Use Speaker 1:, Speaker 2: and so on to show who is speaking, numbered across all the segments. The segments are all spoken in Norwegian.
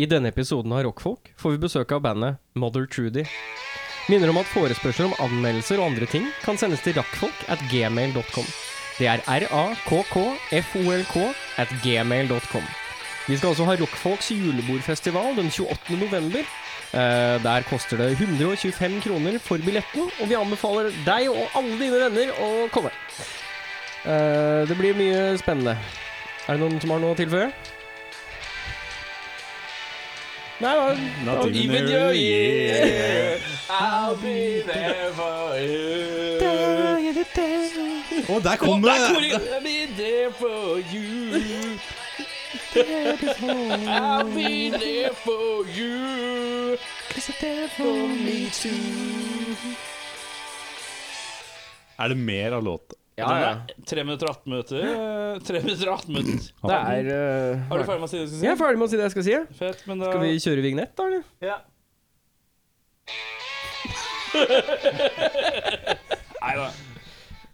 Speaker 1: I denne episoden av Rockfolk får vi besøk av bandet Mother Trudy. Minner om at forespørsler om anmeldelser og andre ting kan sendes til rakkfolk at gmail.com. Det er r-a-k-k-f-o-l-k at gmail.com. Vi skal også ha Rockfolks julebordfestival den 28. november. Eh, der koster det 125 kroner for billetten, og vi anbefaler deg og alle dine venner å komme. Eh, det blir mye spennende. Er det noen som har noe å tilføye? Nei, da. da-
Speaker 2: Not even a year. I'll be there for you.
Speaker 3: Og der kom det!
Speaker 2: I'll be there for you. I'll be there for you. For me too.
Speaker 3: Er det mer av låta?
Speaker 1: Ja, ja.
Speaker 2: Den er 3 minutter og 18 minutter. Eh, 3 minutter og 18 minutter.
Speaker 1: Det er eh,
Speaker 2: Er du ferdig med å si det du
Speaker 1: Jeg er ferdig
Speaker 2: skulle si?
Speaker 1: med å si det jeg skal si. jeg.
Speaker 2: Fett, men da
Speaker 1: Skal vi kjøre vignett, da, eller?
Speaker 2: Ja. Nei da.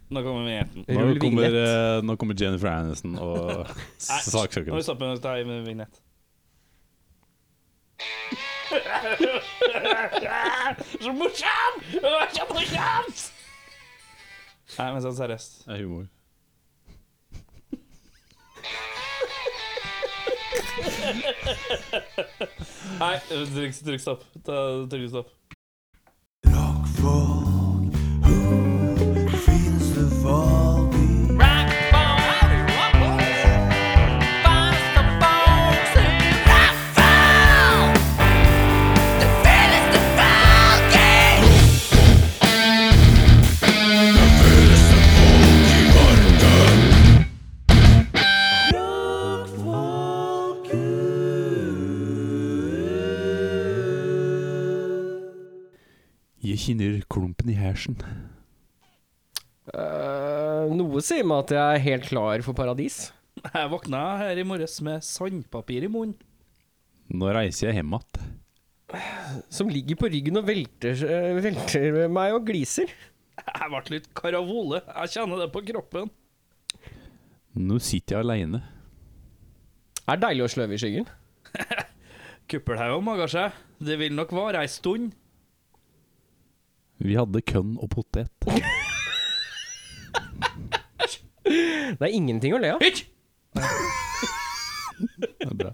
Speaker 2: Nå kommer vi med jenten.
Speaker 3: Nå
Speaker 1: Rull
Speaker 3: kommer,
Speaker 1: vignett.
Speaker 3: eh, nå kommer Jennifer Aniston og
Speaker 2: Nå må
Speaker 3: saksøkeren.
Speaker 2: vi stoppe med å ta i med vignett. så morsom! Det var så morsomt! Nei, men sånn seriøst.
Speaker 3: Det er humor.
Speaker 2: Nei, trykk, trykk stopp. Ta, trykk stopp.
Speaker 3: Jeg kjenner klumpen i hersen.
Speaker 1: Eh, noe sier meg at jeg er helt klar for paradis.
Speaker 2: Jeg våkna her i morges med sandpapir i munnen.
Speaker 3: Nå reiser jeg hjem igjen.
Speaker 1: Som ligger på ryggen og velter, eh, velter meg og gliser.
Speaker 2: Jeg ble litt karavole. Jeg kjenner det på kroppen.
Speaker 3: Nå sitter jeg aleine.
Speaker 1: Er deilig å sløve i skyggen.
Speaker 2: Kuppelhaug og magasje. Det vil nok vare ei stund.
Speaker 3: Vi hadde kønn og potet.
Speaker 1: Det er ingenting å le av.
Speaker 2: Hysj!
Speaker 3: Det er bra.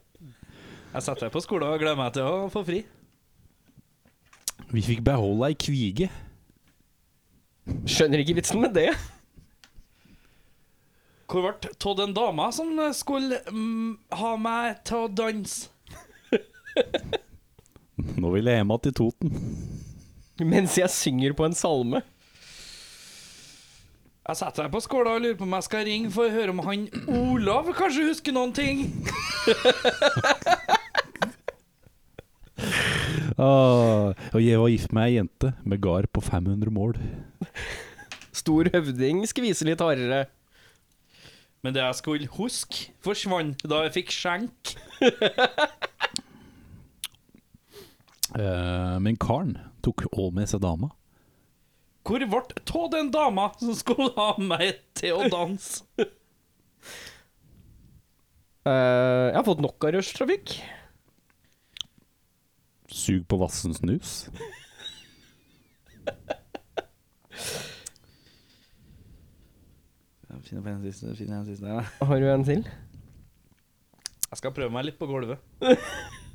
Speaker 2: Jeg setter meg på skolen og gleder meg til å få fri.
Speaker 3: Vi fikk beholde ei kvige.
Speaker 1: Skjønner ikke vitsen med det.
Speaker 2: Hvor ble det av den dama som skulle mm, ha meg til å danse?
Speaker 3: Nå vil jeg hjem igjen til Toten.
Speaker 1: Mens jeg synger på en salme.
Speaker 2: Jeg setter meg på skolen og lurer på om jeg skal ringe for å høre om han Olav kanskje husker noen ting.
Speaker 3: Ah, og jeg var gift med ei jente med gard på 500 mål.
Speaker 1: Stor høvding skviser litt hardere.
Speaker 2: Men det jeg skulle huske, forsvant da jeg fikk skjenk.
Speaker 3: Eh, men karen tok all med seg dama.
Speaker 2: Hvor ble det av den dama som skulle ha meg til å danse?
Speaker 1: Eh, jeg har fått nok av rushtrafikk.
Speaker 3: Sug på vassen snus.
Speaker 2: Finner på en siste, finner en siste her.
Speaker 1: Har du en til?
Speaker 2: Jeg skal prøve meg litt på gulvet.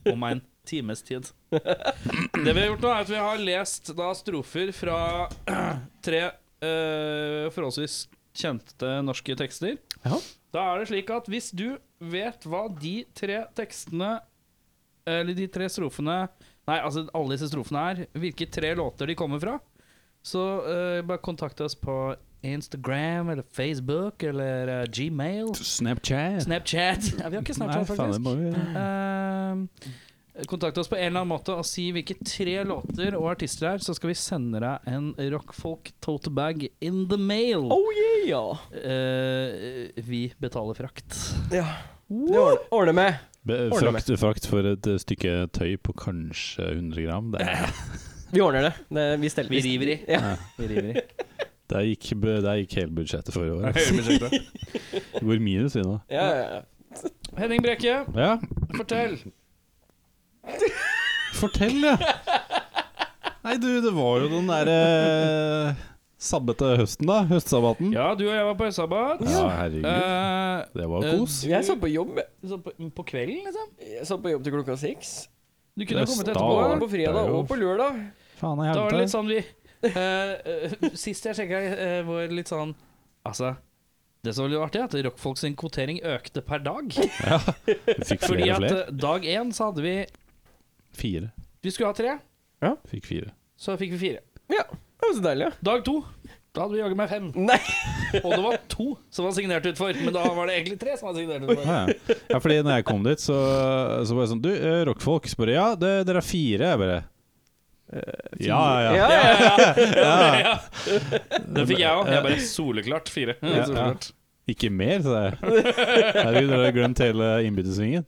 Speaker 2: Om en times tid. Det vi har gjort nå, er at vi har lest da strofer fra tre eh, forholdsvis kjente norske tekster.
Speaker 1: Ja.
Speaker 2: Da er det slik at hvis du vet hva de tre tekstene Eller de tre strofene Nei, altså alle disse strofene er hvilke tre låter de kommer fra, så eh, bare kontakt oss på Instagram eller Facebook eller eh, Gmail.
Speaker 3: Snapchat.
Speaker 2: Snapchat. Ja, vi har ikke
Speaker 3: Nei,
Speaker 2: Snapchat,
Speaker 3: faen, det
Speaker 2: faktisk.
Speaker 3: må vi gjøre.
Speaker 2: Ehm, kontakt oss på en eller annen måte og si hvilke tre låter og artister det er, så skal vi sende deg en rockfolk tote bag in the mail.
Speaker 1: Oh yeah!
Speaker 2: Eh, vi betaler frakt.
Speaker 1: Ja. Det ordner, ordner med.
Speaker 3: Be-
Speaker 1: Ordner
Speaker 3: Frakt, frakt for et eh, stykke tøy på kanskje 100 gram. Det, er,
Speaker 1: Vi ordner det. det vi, steller-
Speaker 2: Vi river i.
Speaker 1: Ja.
Speaker 2: Vi river i.
Speaker 3: der, gikk, bu- der gikk hele budsjettet for i år. ass.
Speaker 2: Høybudsjettet.
Speaker 3: Det Går minus vi nå.
Speaker 1: Ja, ja, ja.
Speaker 2: Henning Brekke,
Speaker 3: Ja.
Speaker 2: fortell.
Speaker 3: Fortell, ja! Nei, du, det var jo den derre sabbete høsten, da. Høstsabbaten.
Speaker 2: Ja, du og jeg var på høstsabbat.
Speaker 3: Ja, herregud.
Speaker 2: Eh,
Speaker 3: Det var
Speaker 2: eh,
Speaker 3: jo kos.
Speaker 4: Jeg satt på jobb
Speaker 2: så på, på kvelden, liksom?
Speaker 4: Jeg satt på jobb til klokka seks.
Speaker 2: Du kunne
Speaker 3: Det
Speaker 2: jo kommet
Speaker 3: er
Speaker 2: etterpå.
Speaker 3: sta-
Speaker 4: Både på fredag og på lørdag.
Speaker 3: Faen i
Speaker 2: Da var det
Speaker 3: helvete.
Speaker 2: litt sånn vi eh, eh, Sist jeg sjekka, eh, var litt sånn Altså, det som var litt artig, er at rockfolk sin kvotering økte per dag.
Speaker 3: Vi fikk
Speaker 2: Fordi
Speaker 3: flere og
Speaker 2: at
Speaker 3: flere.
Speaker 2: eh, dag én så hadde vi
Speaker 3: Fire.
Speaker 2: Vi skulle ha tre,
Speaker 3: Fikk fire.
Speaker 2: så fikk vi fire.
Speaker 4: Det var så deilig.
Speaker 2: Dag to da hadde vi jaggu meg fem.
Speaker 4: Nei.
Speaker 2: Og det var to som var signert utfor. Men da var det egentlig tre som var signert utfor.
Speaker 3: Ja, Ah, ja. ja, fordi når jeg kom dit, så, så var jeg sånn Du, eh, rockfolk spør jeg, Ja, det, dere er fire, jeg bare. eh, Ja, ja, ja.
Speaker 4: Ja, ja, ja.
Speaker 2: Den fikk jeg òg. Jeg bare soleklart fire.
Speaker 3: Ja, ja.
Speaker 2: Soleklart.
Speaker 3: Ikke mer, sa jeg. Herregud, dere har glemt hele innbyttesvingen.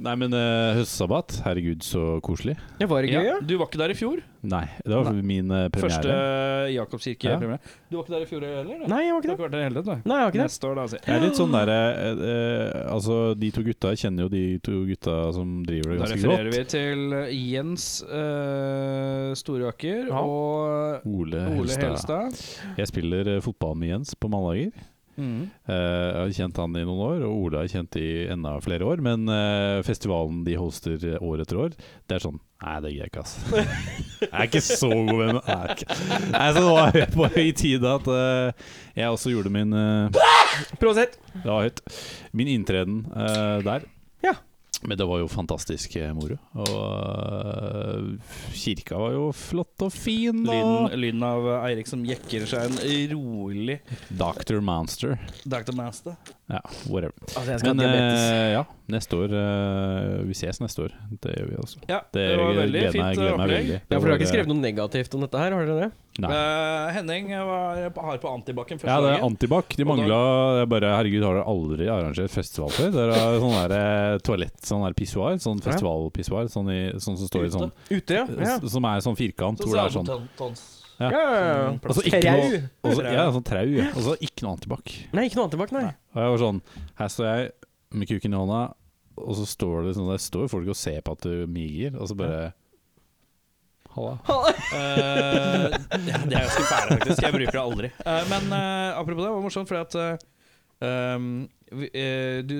Speaker 3: Nei, men eh, høstsabbat, herregud, så koselig.
Speaker 1: Det var gøy, ja.
Speaker 2: Ja, du var ikke der i fjor.
Speaker 3: Nei, det var min eh,
Speaker 2: Første
Speaker 3: premiere. Ja.
Speaker 2: Jakobskirke-premiere. Du var ikke der i fjor heller? du?
Speaker 1: Nei, jeg var
Speaker 2: Du
Speaker 1: ikke det.
Speaker 2: har ikke vært der i hele tatt? du?
Speaker 1: Nei, jeg var ikke det.
Speaker 2: Neste år, da. Si.
Speaker 3: Jeg er litt sånn der, eh, eh, altså, De to gutta jeg kjenner jo de to gutta som driver det
Speaker 2: Da
Speaker 3: ganske
Speaker 2: refererer
Speaker 3: godt.
Speaker 2: vi til Jens eh, Storaker
Speaker 1: Ja.
Speaker 2: og
Speaker 3: Ole
Speaker 2: Ole
Speaker 3: Helstad.
Speaker 2: Helstad.
Speaker 3: Jeg spiller eh, fotball med Jens på mandager.
Speaker 2: Mm.
Speaker 3: Eh, jeg har kjent han i noen år, og Ola har kjent i enda flere år. Men eh, festivalen de hoster eh, år etter år, det er sånn Nei, det gidder jeg ikke, ass. jeg er ikke så god venn. Nei, jeg er ikke. Nei, så det var på høy tid at eh, jeg også gjorde min eh,
Speaker 1: Prosent.
Speaker 3: Det var høyt. Min inntreden eh, der.
Speaker 1: Ja.
Speaker 3: Men det var jo fantastisk eh, moro. Og eh, kirka var jo flott og fin.
Speaker 2: Lyden,
Speaker 3: Og
Speaker 2: lyden av Eirik som jekker seg en rolig
Speaker 3: Dr. Monster.
Speaker 2: Dr. Master.
Speaker 3: Ja, whatever.
Speaker 1: Altså, jeg skal
Speaker 3: Men
Speaker 1: ha diabetes.
Speaker 3: eh, ja, neste år eh, Vi ses neste år. Det gjør vi også.
Speaker 2: Ja,
Speaker 3: Det,
Speaker 2: det, var veldig
Speaker 3: gleder
Speaker 2: fint eh,
Speaker 3: jeg- gleder meg
Speaker 2: opplegg.
Speaker 3: veldig.
Speaker 1: Ja, for du har ikke skrevet
Speaker 3: noe
Speaker 1: noe negativt om dette her, har dere det?
Speaker 3: Nei.
Speaker 2: Eh, Henning var på- hard på antibac-en første
Speaker 3: Ja, det er
Speaker 2: dagen.
Speaker 3: Antibac. De
Speaker 2: Og da-
Speaker 3: mangla jeg bare Herregud, har dere aldri arrangert festival før? Dere har sånn der eh, toalett, sånn der pissoar, sånn
Speaker 1: Ja.
Speaker 3: festivalpissoar, sånn, i- sånn som står i sånn
Speaker 1: Ute, ja. ja.
Speaker 3: s- Som er sånn firkant,
Speaker 2: Så
Speaker 3: hvor det er sånn
Speaker 2: sånn
Speaker 3: Ja.
Speaker 1: ja, ja, ja.
Speaker 3: Og så Mm. Altså, ikke noe og så- Ja, sånn trau. ja. Og så ikke noe Antibac.
Speaker 1: Nei, ikke noe annet tilbake, nei.
Speaker 3: Og jeg var sånn Her står jeg med kuken i hånda, og så står det sånn Der står folk og ser på at du miger, og så bare Halla.
Speaker 2: Eh, ja, det er ganske fæle, faktisk. Jeg bruker det aldri. Eh, men eh, apropos det, det var morsomt, fordi at eh, um, vi, eh, du,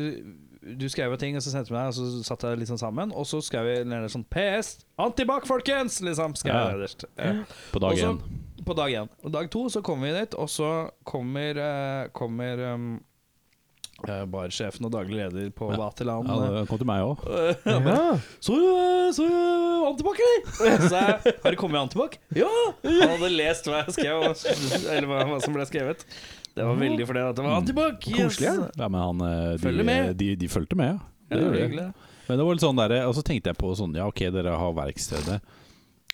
Speaker 2: du skrev jo ting, og så sendte du meg, og så satt jeg litt sånn sammen. Og så skrev jeg nede sånn PS Antibac, folkens! Liksom, skrev jeg
Speaker 3: Ja.
Speaker 2: nederst. Eh,
Speaker 3: På dag
Speaker 2: Og så-
Speaker 3: én.
Speaker 2: på dag én. Og dag to så kommer vi dit, og så kommer, eh, kommer eh, eh, barsjefen og daglig leder på
Speaker 3: Ja.
Speaker 2: Vaterland.
Speaker 3: Ja, det kom til meg òg.
Speaker 2: eh,
Speaker 1: Ja.
Speaker 2: så øh, så Antibac, eller? Så jeg, har det kommet Antibac? Ja! Han hadde lest hva jeg skrev, og- eller hva, hva som ble skrevet. Det var veldig fordi at det var Antibac. Yes.
Speaker 1: Koselig, ja.
Speaker 3: Ja, men han, eh, de,
Speaker 2: Følger med.
Speaker 3: De, de fulgte med, ja.
Speaker 2: Ja, det var hyggelig.
Speaker 3: Men det var litt sånn der, og så tenkte jeg på sånn Ja, OK, dere har verkstedet.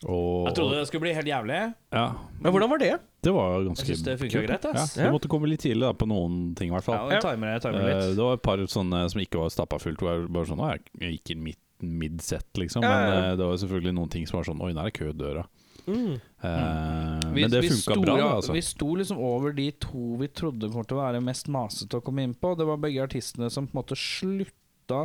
Speaker 3: Og
Speaker 2: Jeg trodde det skulle bli helt jævlig.
Speaker 3: Ja,
Speaker 1: Men hvordan var det?
Speaker 3: det var
Speaker 2: Jeg
Speaker 3: ganske
Speaker 2: synes det funket
Speaker 3: kult.
Speaker 2: greit, ass.
Speaker 3: Ja,
Speaker 1: Ja.
Speaker 3: du måtte komme litt tidlig da, på noen ting, i hvert fall.
Speaker 2: Ja, vi timer det, timer det
Speaker 3: Eh,
Speaker 2: litt.
Speaker 3: det var et par sånne som ikke var stappa fullt. Hvor jeg bare sånn, «Å, jeg gikk inn midt, midset, liksom.
Speaker 1: Ja, ja,
Speaker 3: Men
Speaker 1: ja.
Speaker 3: eh, det var selvfølgelig noen ting som var sånn Oi, der er kø i døra.
Speaker 1: Mm.
Speaker 3: Eh,
Speaker 2: Mm. Vi-
Speaker 3: men det
Speaker 2: vi
Speaker 3: funka
Speaker 2: sto-
Speaker 3: bra, det, altså.
Speaker 2: Vi sto liksom over de to vi trodde kom til å være mest masete å komme inn på. Det var begge artistene som på en måte slutta De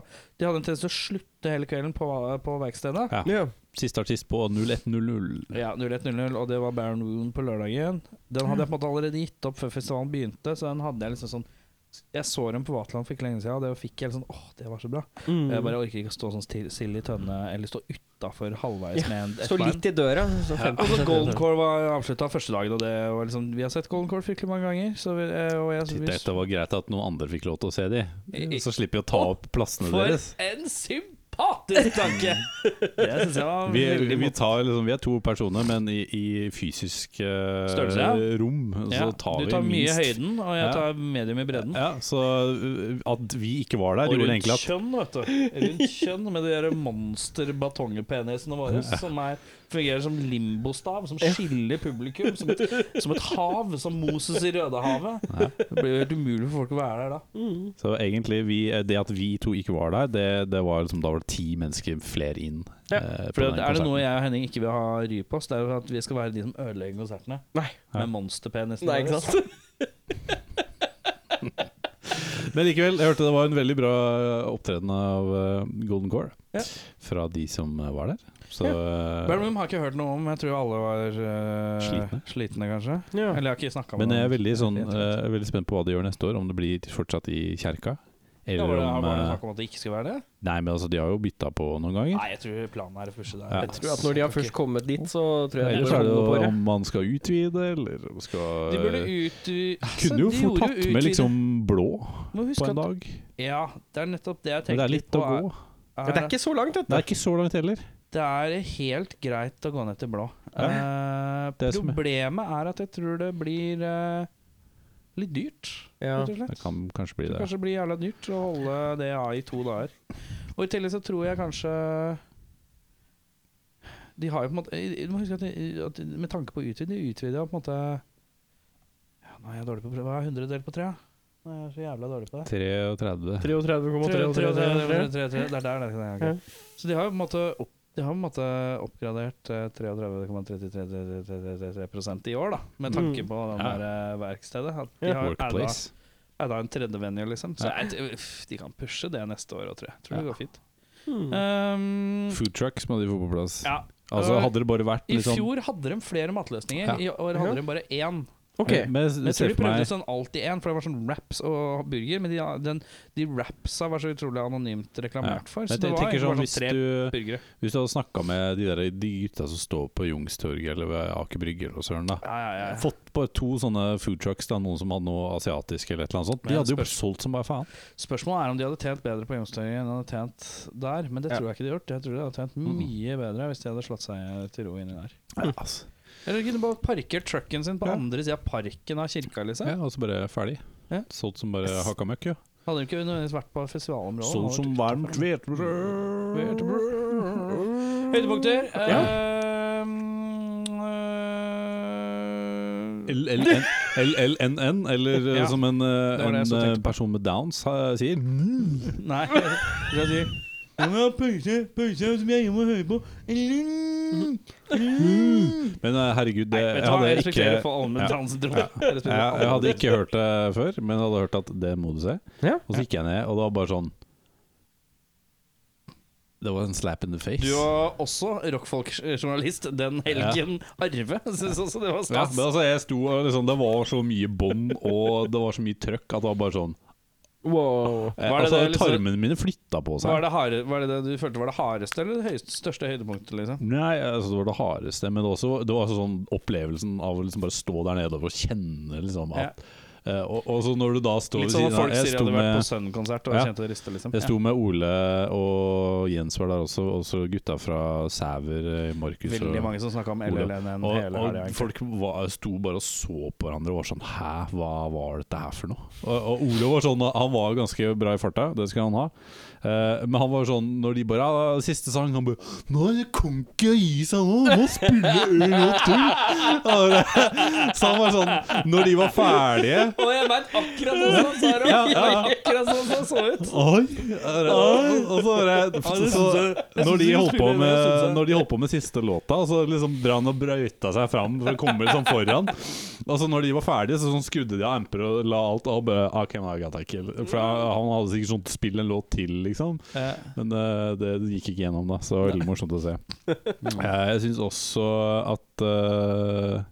Speaker 2: hadde en tendens til å slutte hele kvelden på, på verkstedet.
Speaker 3: Ja.
Speaker 1: Ja.
Speaker 3: Siste artist på 0100.
Speaker 2: Ja, 01.00, og det var Baron Roon på lørdagen. Den hadde jeg på en måte allerede gitt opp før festivalen begynte, så den hadde jeg liksom sånn Jeg så dem på Vaterland for ikke lenge siden, og det fikk jeg liksom Åh, det var så bra.
Speaker 1: Mm.
Speaker 2: Jeg bare orker ikke å stå sånn still- stille i tønne, eller stå utafor halvveis
Speaker 1: Ja,
Speaker 2: med en et
Speaker 1: Stå
Speaker 2: band.
Speaker 1: litt i døra. Så
Speaker 2: Ja, Altså,
Speaker 1: 50%
Speaker 2: og så
Speaker 1: i
Speaker 2: Golden
Speaker 1: døra.
Speaker 2: Core var avslutta første dagen, og det var liksom Vi har sett Golden Core fryktelig mange ganger, så vi, eh, og jeg
Speaker 3: Titt, Det var greit at noen andre fikk lov til å se de.
Speaker 2: I-
Speaker 3: Så slipper vi å ta opp plassene
Speaker 2: For
Speaker 3: deres.
Speaker 2: en sympatisk tanke! Det syns jeg var
Speaker 3: Vi,
Speaker 2: veldig
Speaker 3: vi,
Speaker 2: moro.
Speaker 3: tar, liksom, vi er to personer, men i, i fysisk eh,
Speaker 2: Størrelse, ja.
Speaker 3: rom så
Speaker 2: Ja,
Speaker 3: tar
Speaker 2: du
Speaker 3: vi
Speaker 2: tar mye
Speaker 3: minst.
Speaker 2: i høyden, og
Speaker 3: Ja.
Speaker 2: jeg tar medium i bredden.
Speaker 3: Ja, så uh, at vi ikke var der, gjorde egentlig at
Speaker 2: kjønn, vet du. Rundt kjønn med de der monsterbatongepenisene våre som er, fungerer som limbostav, som skiller publikum. Som et, som et hav, som Moses i Rødehavet. Det blir jo helt umulig for folk å være der da.
Speaker 3: Så egentlig vi, eh, det at vi to ikke var der, det, det var liksom, da var det ti mennesker flere inn.
Speaker 1: Ja,
Speaker 3: eh, på
Speaker 2: For
Speaker 3: den
Speaker 2: det, er det
Speaker 3: konserten.
Speaker 2: noe jeg og Henning ikke vil ha ry på oss, det er jo at vi skal være de som ødelegger konsertene.
Speaker 1: Nei.
Speaker 2: Med monsterpenisene
Speaker 4: Nei, ikke sant?
Speaker 3: Men likevel, jeg hørte det var en veldig bra opptreden av eh, Golden Core.
Speaker 4: Ja.
Speaker 3: Fra de som eh, var der. Så eh,
Speaker 4: Birmingham har jeg ikke hørt noe om. Jeg tror alle var eh,
Speaker 3: Slitne.
Speaker 4: slitne, kanskje.
Speaker 1: Ja.
Speaker 4: Eller jeg har ikke snakka med
Speaker 3: Men jeg er
Speaker 4: dem.
Speaker 3: veldig, sånn,
Speaker 4: Jeg tror-
Speaker 3: eh, veldig spent på hva de gjør neste år. Om det blir fortsatt i kjerka.
Speaker 4: Ja,
Speaker 3: Eller
Speaker 4: var det,
Speaker 3: om
Speaker 4: var det
Speaker 3: eh,
Speaker 4: snakk om at det ikke skulle være det?
Speaker 3: Nei, men altså, de har jo bytta på noen ganger.
Speaker 4: Nei, jeg tror planen er å pushe det.
Speaker 3: Ja.
Speaker 1: Jeg tror at når de har først kommet dit, så tror jeg de
Speaker 3: Ellers
Speaker 1: bør
Speaker 3: er det
Speaker 1: holde på
Speaker 3: jo
Speaker 1: det.
Speaker 3: om man skal utvide, eller om skal eh,
Speaker 4: De burde
Speaker 3: Øh.
Speaker 4: utvide
Speaker 3: Kunne jo fort tatt med liksom blå på en dag.
Speaker 4: Ja, det er nettopp det jeg
Speaker 3: Men det
Speaker 4: tenker
Speaker 3: er litt
Speaker 4: på.
Speaker 3: å gå.
Speaker 1: Ja, det er ikke så langt,
Speaker 3: Det
Speaker 1: dette.
Speaker 3: er ikke så langt heller.
Speaker 4: Det er helt greit å gå ned til blå. Eh,
Speaker 3: det er som er-
Speaker 4: problemet er at jeg tror det blir eh, litt dyrt,
Speaker 1: Ja.
Speaker 4: rett og
Speaker 3: Det
Speaker 4: slett.
Speaker 3: kan kanskje bli
Speaker 4: Det
Speaker 3: det.
Speaker 4: kanskje blir jævla dyrt å holde det av i to dager. Og i tillegg så tror jeg kanskje De har jo på en måte Du må huske at, de, at de- med tanke på å utvide, de utvider jo på en måte ja, Nå er jeg dårlig på prøve. Hva er 100 delt på 3? Nå er jeg så jævla dårlig på det.
Speaker 3: 33.
Speaker 1: 33,33.
Speaker 4: 33,33. Det er der det er. ok. Så de har jo på en måte opp, de har på en måte oppgradert eh, 33,33 i år, da. Med tanke
Speaker 1: Mm.
Speaker 4: på den
Speaker 3: Ja.
Speaker 4: der eh, verkstedet. At de
Speaker 1: Ja.
Speaker 4: har adda
Speaker 3: Workplace.
Speaker 4: er da en tredje venue, liksom. Så
Speaker 3: Ja.
Speaker 4: jeg t- uff, de kan pushe det neste år òg, tror jeg. Tror det
Speaker 3: Ja. Mm.
Speaker 4: går fint.
Speaker 1: Hmm.
Speaker 4: Um,
Speaker 3: Food trucks må de få på plass.
Speaker 4: ja.
Speaker 3: Altså
Speaker 4: Øh,
Speaker 3: Hadde det bare vært
Speaker 4: I
Speaker 3: litt sånn
Speaker 4: fjor hadde de flere matløsninger.
Speaker 3: Ja.
Speaker 4: I år hadde de bare én.
Speaker 1: Ok.
Speaker 3: Men
Speaker 4: Men
Speaker 3: jeg
Speaker 4: jeg tror
Speaker 3: ser
Speaker 4: de
Speaker 3: for
Speaker 4: prøvde
Speaker 3: meg
Speaker 4: sånn alltid én, for det var sånn wraps og burger. Men de, den, de wrapsa var så utrolig anonymt reklamert for.
Speaker 3: Men
Speaker 4: Så
Speaker 3: jeg
Speaker 4: det var
Speaker 3: tenker
Speaker 4: egentlig
Speaker 3: sånn,
Speaker 4: bare
Speaker 3: hvis,
Speaker 4: sånn tre
Speaker 3: du,
Speaker 4: burgere.
Speaker 3: hvis du hadde snakka med de der de gutta som står på Youngstorget eller ved Aker Brygge eller noe sånt, da.
Speaker 4: Ja, ja, ja.
Speaker 3: Fått bare to sånne food trucks, da, noen som hadde noe asiatisk eller et eller annet sånt. De
Speaker 4: Men
Speaker 3: hadde jo
Speaker 4: spørs-
Speaker 3: solgt som bare faen.
Speaker 4: Spørsmålet er om de hadde tjent bedre på Youngstorget enn de hadde tjent der. Men det
Speaker 1: Ja.
Speaker 4: tror jeg ikke de hadde gjort. Jeg tror de hadde tjent
Speaker 3: Mm.
Speaker 4: mye bedre hvis de hadde slått seg til ro inni der.
Speaker 3: Ja, altså.
Speaker 4: Eller kunne bare parkert trucken sin på
Speaker 3: Ja.
Speaker 4: andre sida av parken av kirka, liksom.
Speaker 3: ja, og så bare ferdig.
Speaker 4: Ja.
Speaker 3: Solgt som bare
Speaker 4: Yes.
Speaker 3: hakka møkk, ja.
Speaker 4: Hadde hun ikke nødvendigvis vært på festivalområdet. hadde vært
Speaker 3: varmt hvetebrød.
Speaker 4: ute. Høydepunkter
Speaker 1: Ja.
Speaker 4: Ehm, eh, eh,
Speaker 3: LLN, LLNN, eller eh,
Speaker 4: Ja,
Speaker 3: som en, eh,
Speaker 4: det var det
Speaker 3: en
Speaker 4: jeg så tenkte Mm.
Speaker 3: eh, person med downs eh, sier.
Speaker 4: Nei. Jeg sier jeg må ha pause, pause som jeg må høre på.
Speaker 3: Men eh, herregud, det,
Speaker 4: Nei,
Speaker 3: jeg,
Speaker 4: vet du hva, jeg
Speaker 3: hadde ikke,
Speaker 4: respekterer for alle med
Speaker 3: Ja.
Speaker 4: dansetrommel. Jeg
Speaker 3: jeg,
Speaker 4: respekterer alle.
Speaker 3: jeg hadde ikke hørt det før, men jeg hadde hørt at det må du se.
Speaker 1: Ja.
Speaker 3: Og så gikk jeg ned, og det var bare sånn Det var en slap in the face.
Speaker 4: Du var også rockfolk-journalist den helgen. Arve syns også det var
Speaker 3: Ja,
Speaker 4: stas.
Speaker 3: men altså, jeg sto og liksom, Det var så mye bånd og det var så mye trøkk at det var bare sånn
Speaker 1: Wow.
Speaker 3: eh,
Speaker 4: Var det
Speaker 3: altså,
Speaker 4: det, liksom-
Speaker 3: Tarmene mine flytta på seg.
Speaker 4: Var det, harde, var det det du følte var det hardeste eller det høyeste, største høydepunktet? liksom?
Speaker 3: Nei, altså det var det hardeste, men det, var også, det var også sånn opplevelsen av å liksom bare stå der nede og kjenne liksom at eh, og, og så når du da står
Speaker 4: Litt
Speaker 3: ved
Speaker 4: sånn at
Speaker 3: siden av
Speaker 4: folk
Speaker 3: jeg
Speaker 4: sier de
Speaker 3: sto,
Speaker 4: hadde vært på
Speaker 3: med,
Speaker 4: Sun-konsert og
Speaker 3: Ja.
Speaker 4: kjente det riste, liksom.
Speaker 3: jeg sto med Ole og Jens var der også, også gutta fra Sæver, eh,
Speaker 4: ja.
Speaker 3: Markus og
Speaker 4: Veldig mange som snakka om
Speaker 3: Ole.
Speaker 4: LLNN
Speaker 3: Og,
Speaker 4: hele helga.
Speaker 3: og folk var, sto bare og så på hverandre og var sånn Hæ, hva var dette her for noe? Og, og Ole var sånn Han var ganske bra i farta, det skal han ha. Eh, men han var sånn når de bare ja, 'Siste sang', han bare 'Nå er det kan ikke gi seg nå, nå spiller øl og tull'. Og det- Så han var sånn Når de var ferdige
Speaker 2: Og jeg veit akkurat hvordan han sa det!
Speaker 3: Ja, ja, ja.
Speaker 2: Akkurat sånn han så ut.
Speaker 3: Oi! Og og så bare så, når, de holdt på med, når de holdt på med siste låta, så liksom dra han og brøyta seg fram for å komme liksom foran. Og så når de var ferdige, så sånn skrudde de av amper og la alt eh, ah, av. Bare, okay, nå har jeg tatt kill. For han hadde sikkert sånn spill en låt til, liksom. Men eh, det gikk ikke gjennom, da. Så det var veldig morsomt å se. Eh, jeg syns også at eh,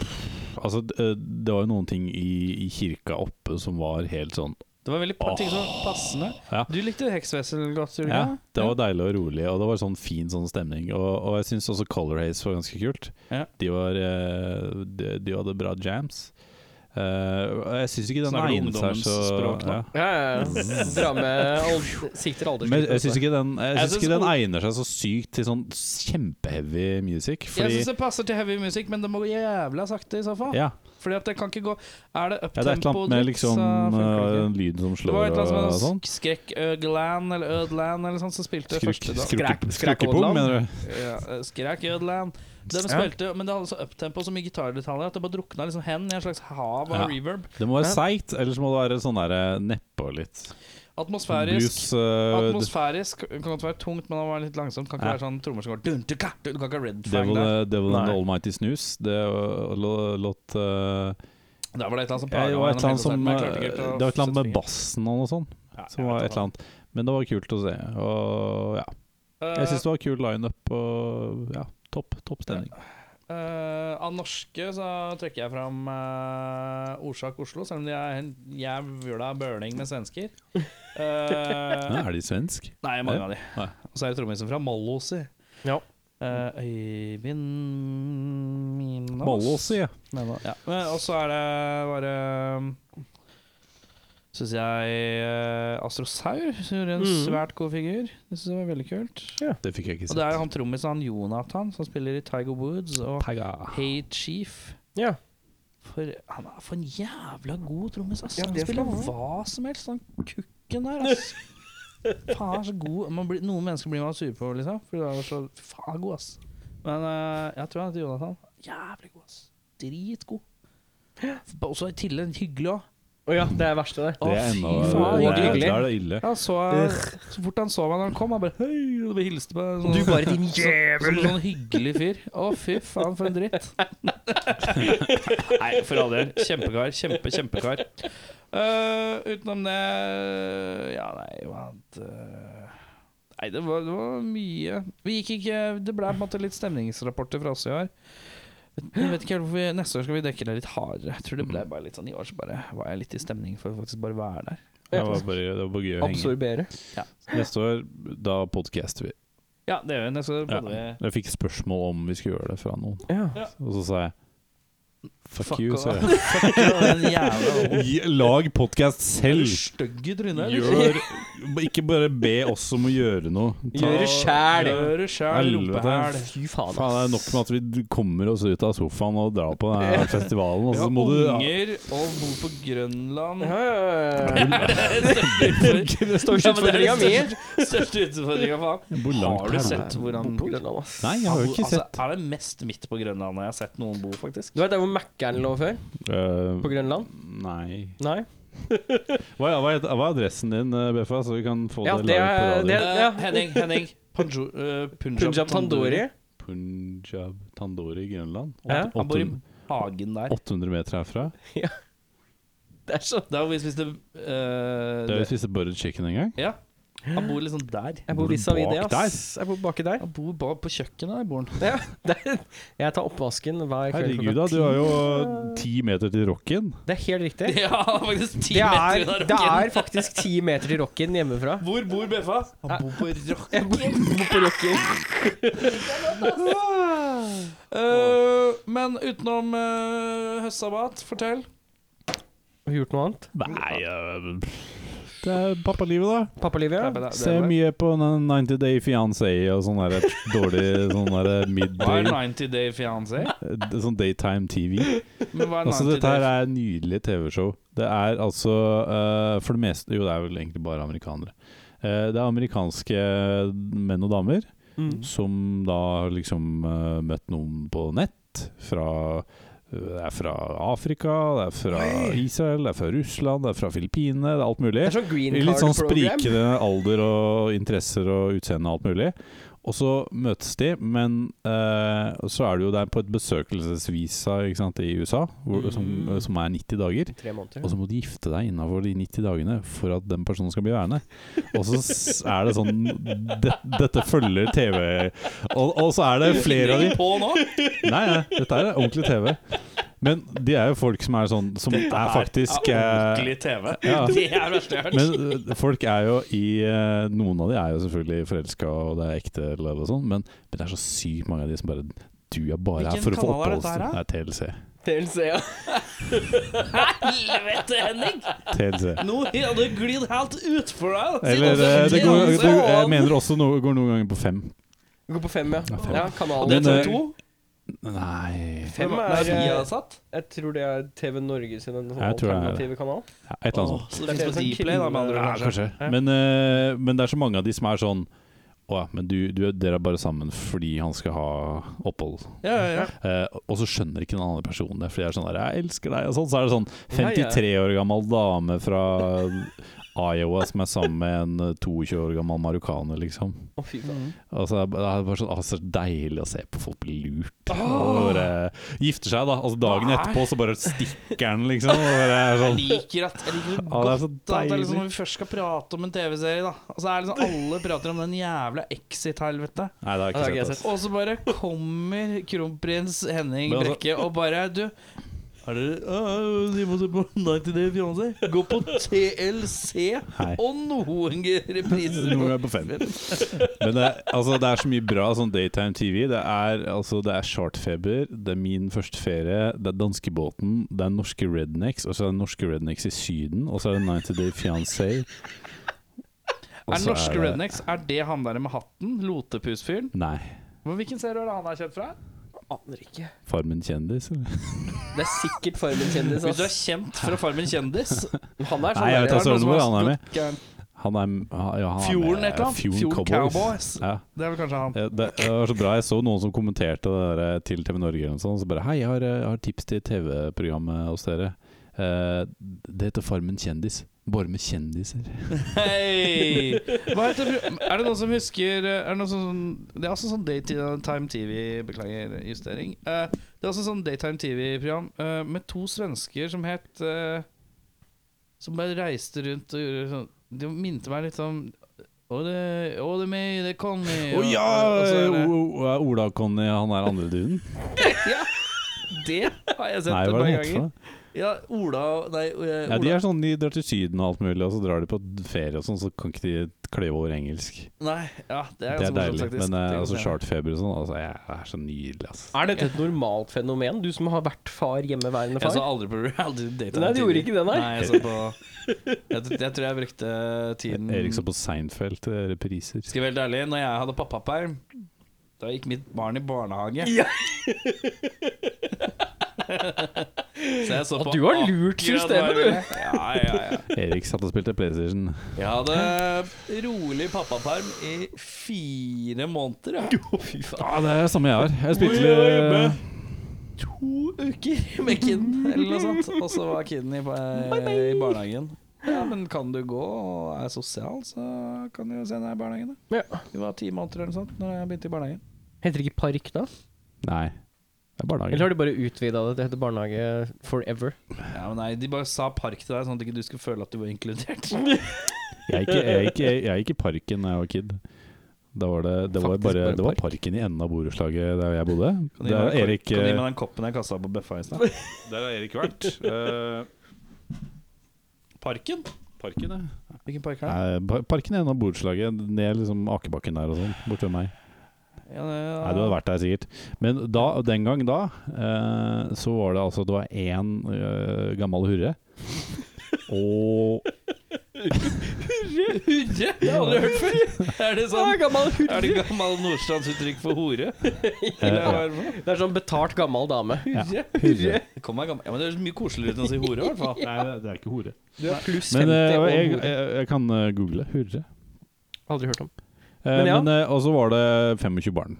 Speaker 3: pff, Altså, eh, det var jo noen ting i, i kirka oppe som var helt sånn
Speaker 4: Det var veldig par ting som var passende.
Speaker 3: Ja.
Speaker 4: Du likte Heksvessel godt, gjorde du
Speaker 3: Ja,
Speaker 4: ikke?
Speaker 3: det var deilig og rolig, og det var sånn fin sånn stemning. Og, og jeg syns også Color Haze var ganske kult.
Speaker 4: Ja.
Speaker 3: De, var, eh, de, de hadde bra jams. Eh, og jeg syns ikke den
Speaker 4: Snakker du
Speaker 3: egnet seg
Speaker 4: ungdommens
Speaker 3: så
Speaker 4: språk nå?
Speaker 1: Ja, ja, ja.
Speaker 4: Mm.
Speaker 1: Dra med al- sikter
Speaker 3: Men jeg syns
Speaker 1: aldersgruppe.
Speaker 3: ikke den, jeg
Speaker 4: altså. Jeg
Speaker 3: synes ikke
Speaker 4: synes
Speaker 3: den
Speaker 4: ung-
Speaker 3: egner seg så sykt til sånn kjempeheavy music.
Speaker 4: Jeg
Speaker 3: Fordi
Speaker 4: syns det passer til heavy music, men det må gå jævla sakte i så fall.
Speaker 3: ja,
Speaker 4: Fordi at det kan ikke gå Er det
Speaker 3: ja, det er et eller
Speaker 4: uptempo
Speaker 3: annet med liksom
Speaker 4: dritt, så funker det ikke.
Speaker 3: eh, lyden som
Speaker 4: Det
Speaker 3: slår
Speaker 4: var et eller
Speaker 3: og
Speaker 4: annet som
Speaker 3: sånn.
Speaker 4: het Skrek Ødland eller Ødland eller sånt som spilte
Speaker 3: Skruk-
Speaker 4: første dag.
Speaker 3: skrukke-
Speaker 1: Skræk-
Speaker 3: Skrukkepung,
Speaker 1: skrækoddland.
Speaker 3: mener du?
Speaker 4: Ja, eh, Skræk Jødland. De spilte, men det hadde så uptempo så mye gitardetaljer at det bare drukna liksom hen i en slags hav av
Speaker 3: Ja.
Speaker 4: reverb.
Speaker 3: Det må være
Speaker 1: Ja.
Speaker 3: seigt, ellers må det være sånn der nedpå litt.
Speaker 4: Atmosfærisk.
Speaker 3: Blues eh,
Speaker 4: Atmosfærisk kan godt være tungt, men det var litt langsomt. Kan ikke
Speaker 3: Ja.
Speaker 4: være sånn trommer som går dun, du, ka, du, Du kan ikke ha red fang
Speaker 3: eh, Devil,
Speaker 4: der.
Speaker 3: Devil
Speaker 1: Nei.
Speaker 3: and the Almighty Snooze. Det lå- låt eh,
Speaker 4: Det var det et eller annet som
Speaker 3: Ja, det
Speaker 4: plaga meg
Speaker 3: var et eller
Speaker 4: gjennom
Speaker 3: annet som, eh,
Speaker 4: hele konserten, men jeg klarte
Speaker 3: det
Speaker 4: ikke helt å
Speaker 3: var et eller annet
Speaker 4: sette
Speaker 3: med
Speaker 4: fingeren.
Speaker 3: bassen og noe sånt.
Speaker 4: Ja, jeg
Speaker 3: Som
Speaker 4: vet
Speaker 3: var
Speaker 4: hva
Speaker 3: et eller annet. Men det var kult å se. Og ja.
Speaker 4: Eh,
Speaker 3: Jeg syns det var kul lineup og ja, topp, topp stemning.
Speaker 4: Eh, eh, av norske så trekker jeg fram eh, Orsak Oslo, selv om de er en jævla bøling med svensker. Eh,
Speaker 3: Ja, er de svensk?
Speaker 4: nei, mange av de.
Speaker 3: Nei.
Speaker 4: Og så er det trommisen fra Mallåsi.
Speaker 1: Ja.
Speaker 4: Eh, Øyvind Minås.
Speaker 3: Mallås, ja.
Speaker 4: Men, ja. Men, og så er det bare Syns jeg eh, Astrosaur gjorde en
Speaker 1: Mhm.
Speaker 4: svært god figur. Det synes jeg var veldig kult.
Speaker 3: Det fikk jeg ikke
Speaker 4: Og det er jo han trommisen han Jonathan som spiller i Tiger Woods og
Speaker 3: Pega.
Speaker 4: Hey Chief.
Speaker 1: Ja.
Speaker 4: For han er for en jævla god trommis, ass.
Speaker 1: Ja,
Speaker 4: han
Speaker 1: det skal
Speaker 4: spiller
Speaker 1: han ha.
Speaker 4: hva som helst, han kukken der, ass. faen, han er så god. Man blir, noen mennesker blir man sur på, liksom. For han er så faen han er god, ass. Men eh, jeg tror han heter Jonathan. Jævlig god, ass. Dritgod. Og så i tillegg hyggelig òg.
Speaker 1: Å ja, det er verste, det.
Speaker 4: Å,
Speaker 3: Det er
Speaker 4: fy
Speaker 3: ennå
Speaker 4: faen,
Speaker 3: det er-
Speaker 4: hyggelig.
Speaker 3: Da er det ille.
Speaker 4: Ja, så, eh, så fort han så meg da han kom, han bare Hei, og hilste på meg.
Speaker 1: Du bare din
Speaker 4: Som
Speaker 1: jævel!
Speaker 4: en sånn hyggelig fyr. Å, fy faen, for en dritt. Nei, for all del. Kjempekar. Kjempe, kjempekar. Eh, utenom det Ja, nei, hva annet eh, Nei, det var, det var mye Vi gikk ikke Det ble på en måte litt stemningsrapporter fra oss i år. Jeg vet ikke helt hvorfor vi, Neste år skal vi dekke det litt hardere. Jeg tror det ble bare litt sånn I år så bare var jeg litt i stemning for å faktisk bare være der.
Speaker 3: Det var bare, det var bare gøy å henge.
Speaker 1: Absorbere.
Speaker 3: Neste år, da podcaster vi.
Speaker 4: Ja, det gjør vi. Neste år
Speaker 3: Ja.
Speaker 4: både vi
Speaker 3: Jeg fikk spørsmål om vi skulle gjøre det fra noen,
Speaker 1: Ja.
Speaker 3: og så sa jeg Fuck,
Speaker 4: Fuck
Speaker 3: you,
Speaker 4: off.
Speaker 3: sa jeg.
Speaker 4: Den jævla
Speaker 3: Gi- Lag podkast selv!
Speaker 4: stygg i trynet.
Speaker 3: Gjør Ikke bare be oss om å gjøre noe. Ta,
Speaker 1: Gjøre sjæl!
Speaker 4: Gjør det sjæl,
Speaker 3: Helvete.
Speaker 4: rumpehæl.
Speaker 1: Fy faen,
Speaker 3: faen, det er nok med at vi d- kommer oss ut av sofaen og drar på denne festivalen, og
Speaker 4: Vi
Speaker 3: så
Speaker 4: har
Speaker 3: må du ja,
Speaker 4: unger og bor på Grønland.
Speaker 1: Ja, ja, ja, ja.
Speaker 4: Største
Speaker 1: Det står ikke utfordringa mi.
Speaker 4: utfordringa, faen.
Speaker 3: Hvor langt
Speaker 4: Har du
Speaker 3: helvete-
Speaker 4: sett hvor han
Speaker 1: På Grønland, ass.
Speaker 3: Nei, jeg har jo ikke
Speaker 4: altså,
Speaker 3: sett
Speaker 4: Er det mest midt på Grønland jeg har sett noen bo, faktisk?
Speaker 1: Du vet der hvor Mækkern lå før?
Speaker 3: Øh,
Speaker 1: På Grønland?
Speaker 3: Nei
Speaker 1: Nei?
Speaker 3: hva, hva, er, hva er adressen din, eh, Beffa, så vi kan få
Speaker 1: Ja,
Speaker 3: det
Speaker 1: det
Speaker 3: laget på
Speaker 1: er-
Speaker 3: radio?
Speaker 1: det er-
Speaker 4: Eh,
Speaker 1: Ja.
Speaker 4: Henning, Henning. Panjo, eh, Punjab,
Speaker 1: Punjab Tandori.
Speaker 3: Punjab Tandori, Grønland.
Speaker 1: Ja.
Speaker 4: Han bor i hagen der.
Speaker 3: 800 meter herfra.
Speaker 1: Det er så
Speaker 4: Der hvor vi spiste eh,
Speaker 3: Det er jo spiste buttered chicken en gang.
Speaker 4: Ja. Han bor liksom der.
Speaker 1: Jeg
Speaker 3: Bor
Speaker 1: bor
Speaker 3: du
Speaker 1: vis-à-vis det,
Speaker 3: bak
Speaker 1: ass. Jeg bor baki der.
Speaker 4: Han bor bare på kjøkkenet der, bor han.
Speaker 1: Ja, der. Jeg tar oppvasken hver kveld.
Speaker 3: Herregud, da.
Speaker 1: klokka
Speaker 3: Du har jo ti meter til rocken.
Speaker 1: ti. Det er helt riktig.
Speaker 4: Ja, han er faktisk
Speaker 1: Det er, det er faktisk ti
Speaker 4: ti meter unna rocken.
Speaker 1: meter til Rocken hjemmefra.
Speaker 4: Hvor bor Beffa? Han bor på
Speaker 1: Jeg
Speaker 4: Rock.
Speaker 1: bor bor på Rocken.
Speaker 4: Eh, men utenom uh, høstsabbat, fortell.
Speaker 1: Har vi gjort noe annet?
Speaker 3: Nei øh, Det er pappalivet, da.
Speaker 1: Pappalivet?
Speaker 4: Det er-
Speaker 3: Se mye på den 90 Day Fiancé og sånn der dårlig sånn der
Speaker 4: Hva er
Speaker 3: midday
Speaker 4: 90 Day Fiancé?
Speaker 3: eh, Sånn daytime TV.
Speaker 4: Men hva er 90
Speaker 3: Altså, dette her
Speaker 4: Day
Speaker 3: er nydelig TV-show. Det er altså eh, for det meste Jo, det er vel egentlig bare amerikanere. Eh, det er amerikanske menn og damer
Speaker 1: Mm.
Speaker 3: som da har liksom eh, møtt noen på nett fra det er fra Afrika, det er fra Israel, det er fra Russland, det er fra Filippinene, det er alt mulig.
Speaker 1: Det er sånn green
Speaker 3: I litt sånn
Speaker 1: card-program.
Speaker 3: sprikende alder og interesser og utseende og alt mulig. Og så møtes de, men eh, så er det jo der på et besøkelsesvisa ikke sant, i USA, hvor, som,
Speaker 4: Mm.
Speaker 3: som er 90 dager.
Speaker 1: Tre måneder.
Speaker 3: Og så må du gifte deg innafor de 90 dagene for at den personen skal bli værende. Og så s- er det sånn det, Dette følger TV og, og så er det flere av de
Speaker 4: på nå?
Speaker 3: Nei, nei, dette er ordentlig TV. Men de er jo folk som er sånn Som er faktisk eh,
Speaker 4: ordentlig TV.
Speaker 3: ja.
Speaker 4: Det er det verste jeg har hørt.
Speaker 3: men øh, folk er jo i øh, Noen av de er jo selvfølgelig forelska, og det er ekte, eller noe sånt, men, men det er så sykt mange av de som bare Du er bare her
Speaker 4: Hvilken
Speaker 3: for å få
Speaker 4: kanal er dette her,
Speaker 3: oppholds... Det er TLC.
Speaker 1: TLC, ja.
Speaker 4: Helvete, Henning!
Speaker 3: TLC.
Speaker 4: Nå har du glidd helt utfor deg. da.
Speaker 3: Eller
Speaker 4: Siden
Speaker 3: øh, det
Speaker 4: du-
Speaker 3: går,
Speaker 1: TLC.
Speaker 3: det, Jeg mener også noe, går noen ganger på fem.
Speaker 1: Vi går på fem, ja.
Speaker 3: fem.
Speaker 1: ja kanalen.
Speaker 4: Det
Speaker 3: Men,
Speaker 4: er
Speaker 3: eh,
Speaker 4: TV 2.
Speaker 3: Nei
Speaker 1: Fem
Speaker 4: Det
Speaker 1: er
Speaker 4: er
Speaker 1: eh,
Speaker 4: Viasat.
Speaker 1: Jeg tror det er TV Norge sin en sånn
Speaker 3: Jeg tror det er det.
Speaker 1: alternative kanal.
Speaker 3: ja, Et eller annet sånt.
Speaker 4: Så det finnes på liksom
Speaker 1: sånn
Speaker 4: Dplay, da, med andre
Speaker 3: Ja,
Speaker 4: ord. kanskje.
Speaker 3: kanskje. Men, øh, men det er så mange av de som er sånn å ja, men du, du, dere er bare sammen fordi han skal ha opphold.
Speaker 4: Ja, ja, ja.
Speaker 3: Eh, og så skjønner ikke den andre personen det, for de er sånn der 'Jeg elsker deg', og sånn. Så er det sånn
Speaker 1: Ja, ja.
Speaker 3: 53 år gammel dame fra Iowa som er sammen med en 22 år gammel marokkaner, liksom.
Speaker 1: Å, fy
Speaker 4: Mm.
Speaker 1: faen.
Speaker 3: Altså, det er bare sånn, ah, så deilig å se på folk bli lurt. Og bare, gifter seg, da. Altså, dagen
Speaker 4: Nei.
Speaker 3: etterpå så bare stikker han, liksom. Og bare, er sånn,
Speaker 4: Jeg liker at jeg liker
Speaker 3: Ja,
Speaker 4: det
Speaker 3: det er
Speaker 4: godt
Speaker 3: så
Speaker 4: at det er liksom,
Speaker 3: deilig.
Speaker 4: når vi først skal prate om en TV-serie, da. Altså, det er liksom, alle prater om den jævla Exit-helvete.
Speaker 1: Ja,
Speaker 3: Nei, det har
Speaker 1: det har ikke
Speaker 3: jeg
Speaker 1: jeg
Speaker 3: ikke sett.
Speaker 4: Og så bare kommer kronprins Henning
Speaker 3: Men altså-
Speaker 4: Brekke og bare Du, er dere ah, De må se på 90 Day Fiancé. Gå på TLC
Speaker 3: ass. Hei.
Speaker 4: og noen repriser.
Speaker 3: Noen er på fem. Men det, er- altså, det er så mye bra sånn daytime TV. Det er, altså, det er chartfeber, det er min første ferie, det er danskebåten, det er norske rednecks, og så er det norske rednecks i Syden, og så er det 90 Day Fiancé. Og
Speaker 4: Er
Speaker 3: så
Speaker 4: norske
Speaker 3: det-
Speaker 4: rednecks Er det han der med hatten? Lotepusfyren?
Speaker 3: Nei.
Speaker 4: Hvor- Hvilken serie er det han er kjent fra?
Speaker 1: Aner ikke.
Speaker 3: Farmen kjendis, eller?
Speaker 1: Det er sikkert Farmen kjendis.
Speaker 4: Hvis du er
Speaker 1: Ass.
Speaker 4: kjent fra Farmen kjendis
Speaker 1: Han er sånn
Speaker 3: Nei, jeg vet
Speaker 1: der-
Speaker 3: altså
Speaker 4: noen som har
Speaker 3: hvor han er med.
Speaker 4: stått gærent.
Speaker 3: Han er ha- ja, han er
Speaker 4: Fjorden
Speaker 3: med-
Speaker 4: et eller annet?
Speaker 3: Fjorden
Speaker 4: Fjorden
Speaker 3: Cowboys.
Speaker 4: Cowboys.
Speaker 3: Ja.
Speaker 4: Det er vel kanskje han.
Speaker 3: Ja, Det, det var så bra. Jeg så noen som kommenterte det der eh, til TV Norge. Og sånn, så bare Hei, jeg har, eh, har tips til TV-programmet hos dere. Eh, det heter Farmen kjendis. Bare med kjendiser.
Speaker 4: Hei! Hva heter pro- Er det noen som husker eh, Er det noen som Det er også sånn Daytime TV Beklager justering. Eh, det er også sånn Daytime TV-program eh, med to svensker som het eh, Som bare reiste rundt og gjorde sånn Det minte meg litt om Å, det, å, det meg, det kom i
Speaker 3: Å ja!
Speaker 4: og så er det-
Speaker 3: O- o- Ola og Conny, han er andre duden.
Speaker 4: ja! Det har jeg sett
Speaker 3: Nei,
Speaker 4: et
Speaker 3: hva
Speaker 4: par
Speaker 3: er det han heter
Speaker 4: ganger.
Speaker 3: for?
Speaker 4: Ja, Ola og- Nei, eh,
Speaker 3: Ja, de
Speaker 4: Ola.
Speaker 3: er sånn, de drar til Syden og alt mulig, og så drar de på ferie og sånn, så kan ikke de kløyve over engelsk.
Speaker 4: Nei, ja, det er,
Speaker 3: Det er
Speaker 4: ganske morsomt,
Speaker 3: deilig.
Speaker 4: faktisk.
Speaker 3: Men
Speaker 4: Det
Speaker 3: eh,
Speaker 4: kan
Speaker 3: altså,
Speaker 4: jeg se.
Speaker 3: chartfeber og sånn, altså, jeg er så nydelig, altså.
Speaker 1: Er dette et normalt fenomen, du som har vært far, hjemmeværende
Speaker 4: Jeg så
Speaker 1: far?
Speaker 4: aldri på reality dating.
Speaker 1: Nei, du gjorde ikke det, nei.
Speaker 4: nei jeg, så på, jeg, jeg tror jeg brukte tiden
Speaker 3: Erik så på Seinfeld eh, repriser.
Speaker 4: Skal jeg være helt ærlig, når jeg hadde pappaperm, da gikk mitt barn i barnehage.
Speaker 1: Ja.
Speaker 4: så jeg så
Speaker 1: At
Speaker 4: på
Speaker 1: du har lurt
Speaker 4: akkurat
Speaker 1: systemet,
Speaker 4: hva jeg
Speaker 1: du.
Speaker 4: ville. Ja, ja, ja.
Speaker 3: Erik satt og spilte PlayStation.
Speaker 4: Jeg hadde rolig pappaperm i fire måneder. Ja. Fy faen.
Speaker 3: Ja, det er samme jeg har. Jeg
Speaker 4: Hvor
Speaker 3: spilte
Speaker 4: jeg var
Speaker 3: litt eh,
Speaker 4: hjemme. To uker med kiden, eller noe sånt. Og så var kiden i, eh, i barnehagen. Ja, men kan du gå og er sosial, så kan du jo se deg i barnehagen. Da.
Speaker 1: Ja.
Speaker 4: Du var ti måneder eller noe sånt Når jeg begynte i barnehagen.
Speaker 1: Heter det ikke park, da?
Speaker 3: Nei. Det er
Speaker 1: Eller
Speaker 3: barnehagen.
Speaker 1: har de bare utvida det? Det heter barnehage forever.
Speaker 4: Ja, men nei, De bare sa park til deg, sånn at ikke du skulle føle at du var inkludert.
Speaker 3: Jeg gikk, jeg, gikk, jeg, jeg gikk i parken da jeg var kid. Da var det, det, var
Speaker 1: Faktisk
Speaker 3: bare,
Speaker 1: bare
Speaker 3: det var
Speaker 1: park.
Speaker 3: parken i enden av borettslaget der jeg bodde.
Speaker 4: Kan
Speaker 3: Der
Speaker 4: du gi meg
Speaker 3: har
Speaker 4: den
Speaker 3: Erik, eh,
Speaker 4: kor- kan du
Speaker 2: eh,
Speaker 4: gi meg den koppen jeg kasta på bøffa i stad?
Speaker 3: der har Erik vært.
Speaker 4: Parken?
Speaker 3: parken, ja.
Speaker 4: Hvilken park er det?
Speaker 3: Nei, pa- parken i enden av borettslaget, ned liksom Akebakken der og sånn, borte ved meg.
Speaker 4: Ja, det,
Speaker 3: Nei, du hadde vært der sikkert. Men da, den gang da, eh, så var det altså Det var én eh, gammel hurre. Og
Speaker 4: Hurre? Det har jeg aldri hørt før. Er det sånn
Speaker 1: gammel
Speaker 4: Er det gammel nordstrandsuttrykk for hore? Eller
Speaker 3: eh,
Speaker 4: hva er det for noe?
Speaker 1: Det er sånn betalt gammel dame.
Speaker 3: ja,
Speaker 4: Hurre?
Speaker 3: hurre.
Speaker 4: Kom meg gammel. Ja, men det er mye koseligere uten å si hore, i hvert fall.
Speaker 3: Nei, det er ikke hore.
Speaker 1: Du er pluss 50
Speaker 3: Men eh,
Speaker 1: og
Speaker 3: jeg,
Speaker 1: hore.
Speaker 3: jeg, jeg kan eh, google hurre.
Speaker 1: Aldri hørt om.
Speaker 3: Eh,
Speaker 1: Men ja.
Speaker 3: men, eh, og så var det 25 barn.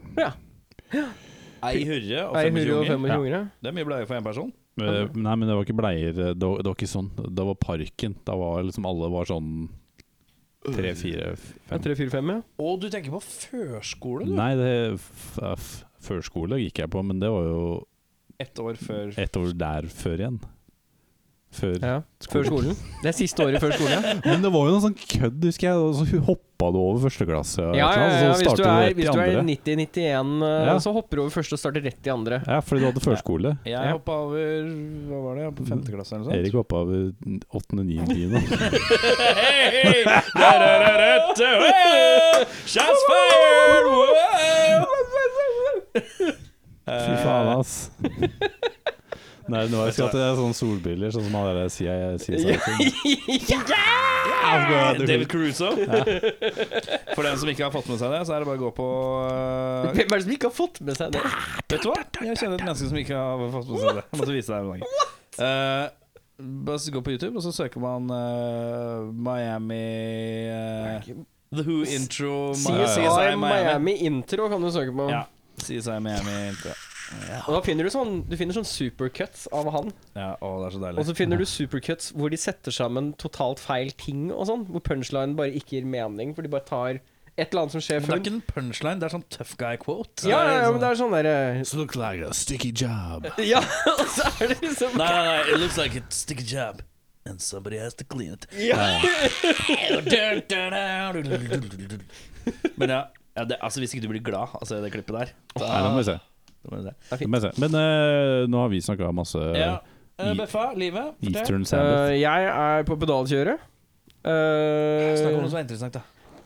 Speaker 4: Ei hurre og
Speaker 1: Ei hurre
Speaker 4: 25
Speaker 1: og
Speaker 4: unger.
Speaker 1: 25
Speaker 3: Ja.
Speaker 1: unger.
Speaker 4: Det er mye bleier for én person.
Speaker 3: Eh, nei, men det var ikke bleier. Det var, det var ikke sånn. Det var parken. Da var liksom alle var sånn tre, fire,
Speaker 1: Ja,
Speaker 3: fem.
Speaker 1: 3-4-5, ja.
Speaker 4: Og du tenker på førskole, du.
Speaker 3: Nei, det f f førskole gikk jeg på, men det var jo
Speaker 4: Ett år
Speaker 2: Eh,
Speaker 4: før
Speaker 3: ett år der før igjen. Før.
Speaker 1: ja. Før skolen. Det er siste året før skolen, ja.
Speaker 3: Men det var jo noe sånn kødd, husker jeg. og Så hoppa du over første klasse.
Speaker 1: ja,
Speaker 3: og et
Speaker 1: ja,
Speaker 3: eller
Speaker 1: ja,
Speaker 3: annet, og så
Speaker 1: Hvis du
Speaker 3: startet
Speaker 1: er,
Speaker 3: rett i
Speaker 1: hvis du er
Speaker 3: andre.
Speaker 1: 90-91,
Speaker 3: Ja.
Speaker 1: eh, så hopper du over første og starter rett i andre.
Speaker 3: Ja, fordi du hadde førskole.
Speaker 4: Jeg
Speaker 1: Ja.
Speaker 4: hoppa over Hva var det? På femte klasse eller noe sånt?
Speaker 3: Erik hoppa over åttende, niende, tiende.
Speaker 4: Hey! Da-da-da-da-da! Shots fired! Wow!
Speaker 3: Fy faen, ass. Eh, Nei, nå har jeg skatt det sånne solbriller, sånn som han der sier sier seg.
Speaker 4: David Caruso. For dem som ikke har fått med seg det, så er det bare å gå på eh,
Speaker 1: Hvem er det som ikke har fått med seg det?
Speaker 4: Vet du hva? Jeg kjenner et menneske som ikke har fått på seg det. Jeg måtte vise deg en gang. Eh, bare s- gå på YouTube, og så søker man eh, Miami eh, The Who intro
Speaker 3: altså.
Speaker 1: CSI Miami Intro kan du søke på.
Speaker 4: Ja. CSI Miami. Intro.
Speaker 1: Og da finner du sånn, du finner sånn supercuts av han.
Speaker 2: Ja, å, det er så
Speaker 1: Og
Speaker 2: deilig.
Speaker 1: så finner du supercuts hvor de setter sammen totalt feil ting og sånn. Hvor punchline bare ikke gir mening, for de bare tar et eller annet som skjer
Speaker 2: Men det liksom- er
Speaker 1: før.
Speaker 2: ikke en punchline, det er sånn tough guy quote.
Speaker 1: Ja, ja, ja, men det er sånn derre
Speaker 3: Looks like a sticky job.
Speaker 1: Ja, og så er det liksom
Speaker 2: Nei, nei, nei, it looks like a sticky job. And somebody has to clean it. Men ja, ja det, altså hvis ikke du blir glad, altså det klippet der
Speaker 3: Nei, det må vi se.
Speaker 2: da må du det.
Speaker 3: Det må vi se. Men eh, nå har vi snakka masse
Speaker 2: Ja. eh,
Speaker 3: i-
Speaker 2: Beffa, livet? Fortell.
Speaker 3: Eastern Sabbath.
Speaker 1: Eh, Jeg er på pedalkjøret. Eh,
Speaker 2: Snakk om noe som er interessant, da.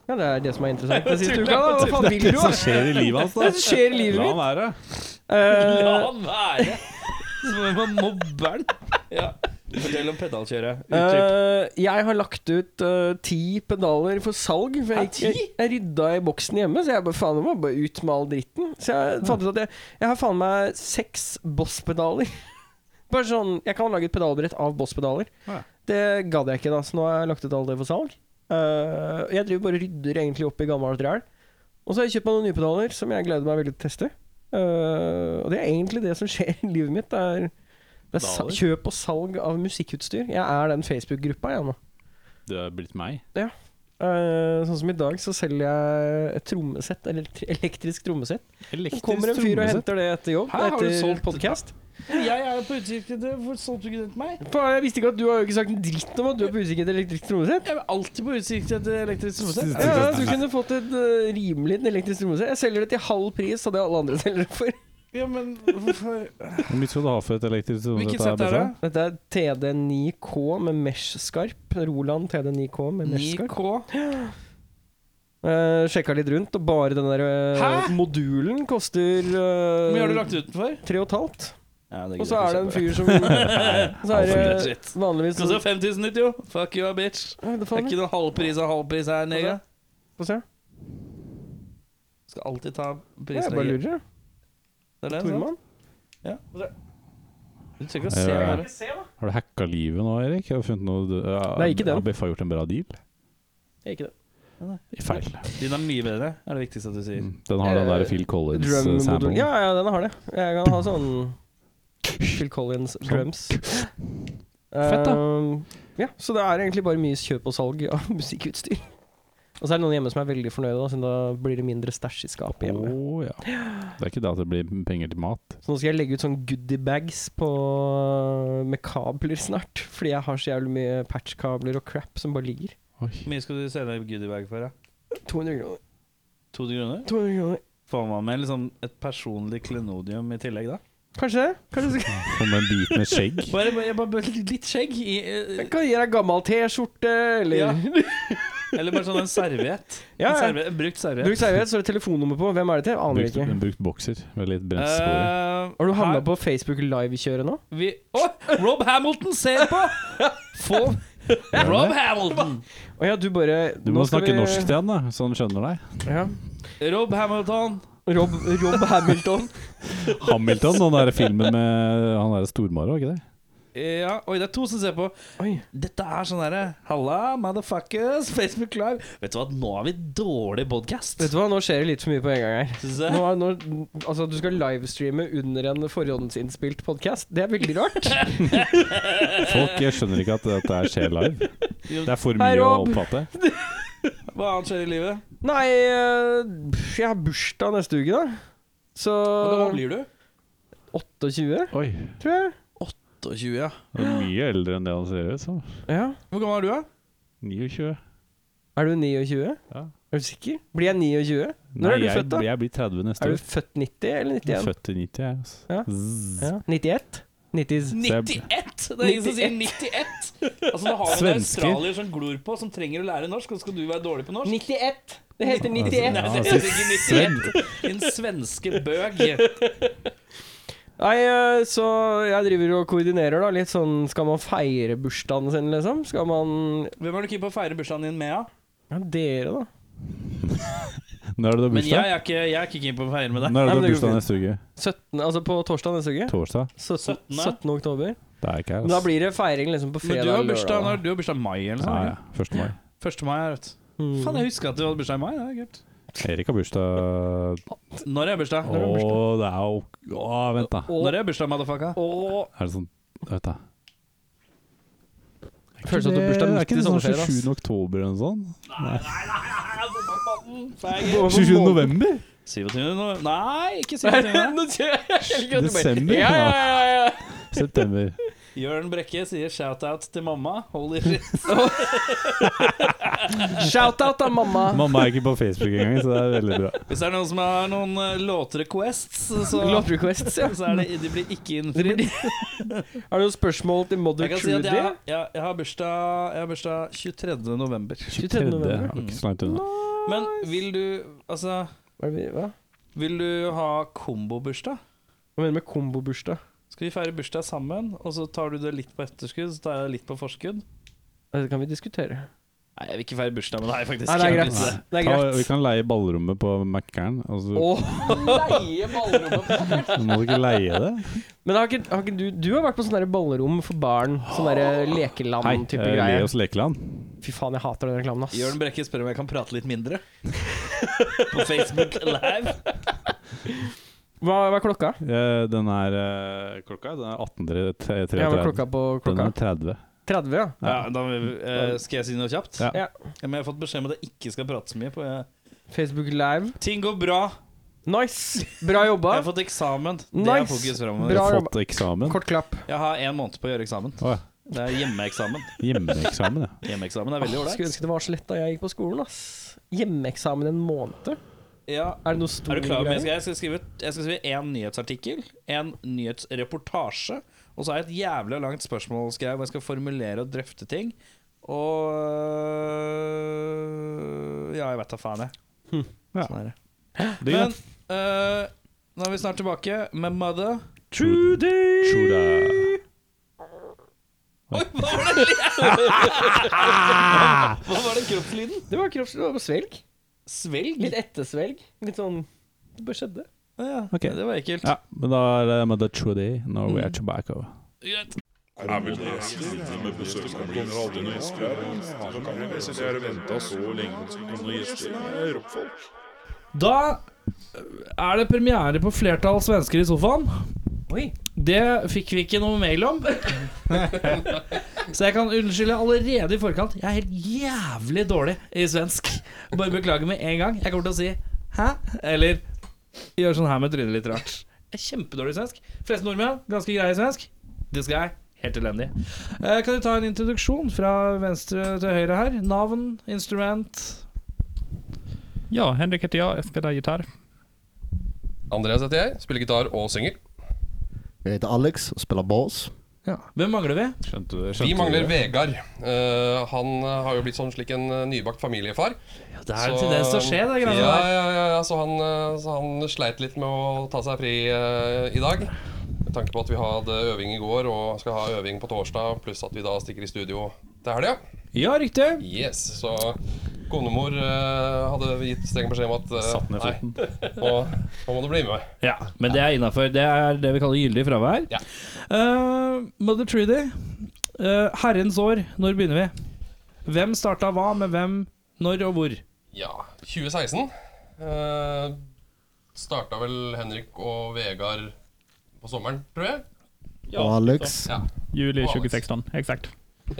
Speaker 1: Ja, det er det som er interessant den siste uka, da. Hva faen vil du?
Speaker 3: det som skjer i livet hans,
Speaker 1: Hva
Speaker 3: da.
Speaker 1: skjer i livet
Speaker 3: La han
Speaker 1: mitt?
Speaker 3: være.
Speaker 2: La
Speaker 1: Eh,
Speaker 2: han være! Som om mobberen. Ja. Fortell om pedalkjøret. Utdyp.
Speaker 1: eh, jeg har lagt ut eh, ti pedaler for salg. For jeg,
Speaker 2: Hæ, ti?
Speaker 1: jeg, jeg rydda i boksen hjemme, så jeg bare faen, jeg må bare ut med all dritten. Så jeg fant ut at jeg, jeg har faen meg seks Boss-pedaler. Bare sånn, Jeg kan lage et pedalbrett av Boss-pedaler.
Speaker 3: Ja.
Speaker 1: Det gadd jeg ikke, da, så nå har jeg lagt ut alt det for salg. Eh, jeg driver bare og rydder egentlig opp i gammelt ræl. Og så har jeg kjøpt meg noen nye pedaler som jeg gleder meg veldig til å teste. Eh, og det er egentlig det som skjer i livet mitt. Det er, det er sa
Speaker 2: Pedaler?
Speaker 1: kjøp og salg av musikkutstyr. Jeg er den Facebook-gruppa, jeg nå.
Speaker 3: Du er blitt meg.
Speaker 1: Eh, sånn som i dag, så selger jeg et trommesett, eller et elektrisk trommesett. Så kommer en fyr og henter det etter jobb,
Speaker 2: Hæ, har du
Speaker 1: etter
Speaker 2: solgt-
Speaker 1: podkast.
Speaker 2: Jeg er jo på utkikk etter Hvorfor solgte du ikke den til meg?
Speaker 1: Faen, Jeg visste ikke at du har jo ikke sagt en dritt om at du er på usikker etter elektrisk trommesett.
Speaker 2: Jeg er alltid på utkikk etter elektrisk trommesett.
Speaker 1: Ja, ja, du kunne fått et eh, rimelig elektrisk trommesett. Jeg selger det til halv pris av det alle andre selger det for.
Speaker 2: Ja, men hvorfor
Speaker 3: Hvor mye skal du ha for et elektrisk
Speaker 2: Hvilket sett er det?
Speaker 1: Dette er TD9K med mesh-skarp. Roland TD9K med mesh-skarp.
Speaker 2: 9K.
Speaker 1: Eh, sjekka litt rundt, og bare den der eh,
Speaker 2: Hæ?
Speaker 1: modulen koster
Speaker 2: Hvor mye har du
Speaker 1: uh,
Speaker 2: lagt ut den for?
Speaker 1: tre og et halvt.
Speaker 2: Ja,
Speaker 1: Og så er det en fyr som Så er
Speaker 2: Alt for
Speaker 1: det
Speaker 2: bullshit.
Speaker 1: vanligvis
Speaker 2: Koster 5090, jo. Fuck you, bitch.
Speaker 1: Oi, det
Speaker 2: Det
Speaker 1: faen,
Speaker 2: er ikke noen halvpris av halvpris her, nega.
Speaker 1: Få se.
Speaker 2: Skal alltid ta
Speaker 1: Ja, Jeg
Speaker 2: prisen.
Speaker 1: bare lurer.
Speaker 2: Det er det, sant?
Speaker 1: Tormann.
Speaker 2: Du trenger ikke å se
Speaker 3: Ja.
Speaker 2: her.
Speaker 3: Har du hacka livet nå, Erik? Har du funnet noe du, ja,
Speaker 1: Nei, ikke den.
Speaker 3: Har Beffa gjort en bra deal?
Speaker 1: Det er ikke det.
Speaker 3: Feil.
Speaker 2: Din er mye bedre, er det viktigste at du sier.
Speaker 3: Den har den
Speaker 1: Eh,
Speaker 3: der Phil
Speaker 1: Drummodulen.
Speaker 3: Collins-samplen.
Speaker 1: Ja, ja, den har det. Jeg kan ha sånn Phil Collins drums.
Speaker 3: Fett, da.
Speaker 1: Ehm, ja, så det er egentlig bare mye kjøp og salg av musikkutstyr. Og så er det noen hjemme som er veldig fornøyde, da, siden da blir det mindre stæsj i skapet hjemme.
Speaker 3: Å, ja. Det er ikke da at det blir penger til mat.
Speaker 1: Så nå skal jeg legge ut sånn goodiebags med kabler snart. Fordi jeg har så jævlig mye patchkabler og crap som bare ligger.
Speaker 2: Hvor mye skal du selge goodiebag for? da?
Speaker 1: 200 kroner.
Speaker 2: 200 kroner?
Speaker 1: 200 kroner.
Speaker 2: Får man med liksom et personlig klenodium i tillegg, da?
Speaker 1: Kanskje det? Kanskje du
Speaker 3: Som en bit med skjegg.
Speaker 2: Bare, bare, bare, bare litt- litt skjegg i eh,
Speaker 1: jeg kan gi deg gammel T-skjorte, eller
Speaker 2: Ja. Eller bare sånn en serviett.
Speaker 1: Ja, ja.
Speaker 2: En serviett- en brukt serviett.
Speaker 1: Bruk seriøst, så er det telefonnummer på. Hvem er det til? Aner
Speaker 3: Brukt,
Speaker 1: ikke.
Speaker 3: brukt bokser med litt brent spor.
Speaker 2: Eh,
Speaker 1: Har du
Speaker 2: her-
Speaker 1: havna på Facebook Live-kjøret nå?
Speaker 2: Vi Å! Rob Hamilton ser på! Få Rob Hamilton!
Speaker 1: Å ja, du bare
Speaker 3: Du må snakke norsk til han, da, så han skjønner deg.
Speaker 1: Ja.
Speaker 2: Rob Hamilton.
Speaker 1: Rob, Rob Hamilton.
Speaker 3: Hamilton, den der filmen med han der Stormare, var ikke det?
Speaker 2: Ja, Oi, det er to som ser på.
Speaker 1: Oi.
Speaker 2: Dette er sånn derre Halla, motherfuckers, Facebook Live. Vet du hva, nå har vi dårlig podcast.
Speaker 1: Vet du hva, nå skjer det litt for mye på en gang her.
Speaker 2: Synes jeg.
Speaker 1: Nå, er- nå, altså, at du skal livestreame under en forhåndsinnspilt podkast. Det er veldig rart.
Speaker 3: Folk jeg skjønner ikke at dette her skjer live. Det er for
Speaker 1: Hei,
Speaker 3: mye å
Speaker 1: Rob.
Speaker 3: oppfatte.
Speaker 2: Hva annet skjer i livet?
Speaker 1: Nei, eh, jeg har bursdag neste uke, da. Så
Speaker 2: Hvor gammel blir du?
Speaker 1: 28,
Speaker 3: Oi,
Speaker 1: tror jeg.
Speaker 2: 28, ja.
Speaker 3: det er mye eldre enn det han ser ut som.
Speaker 1: Ja.
Speaker 2: Hvor gammel er du, da?
Speaker 3: 29.
Speaker 1: Er du 29?
Speaker 3: Ja.
Speaker 1: Er du sikker? Blir jeg 29? Når er du
Speaker 3: jeg,
Speaker 1: født, da?
Speaker 3: Jeg blir 30 neste
Speaker 1: Er du
Speaker 3: år.
Speaker 1: født 90 eller
Speaker 3: Jeg er
Speaker 1: 91?
Speaker 3: Født i 90, jeg. Altså.
Speaker 1: Ja.
Speaker 3: Zzz.
Speaker 1: Ja. 91? 90s.
Speaker 2: 91! Det er ingen som sier 91! Altså, Nå har vi en
Speaker 3: Svensker.
Speaker 2: australier som glor på, som trenger å lære norsk, og så skal du være dårlig på norsk?
Speaker 1: 91! Det heter
Speaker 3: Ja,
Speaker 1: 91.
Speaker 2: Nei, det
Speaker 3: altså,
Speaker 2: er ikke
Speaker 3: Sven.
Speaker 2: 91. Din svenske bøg.
Speaker 1: Nei, eh, så jeg driver og koordinerer, da. Litt sånn Skal man feire bursdagen sin, liksom? Skal man
Speaker 2: Hvem er du keen på å feire bursdagen din med, da?
Speaker 1: Ja, dere, da.
Speaker 3: Når er det du har
Speaker 2: Men jeg
Speaker 3: bursdag?
Speaker 2: er ikke, jeg er ikke keen på å feire med deg.
Speaker 1: Nei,
Speaker 3: Når er
Speaker 1: men
Speaker 3: det du
Speaker 1: det går
Speaker 3: har bursdag
Speaker 1: fint.
Speaker 3: neste uke?
Speaker 1: 17, altså på torsdag neste uke.
Speaker 3: Torsdag?
Speaker 1: 17,
Speaker 2: 17.
Speaker 1: 17. oktober.
Speaker 3: Det er ikke her.
Speaker 1: Men da blir det feiring liksom på
Speaker 2: Men
Speaker 1: fredag
Speaker 2: du har
Speaker 1: eller
Speaker 2: bursdag
Speaker 1: lørdag,
Speaker 2: når du har bursdag i mai, eller
Speaker 3: ja,
Speaker 2: noe
Speaker 3: ja. 1. mai.
Speaker 2: sånt? 1. mai, vet du.
Speaker 1: da. Mm.
Speaker 2: Faen, jeg husker at du hadde bursdag i mai. Det er kult.
Speaker 3: Erik har bursdag,
Speaker 2: Når er bursdag?
Speaker 3: Å, det er jo Å, vent, da.
Speaker 2: Når er bursdag, motherfucka?
Speaker 1: Åh,
Speaker 3: Er det sånn Vet da. Er ikke
Speaker 1: Føles som at du har
Speaker 3: det-
Speaker 1: bursdag
Speaker 3: er
Speaker 1: midt
Speaker 3: ikke
Speaker 1: i
Speaker 3: det sånn
Speaker 1: sommerferien, ass.
Speaker 3: 27. oktober eller noe sånt?
Speaker 1: Hvor- hvor-
Speaker 3: 27. november?
Speaker 2: 27. nå- Nei, ikke 27.
Speaker 1: Nå sier jeg- jeg liker at du bare-
Speaker 3: Desember?
Speaker 1: Ja, ja, ja, ja.
Speaker 3: September.
Speaker 2: Jørn Brekke sier shout-out til mamma. Holy shit.
Speaker 1: Shout-out da, mamma.
Speaker 3: Mamma er ikke på Facebook engang, så det er veldig bra.
Speaker 2: Hvis det er noen som har noen eh, låtrequests, så,
Speaker 1: Låtrequests, ja.
Speaker 2: så er det, de blir ikke
Speaker 1: Det
Speaker 2: innfridd.
Speaker 1: blir- Har du noen spørsmål til Mother
Speaker 2: Jeg kan si
Speaker 1: Trudy?
Speaker 2: at jeg, jeg, jeg, har bursdag, jeg har bursdag 23. november.
Speaker 1: 23. november. Mm.
Speaker 3: Tredje, ja, Ikke så langt unna.
Speaker 2: Men vil du Altså,
Speaker 1: Hva, er det, vi- hva?
Speaker 2: vil du ha kombobursdag?
Speaker 1: hva mener du med kombobursdag?
Speaker 2: Skal vi feire bursdag sammen, og så tar du det litt på etterskudd, så tar jeg det litt på forskudd?
Speaker 1: Ja, Det kan vi diskutere.
Speaker 2: Nei, jeg vil ikke feire bursdag med deg, faktisk.
Speaker 1: Nei, det er
Speaker 2: Jeg vil ikke.
Speaker 1: greit. Det er
Speaker 3: Ta, vi
Speaker 1: greit.
Speaker 3: kan leie ballrommet på Mækkern. Altså,
Speaker 1: Åh,
Speaker 4: Leie ballrommet på
Speaker 3: må du ikke leie det?
Speaker 1: men har ikke, har ikke du Du har vært på sånne der ballrom for barn. Sånn der
Speaker 3: Hei,
Speaker 1: lekeland-type
Speaker 3: eh,
Speaker 1: greier.
Speaker 3: Leos lekeland.
Speaker 1: Fy faen, jeg hater den reklamen, ass.
Speaker 2: Jørn Brekke spør om jeg kan prate litt mindre. på Facebook Live.
Speaker 1: Hva, hva er klokka?
Speaker 3: Eh, Den er eh, klokka Den er 18.33.
Speaker 1: Ja, hva er klokka på
Speaker 3: Den er
Speaker 1: klokka?
Speaker 3: 30.
Speaker 1: 30, ja.
Speaker 2: Ja, da, eh, skal jeg si noe kjapt?
Speaker 3: Ja.
Speaker 1: Ja.
Speaker 2: Men jeg har fått beskjed om at jeg ikke skal prate så mye. På, eh,
Speaker 1: Facebook Live.
Speaker 2: Ting går bra.
Speaker 1: Nice! Bra
Speaker 2: Jeg har
Speaker 1: jobba.
Speaker 2: fått eksamen. Det er
Speaker 1: Nice.
Speaker 2: fokus
Speaker 3: Du
Speaker 2: fremover.
Speaker 1: Bra
Speaker 3: har
Speaker 1: jobba.
Speaker 3: fått eksamen.
Speaker 1: Kort klapp.
Speaker 2: Jeg har én måned på å gjøre eksamen.
Speaker 3: Å, ja.
Speaker 2: Det er hjemmeeksamen.
Speaker 3: Hjemmeeksamen, ja.
Speaker 2: Hjemmeeksamen er
Speaker 1: Åh,
Speaker 2: veldig
Speaker 1: Skulle
Speaker 2: ålreit.
Speaker 1: ønske det var så lett da jeg gikk på skolen, ass. Hjemmeeksamen en måned?
Speaker 2: Ja.
Speaker 1: Er det noe stor
Speaker 2: Er du klar over hva
Speaker 1: greie?
Speaker 2: jeg skal jeg skal skrive? Jeg skal skrive én nyhetsartikkel, en nyhetsreportasje, og så har jeg et jævlig langt spørsmål skal jeg, hvor jeg skal formulere og drøfte ting. Og øh, Ja, jeg vet da faen, jeg.
Speaker 3: Ja.
Speaker 2: Sånn er det.
Speaker 3: Digg, da.
Speaker 2: Men øh, nå er vi snart tilbake med Mother.
Speaker 3: Tjora.
Speaker 2: Hva var den kroppslyden?
Speaker 1: Det var kroppslig, det var på svelg.
Speaker 2: Svelg?
Speaker 1: Litt ettersvelg. Litt sånn Det bare skjedde.
Speaker 2: Ja,
Speaker 3: Ok.
Speaker 2: Det var ekkelt.
Speaker 3: Ja, men da er det Mother Trudy, Norway Tobacco.
Speaker 2: Greit.
Speaker 5: Er vel det siste med besøksmål. Aldri noen gjester her. Han kan jo sitte her og vente så lenge på noen gjester. Det er rockfolk.
Speaker 2: Da er det premiere på Flertall svensker i sofaen.
Speaker 1: Oi.
Speaker 2: Det fikk vi ikke noe mail om. Så jeg kan unnskylde allerede i forkant. Jeg er helt jævlig dårlig i svensk. Bare beklager med en gang. Jeg kommer til å si 'hæ?' eller gjøre sånn her med trynet litt rart. Jeg er kjempedårlig i svensk. Fleste nordmenn ganske greie i svensk. Det skal jeg. Helt elendig. Eh, kan du ta en introduksjon fra venstre til høyre her? Navn, instrument
Speaker 6: Ja, Henrik heter jeg. Jeg spiller gitar.
Speaker 7: Andreas heter jeg, spiller gitar og synger.
Speaker 8: Jeg heter Alex og spiller bass.
Speaker 2: ja. Hvem mangler vi?
Speaker 3: Skjønte du
Speaker 7: Vi mangler Vegard. Eh, han eh, har jo blitt sånn slik en eh, nybakt familiefar.
Speaker 2: Det er en tendens til å skje, det greiene
Speaker 7: ja,
Speaker 2: der.
Speaker 7: ja, ja, ja, så han, eh, så han sleit litt med å ta seg fri eh, i dag. Med tanke på at vi hadde øving i går og skal ha øving på torsdag, pluss at vi da stikker i studio til helga.
Speaker 2: Ja, riktig.
Speaker 7: Yes, så konemor eh, hadde gitt streng beskjed om at eh,
Speaker 3: Satt ned foten.
Speaker 7: Nei, nå, nå må du bli med meg.
Speaker 2: Ja, men det er innafor. Det er det vi kaller gyldig fravær.
Speaker 7: Ja.
Speaker 2: Eh, Mother Trudy, eh, herrens år, når begynner vi? Hvem starta hva med hvem, når og hvor?
Speaker 7: Ja, 2016 eh, starta vel Henrik og Vegard på sommeren, tror jeg.
Speaker 8: og Alex.
Speaker 7: Ja.
Speaker 6: Juli
Speaker 7: Alex.
Speaker 6: 2016, exakt.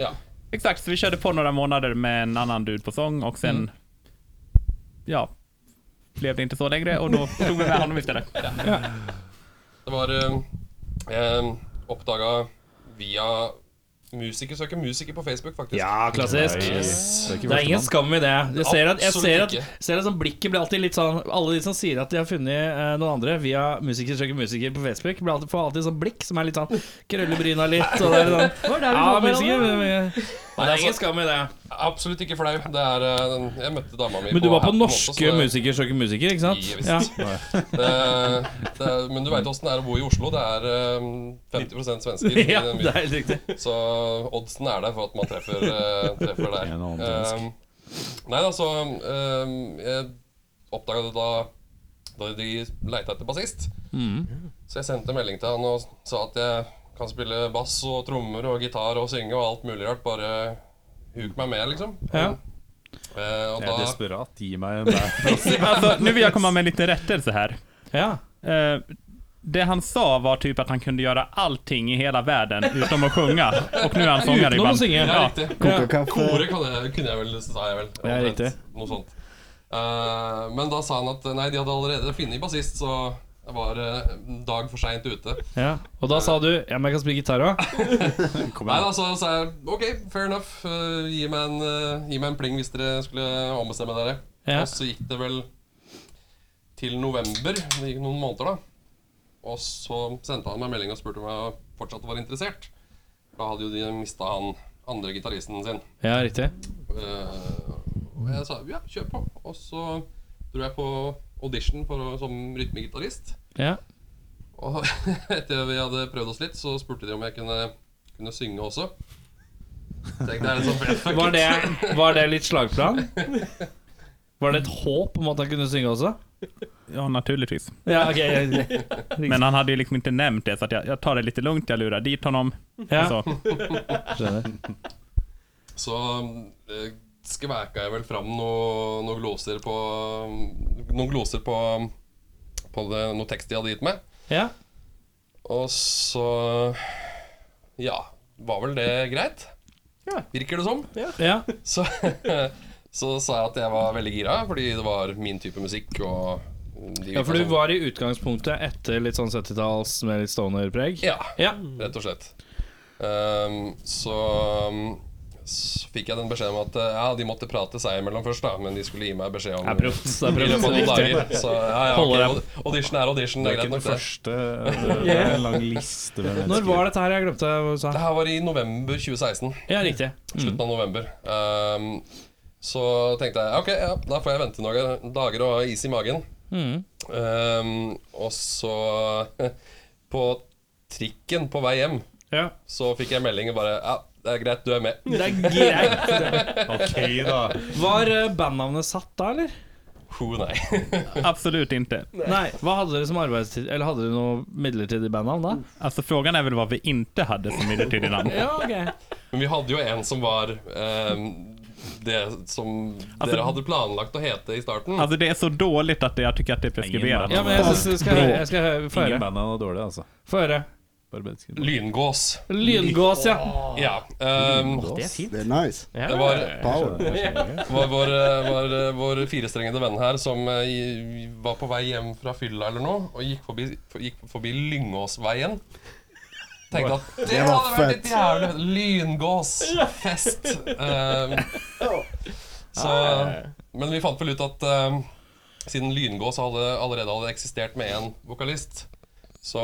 Speaker 7: ja.
Speaker 6: Exakt, så vi körde på några månader med en annan dude på sång och sen,
Speaker 7: Mm.
Speaker 6: ja, blev det inte så längre och då tog vi med honom istället.
Speaker 7: Det var eh, eh, oppdaga via Musiker søker musiker på Facebook, faktisk.
Speaker 2: Ja, klassisk.
Speaker 7: Yes.
Speaker 2: Det er ingen skam i det. Jeg ser at, jeg
Speaker 7: Absolutt
Speaker 2: ser at,
Speaker 7: ikke.
Speaker 2: ser at sånn blikket blir alltid litt sånn Alle de som sier at de har funnet eh, noen andre via Musiker søker musiker på Facebook, blir alltid, får alltid sånn blikk som er litt sånn Krøllebryna litt, og det er sånn Ja, musiker men- men- Det er ingen skam i det.
Speaker 7: Absolutt ikke flau. Det er, eh, jeg møtte dama mi
Speaker 2: Men du var på
Speaker 7: Happy
Speaker 2: norske
Speaker 7: Mondays, så
Speaker 2: Musiker søker musiker, ikke sant?
Speaker 7: Ja, visst. det, det, er- Men du veit åssen det er å bo i Oslo. Det er eh, 50 svensker. i
Speaker 2: Ja,
Speaker 7: den byen.
Speaker 2: det er helt riktig.
Speaker 7: Så oddsen er der for at man treffer, eh, treffer der.
Speaker 3: En annen
Speaker 7: Um, nei da, så um, Jeg oppdaga det da Da de leita etter bassist. Så jeg sendte en melding til han og sa at jeg kan spille bass og trommer og gitar og synge og alt mulig rart. Bare huk meg med, liksom.
Speaker 2: Ja.
Speaker 7: Eh, og
Speaker 3: Jeg er
Speaker 7: da
Speaker 3: desperat. Gi meg en der.
Speaker 6: Alltså, nu vill jag komma med en liten rättelse här.
Speaker 3: ja.
Speaker 6: Eh, det han sa var typ att han kunde göra allting i hela världen utom att sjunga. Och nu är han sångare i
Speaker 2: Utenom å
Speaker 6: band.
Speaker 2: synge.
Speaker 7: Ja, riktig.
Speaker 8: Koker kaffe.
Speaker 7: Kore kan jeg, kunne jeg vel, sa jeg vel.
Speaker 3: Ja,
Speaker 7: Omtrent,
Speaker 3: riktig.
Speaker 7: Noe sånt. Eh, men da sa han at nei, de hadde allerede funnet bassist, så jeg var eh, en dag for seint ute.
Speaker 2: Ja. Og da sa du Ja, men jeg kan spille gitar òg.
Speaker 7: Nei da, så sa jeg OK, fair enough. eh, gi, meg en, eh, gi meg en pling hvis dere skulle ombestemme dere.
Speaker 2: Ja.
Speaker 7: Og så gikk det vel til november. Det gikk noen måneder, da. Og så sendte han meg melding og spurte om jeg fortsatt var interessert. Da hadde jo de mista han andre gitaristen sin.
Speaker 2: Ja, riktig.
Speaker 7: Eh, og jeg sa ja, kjør på. Og så dro jeg på audition for, å- som rytmegitarist.
Speaker 2: Ja.
Speaker 7: Og etter vi hadde prøvd oss litt, så spurte de om jeg kunne, kunne synge også. Tenkte, jeg, liksom, fuck
Speaker 2: Var
Speaker 7: it.
Speaker 2: det, var det litt slagplan? Var det et håp om at han kunne synge også?
Speaker 6: Ja, naturligtvis.
Speaker 2: Ja, ok
Speaker 6: Men han hade ju liksom inte nämnt det, så att jag, jag tar det lite lugnt. Jag lurar dit honom.
Speaker 2: Ja.
Speaker 6: Alltså,
Speaker 7: Så eh, skvæka jeg vel fram noe- noen gloser på Noen gloser på, på det, noe tekst de hadde gitt meg.
Speaker 2: Ja.
Speaker 7: Og så Ja, var vel det greit?
Speaker 2: Ja.
Speaker 7: Virker det som.
Speaker 2: ja.
Speaker 7: Så, så sa jeg at jeg var veldig gira, fordi det var min type musikk. Og de
Speaker 2: Ja, for du
Speaker 7: sånn-
Speaker 2: var i utgangspunktet etter litt sånn 70-talls med litt stoner-preg?
Speaker 7: Ja,
Speaker 2: Ja.
Speaker 7: rett og slett. Ehm, så, så fikk jeg den beskjeden om at eh, ja, de måtte prate seg imellom først, da. Men de skulle gi meg beskjed om
Speaker 2: Abrupt. Det
Speaker 7: i
Speaker 2: er
Speaker 7: løpet av noen dager. Så ja, ja, ok,
Speaker 2: Holder
Speaker 7: aud- audition er audition.
Speaker 3: Det er
Speaker 7: Det er
Speaker 3: ikke
Speaker 7: greit
Speaker 3: den
Speaker 7: nok, det.
Speaker 3: første. Det er eh, en lang liste med mennesker.
Speaker 2: Når var dette her? Jeg glemte hva du sa.
Speaker 7: Det her var i november 2016.
Speaker 2: Ja, riktig.
Speaker 7: Slutten av november. Ehm, så tenkte jeg ok, ja, da får jeg vente noen dager og ha is i magen. Ehm, og så På trikken på vei hjem
Speaker 2: Ja.
Speaker 7: så fikk jeg melding og bare Ja, det er greit, du er med.
Speaker 2: Det er greit.
Speaker 3: Ok, da.
Speaker 2: Var eh, bandnavnet satt da, eller?
Speaker 7: Ho, Oh, nei.
Speaker 6: absolut inte.
Speaker 2: Nei. Hva hadde dere som arbeidstid? Eller hadde dere noe midlertidig bandnavn da?
Speaker 6: Alltså frågan är väl vad vi inte hade som midlertidig namn.
Speaker 2: Ja, ok.
Speaker 7: Men vi hadde jo en som var ehm, det som dere hadde planlagt å hete i starten.
Speaker 6: Alltså det är så dåligt att det- jag tycker att det är preskriberat.
Speaker 2: Ja, men jeg synes jeg skal høre. Jeg skal høre. Få
Speaker 3: Ingen
Speaker 2: høre.
Speaker 3: band er dårlig, altså.
Speaker 2: Få høre.
Speaker 3: Bare mennesker.
Speaker 7: Lyngås.
Speaker 2: Lyngås, ja.
Speaker 7: Ja. ehm,
Speaker 1: Det er fint.
Speaker 8: Det er nice.
Speaker 7: det var,
Speaker 8: Power.
Speaker 7: var, vår, eh, var eh, vår firestrengede venn her som eh, i- var på vei hjem fra fylla eller noe, og gikk forbi, for- gikk forbi Lyngåsveien. Tenkte at det
Speaker 8: var
Speaker 7: hadde vært litt
Speaker 8: fett.
Speaker 7: jævlig Lyngåsfest. Ehm, så Men vi fant vel ut at ehm, siden Lyngås hadde, allerede hadde eksistert med én vokalist, så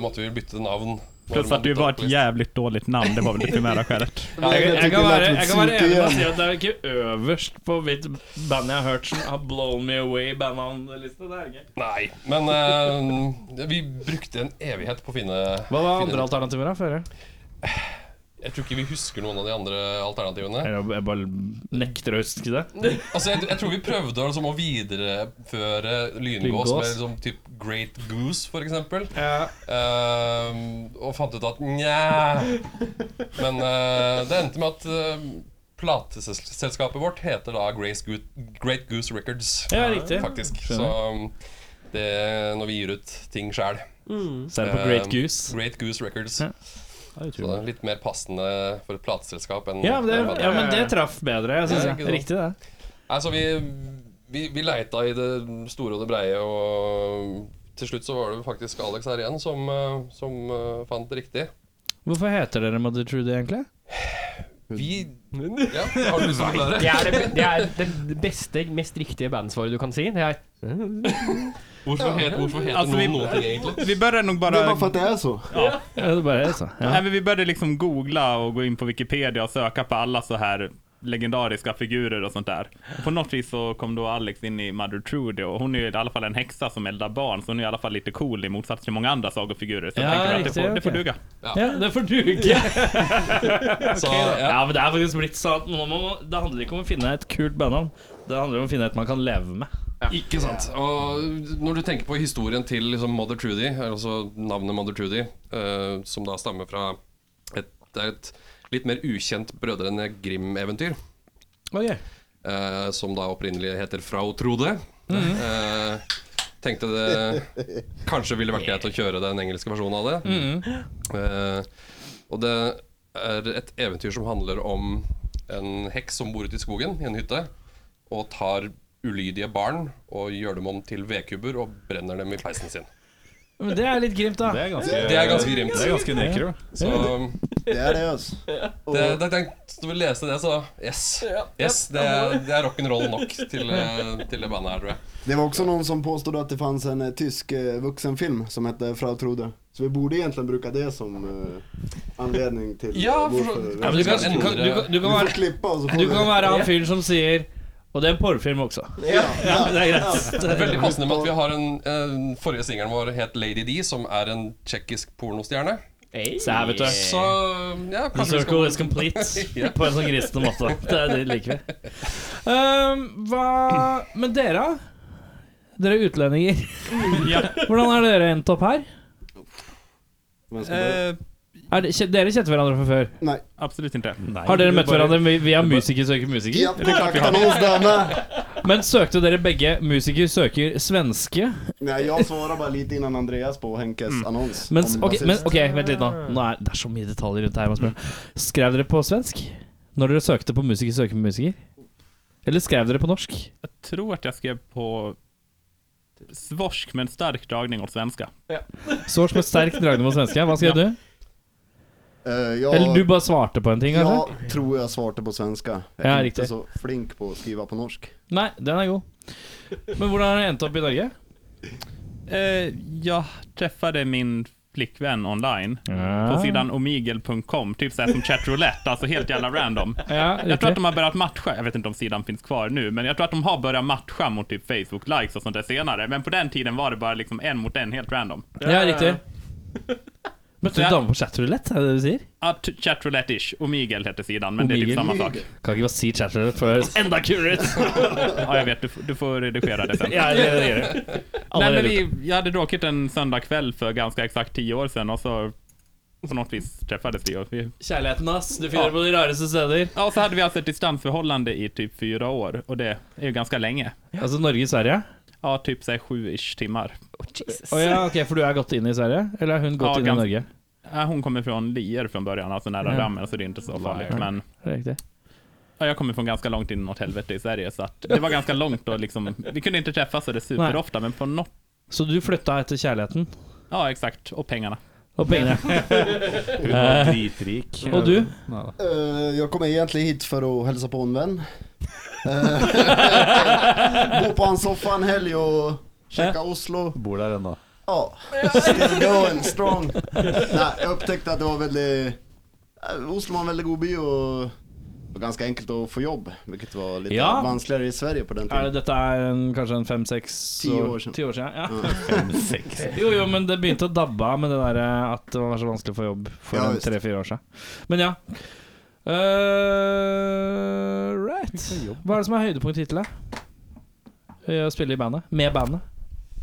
Speaker 7: måtte vi bytte navn. når
Speaker 6: Plus
Speaker 7: man
Speaker 6: att det
Speaker 7: bytte
Speaker 6: var ett
Speaker 7: vokalist.
Speaker 6: jävligt dåligt namn, det var väl det primära skälet.
Speaker 2: Jeg, jeg, kan være, jeg kan være
Speaker 8: Surt
Speaker 2: enig med å
Speaker 8: igjen.
Speaker 2: si at det er ikke øverst på mitt band jeg har hørt som har blown me away-bandnavnliste. Det er ikke.
Speaker 7: Nei, men eh, vi brukte en evighet på å finne
Speaker 2: Hva var
Speaker 7: finne-
Speaker 2: andre alternativer, da? Føre?
Speaker 7: Jeg tror ikke vi husker noen av de andre alternativene.
Speaker 2: Jeg bare nekter å huske det.
Speaker 7: Altså, Jeg, jeg tror vi prøvde liksom, å videreføre lyngås
Speaker 2: Lyngås.
Speaker 7: med liksom, typ Great Goose, for eksempel.
Speaker 2: Ja.
Speaker 7: Ehm, og fant ut at nja Men eh, det endte med at uh, plateselskapet vårt heter da Grace Goo Great Goose Records,
Speaker 2: Ja, riktig.
Speaker 7: faktisk. Så um, det er når vi gir ut ting sjæl.
Speaker 2: Så er det på Great Goose.
Speaker 7: Great Goose Records.
Speaker 6: Ja.
Speaker 7: Så det er litt mer passende for et plateselskap enn
Speaker 2: Ja, men det,
Speaker 7: enn hva det
Speaker 2: ja,
Speaker 7: er.
Speaker 2: men det traff bedre, jeg syns
Speaker 7: Ja,
Speaker 2: jeg.
Speaker 7: ikke sant.
Speaker 2: Riktig, det.
Speaker 7: Altså, vi, vi, vi leita i det store og det breie, og til slutt så var det faktisk Alex her igjen som, eh, som eh, fant det riktig.
Speaker 2: Hvorfor heter dere Mother Trudy, egentlig?
Speaker 7: Vi Ja, har du lyst til å forklare?
Speaker 1: Det er det, det, er det beste, mest riktige bandsvaret du kan si. Det er
Speaker 7: Hvorfor, het, hvorfor heter
Speaker 6: Altså, vi-
Speaker 7: noen noe ting, egentlig?
Speaker 6: Vi började nog
Speaker 8: Det er
Speaker 6: bara...
Speaker 8: bare for at det er så.
Speaker 2: Ja, det bare er så. Ja.
Speaker 6: Nej, men vi började liksom googla och gå in på Wikipedia och söka på alla så här legendariska figurer och sånt där. På något vis så kom då Alex in i Mother Trudy och hon är ju i alla fall en häxa som eldar barn så hon är i alla fall lite cool i motsats till många andra sagofigurer. Så jag
Speaker 2: Ja,
Speaker 6: tänker att det
Speaker 2: riktigt,
Speaker 6: får, det får
Speaker 2: okej.
Speaker 6: duga.
Speaker 2: ja, det får duge.
Speaker 7: Så, ja.
Speaker 2: Ja, men det er faktisk blitt sånn at nå må man- Det handler ikke om å finne et kult bandnavn. Det handler om å finne et man kan leve med.
Speaker 7: Ikke sant. Og når du tenker på historien til liksom Mother Trudy, eller altså navnet Mother Trudy, eh, som da stammer fra et, det er et litt mer ukjent Brødrene Grim-eventyr.
Speaker 2: Ok.
Speaker 7: Eh, eh, som da opprinnelig heter Frau Trude. Eh, tenkte det kanskje ville vært greit å kjøre den engelske versjonen av det. Eh, og det er et eventyr som handler om en heks som bor ute i skogen i en hytte og tar ulydige barn og gjør dem om til vedkubber og brenner dem i peisen sin.
Speaker 2: Men det er litt grimt, da.
Speaker 3: er ganske,
Speaker 7: Det er ganske grimt.
Speaker 3: det er ganske nekro.
Speaker 7: Så um,
Speaker 8: Det er det, altså.
Speaker 7: det, det tenkte du ville lese det, så yes. yes det, er- det er rock'n'roll nok til, eh, til det bandet her, tror jeg.
Speaker 8: Det var också någon som påstod att det fanns en eh, tysk eh, vuxenfilm som hette Frau Trude. Så vi borde egentligen bruka det som eh, anledning till
Speaker 7: Ja, for,
Speaker 8: Ja,
Speaker 2: Du kan, du, kan, du, kan, du,
Speaker 8: Du
Speaker 2: kan
Speaker 8: får
Speaker 2: være,
Speaker 8: klippa och så får
Speaker 2: du kan være han fyren som sier Og det er en porrfilm også. Ja, det er greit.
Speaker 7: Veldig passende med at vi har en, en Forrige singelen vår het Lady D, som er en tsjekkisk pornostjerne.
Speaker 2: Se her, vet du.
Speaker 7: Så ja,
Speaker 2: The
Speaker 7: kanskje vi
Speaker 2: circle
Speaker 7: skal
Speaker 2: is complete på en sånn grisete måte. Det, er det liker vi. Ehm, hva Men dere, da? Dere er utlendinger. Hvordan har dere endt opp her?
Speaker 8: Eh,
Speaker 2: Er det, kje- dere kjente hverandre fra før?
Speaker 8: Nej.
Speaker 6: Absolutt ikke.
Speaker 2: Har dere møtt hverandre vi- via Musiker søker musiker?
Speaker 8: Ja, kontaktannons där med.
Speaker 2: Men søkte dere begge Musiker søker svenske?
Speaker 8: Nej, jag svarade bara lite innan Andreas på Henkes annons.
Speaker 2: Mm. Men,
Speaker 8: om
Speaker 2: ok,
Speaker 8: rasism.
Speaker 2: men, ok, vent litt nå. nå er, det er så mye detaljer rundt det her. man spør. Skrev dere på svensk når dere søkte på Musiker søker musiker? Eller skrev dere på norsk?
Speaker 6: Jeg tror at jeg skrev på svorsk med en sterk dragning åt svenska.
Speaker 2: Svårt med sterk dragning mot svenske. Hva skrev du?
Speaker 8: Eh, jag,
Speaker 2: Eller du bare svarte på en ting? kanskje?
Speaker 8: jag tror jag svarte på svenska. Jag
Speaker 2: Ja,
Speaker 8: är inte
Speaker 2: riktigt.
Speaker 8: så flink på att skriva på norsk.
Speaker 2: Nei, den er god. Men hvordan har dere endt opp i Norge?
Speaker 6: Eh, jag träffade min flickvän online på sidan omigel.com, typ så här som chatroulette, alltså helt jävla random.
Speaker 2: Ja,
Speaker 6: Jag tror att
Speaker 2: riktig.
Speaker 6: de har börjat matcha, jag vet inte om sidan finns kvar nu, men jag tror att de har börjat matcha mot typ Facebook-likes och sånt där senare. Men på den tiden var det bara liksom en mot en, helt random.
Speaker 2: Ja, riktig. Møtte du dame på chatroulette, er det det du sier?
Speaker 6: Ja, t- Chatroulette-ish, omigel heter sidan, men det är
Speaker 2: Omegle.
Speaker 6: typ samma sak.
Speaker 2: Kan ikke bare si chatroulette før det høres enda kulere ut!
Speaker 6: Ja, jag vet, du, f- du får redigera det sen.
Speaker 2: Ja, det det gjør det.
Speaker 6: Nej, men
Speaker 2: Allerede
Speaker 6: vi, jag hade råkat en söndagkväll för ganska exakt tio år sedan och så på något vis träffades vi. och vi
Speaker 2: Kjærligheten, ass. Du finner det på de rareste steder.
Speaker 6: Ja, och så hade vi alltså ett distansförhållande i typ fyra år och det är ju ganska länge.
Speaker 2: Altså Norge-Sverige?
Speaker 6: Ja, typ såhär sju-ish timmar.
Speaker 2: Å ja, ok, for du er gått inn i Sverige? Eller er hun gått
Speaker 6: Ja,
Speaker 2: inn i
Speaker 6: gans-
Speaker 2: Norge?
Speaker 6: Ja, hon kommer från Lier från början, alltså nära
Speaker 2: Ja.
Speaker 6: dammen, så det är inte så farligt. Men
Speaker 2: Riktig.
Speaker 6: ja, jag kommer från ganska långt in åt helvete i Sverige, så att det var ganska långt och liksom, vi kunde inte träffas så det superofta, men på något,
Speaker 2: Så du flytta etter kjærligheten
Speaker 6: ja exakt, och pengarna.
Speaker 2: og pengene.
Speaker 3: Hun var dritrik.
Speaker 2: Og du?
Speaker 8: Eh, jag kom egentligen hit för att hälsa på en vän. Eh, Bo på hans soffa en helg och käka Oslo.
Speaker 3: Bor der ennå.
Speaker 8: Ja, still going strong. Nei, jeg oppdaget at det var veldig eh, Oslo var en veldig god by, og det var ganske enkelt å få jobb. Hvilket var litt
Speaker 2: Ja.
Speaker 8: vanskeligere i Sverige på den
Speaker 2: Er det,
Speaker 8: tiden.
Speaker 2: dette er en, kanskje en fem-seks
Speaker 8: Ti år siden.
Speaker 2: Ti år siden ja. Jo, jo, men det begynte å dabbe av med det der eh, at det var så vanskelig å få jobb for
Speaker 8: Ja,
Speaker 2: en
Speaker 8: visst.
Speaker 2: tre-fire år siden. Men ja. Eh, right. Hva er det som er høydepunkt hittil, da? I Å spille i bandet? Med bandet?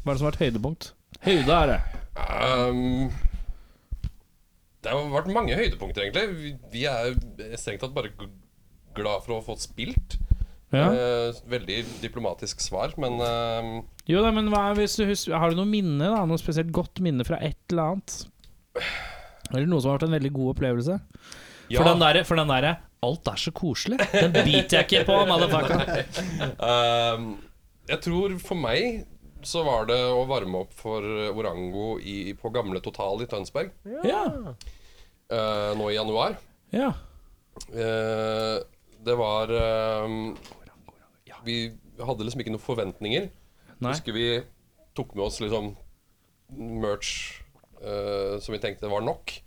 Speaker 2: Hva er det som har vært høydepunkt? Høyde er det.
Speaker 7: Ehm, det har vært mange høydepunkter, egentlig. Vi- Vi er strengt tatt bare g- glad for å ha fått spilt.
Speaker 2: Ja.
Speaker 7: Eh, veldig diplomatisk svar, men ehm,
Speaker 2: Jo da, men hva, er- hvis du husker, har du noe minne da? Noe spesielt godt minne fra et eller annet? Eller noe som har vært en veldig god opplevelse?
Speaker 7: ja.
Speaker 2: For den derre for den der, 'alt er så koselig', den biter jeg ikke på, motherfucker.
Speaker 7: Ehm, jeg tror for meg så var det å varme opp for Orango i, på gamle Total i Tønsberg
Speaker 2: Ja.
Speaker 7: eh, nå i januar.
Speaker 2: ja.
Speaker 7: Eh, det var ehm, Vi hadde liksom ikke noen forventninger.
Speaker 2: Nei.
Speaker 7: Husker vi tok med oss liksom merch eh, som vi tenkte var nok.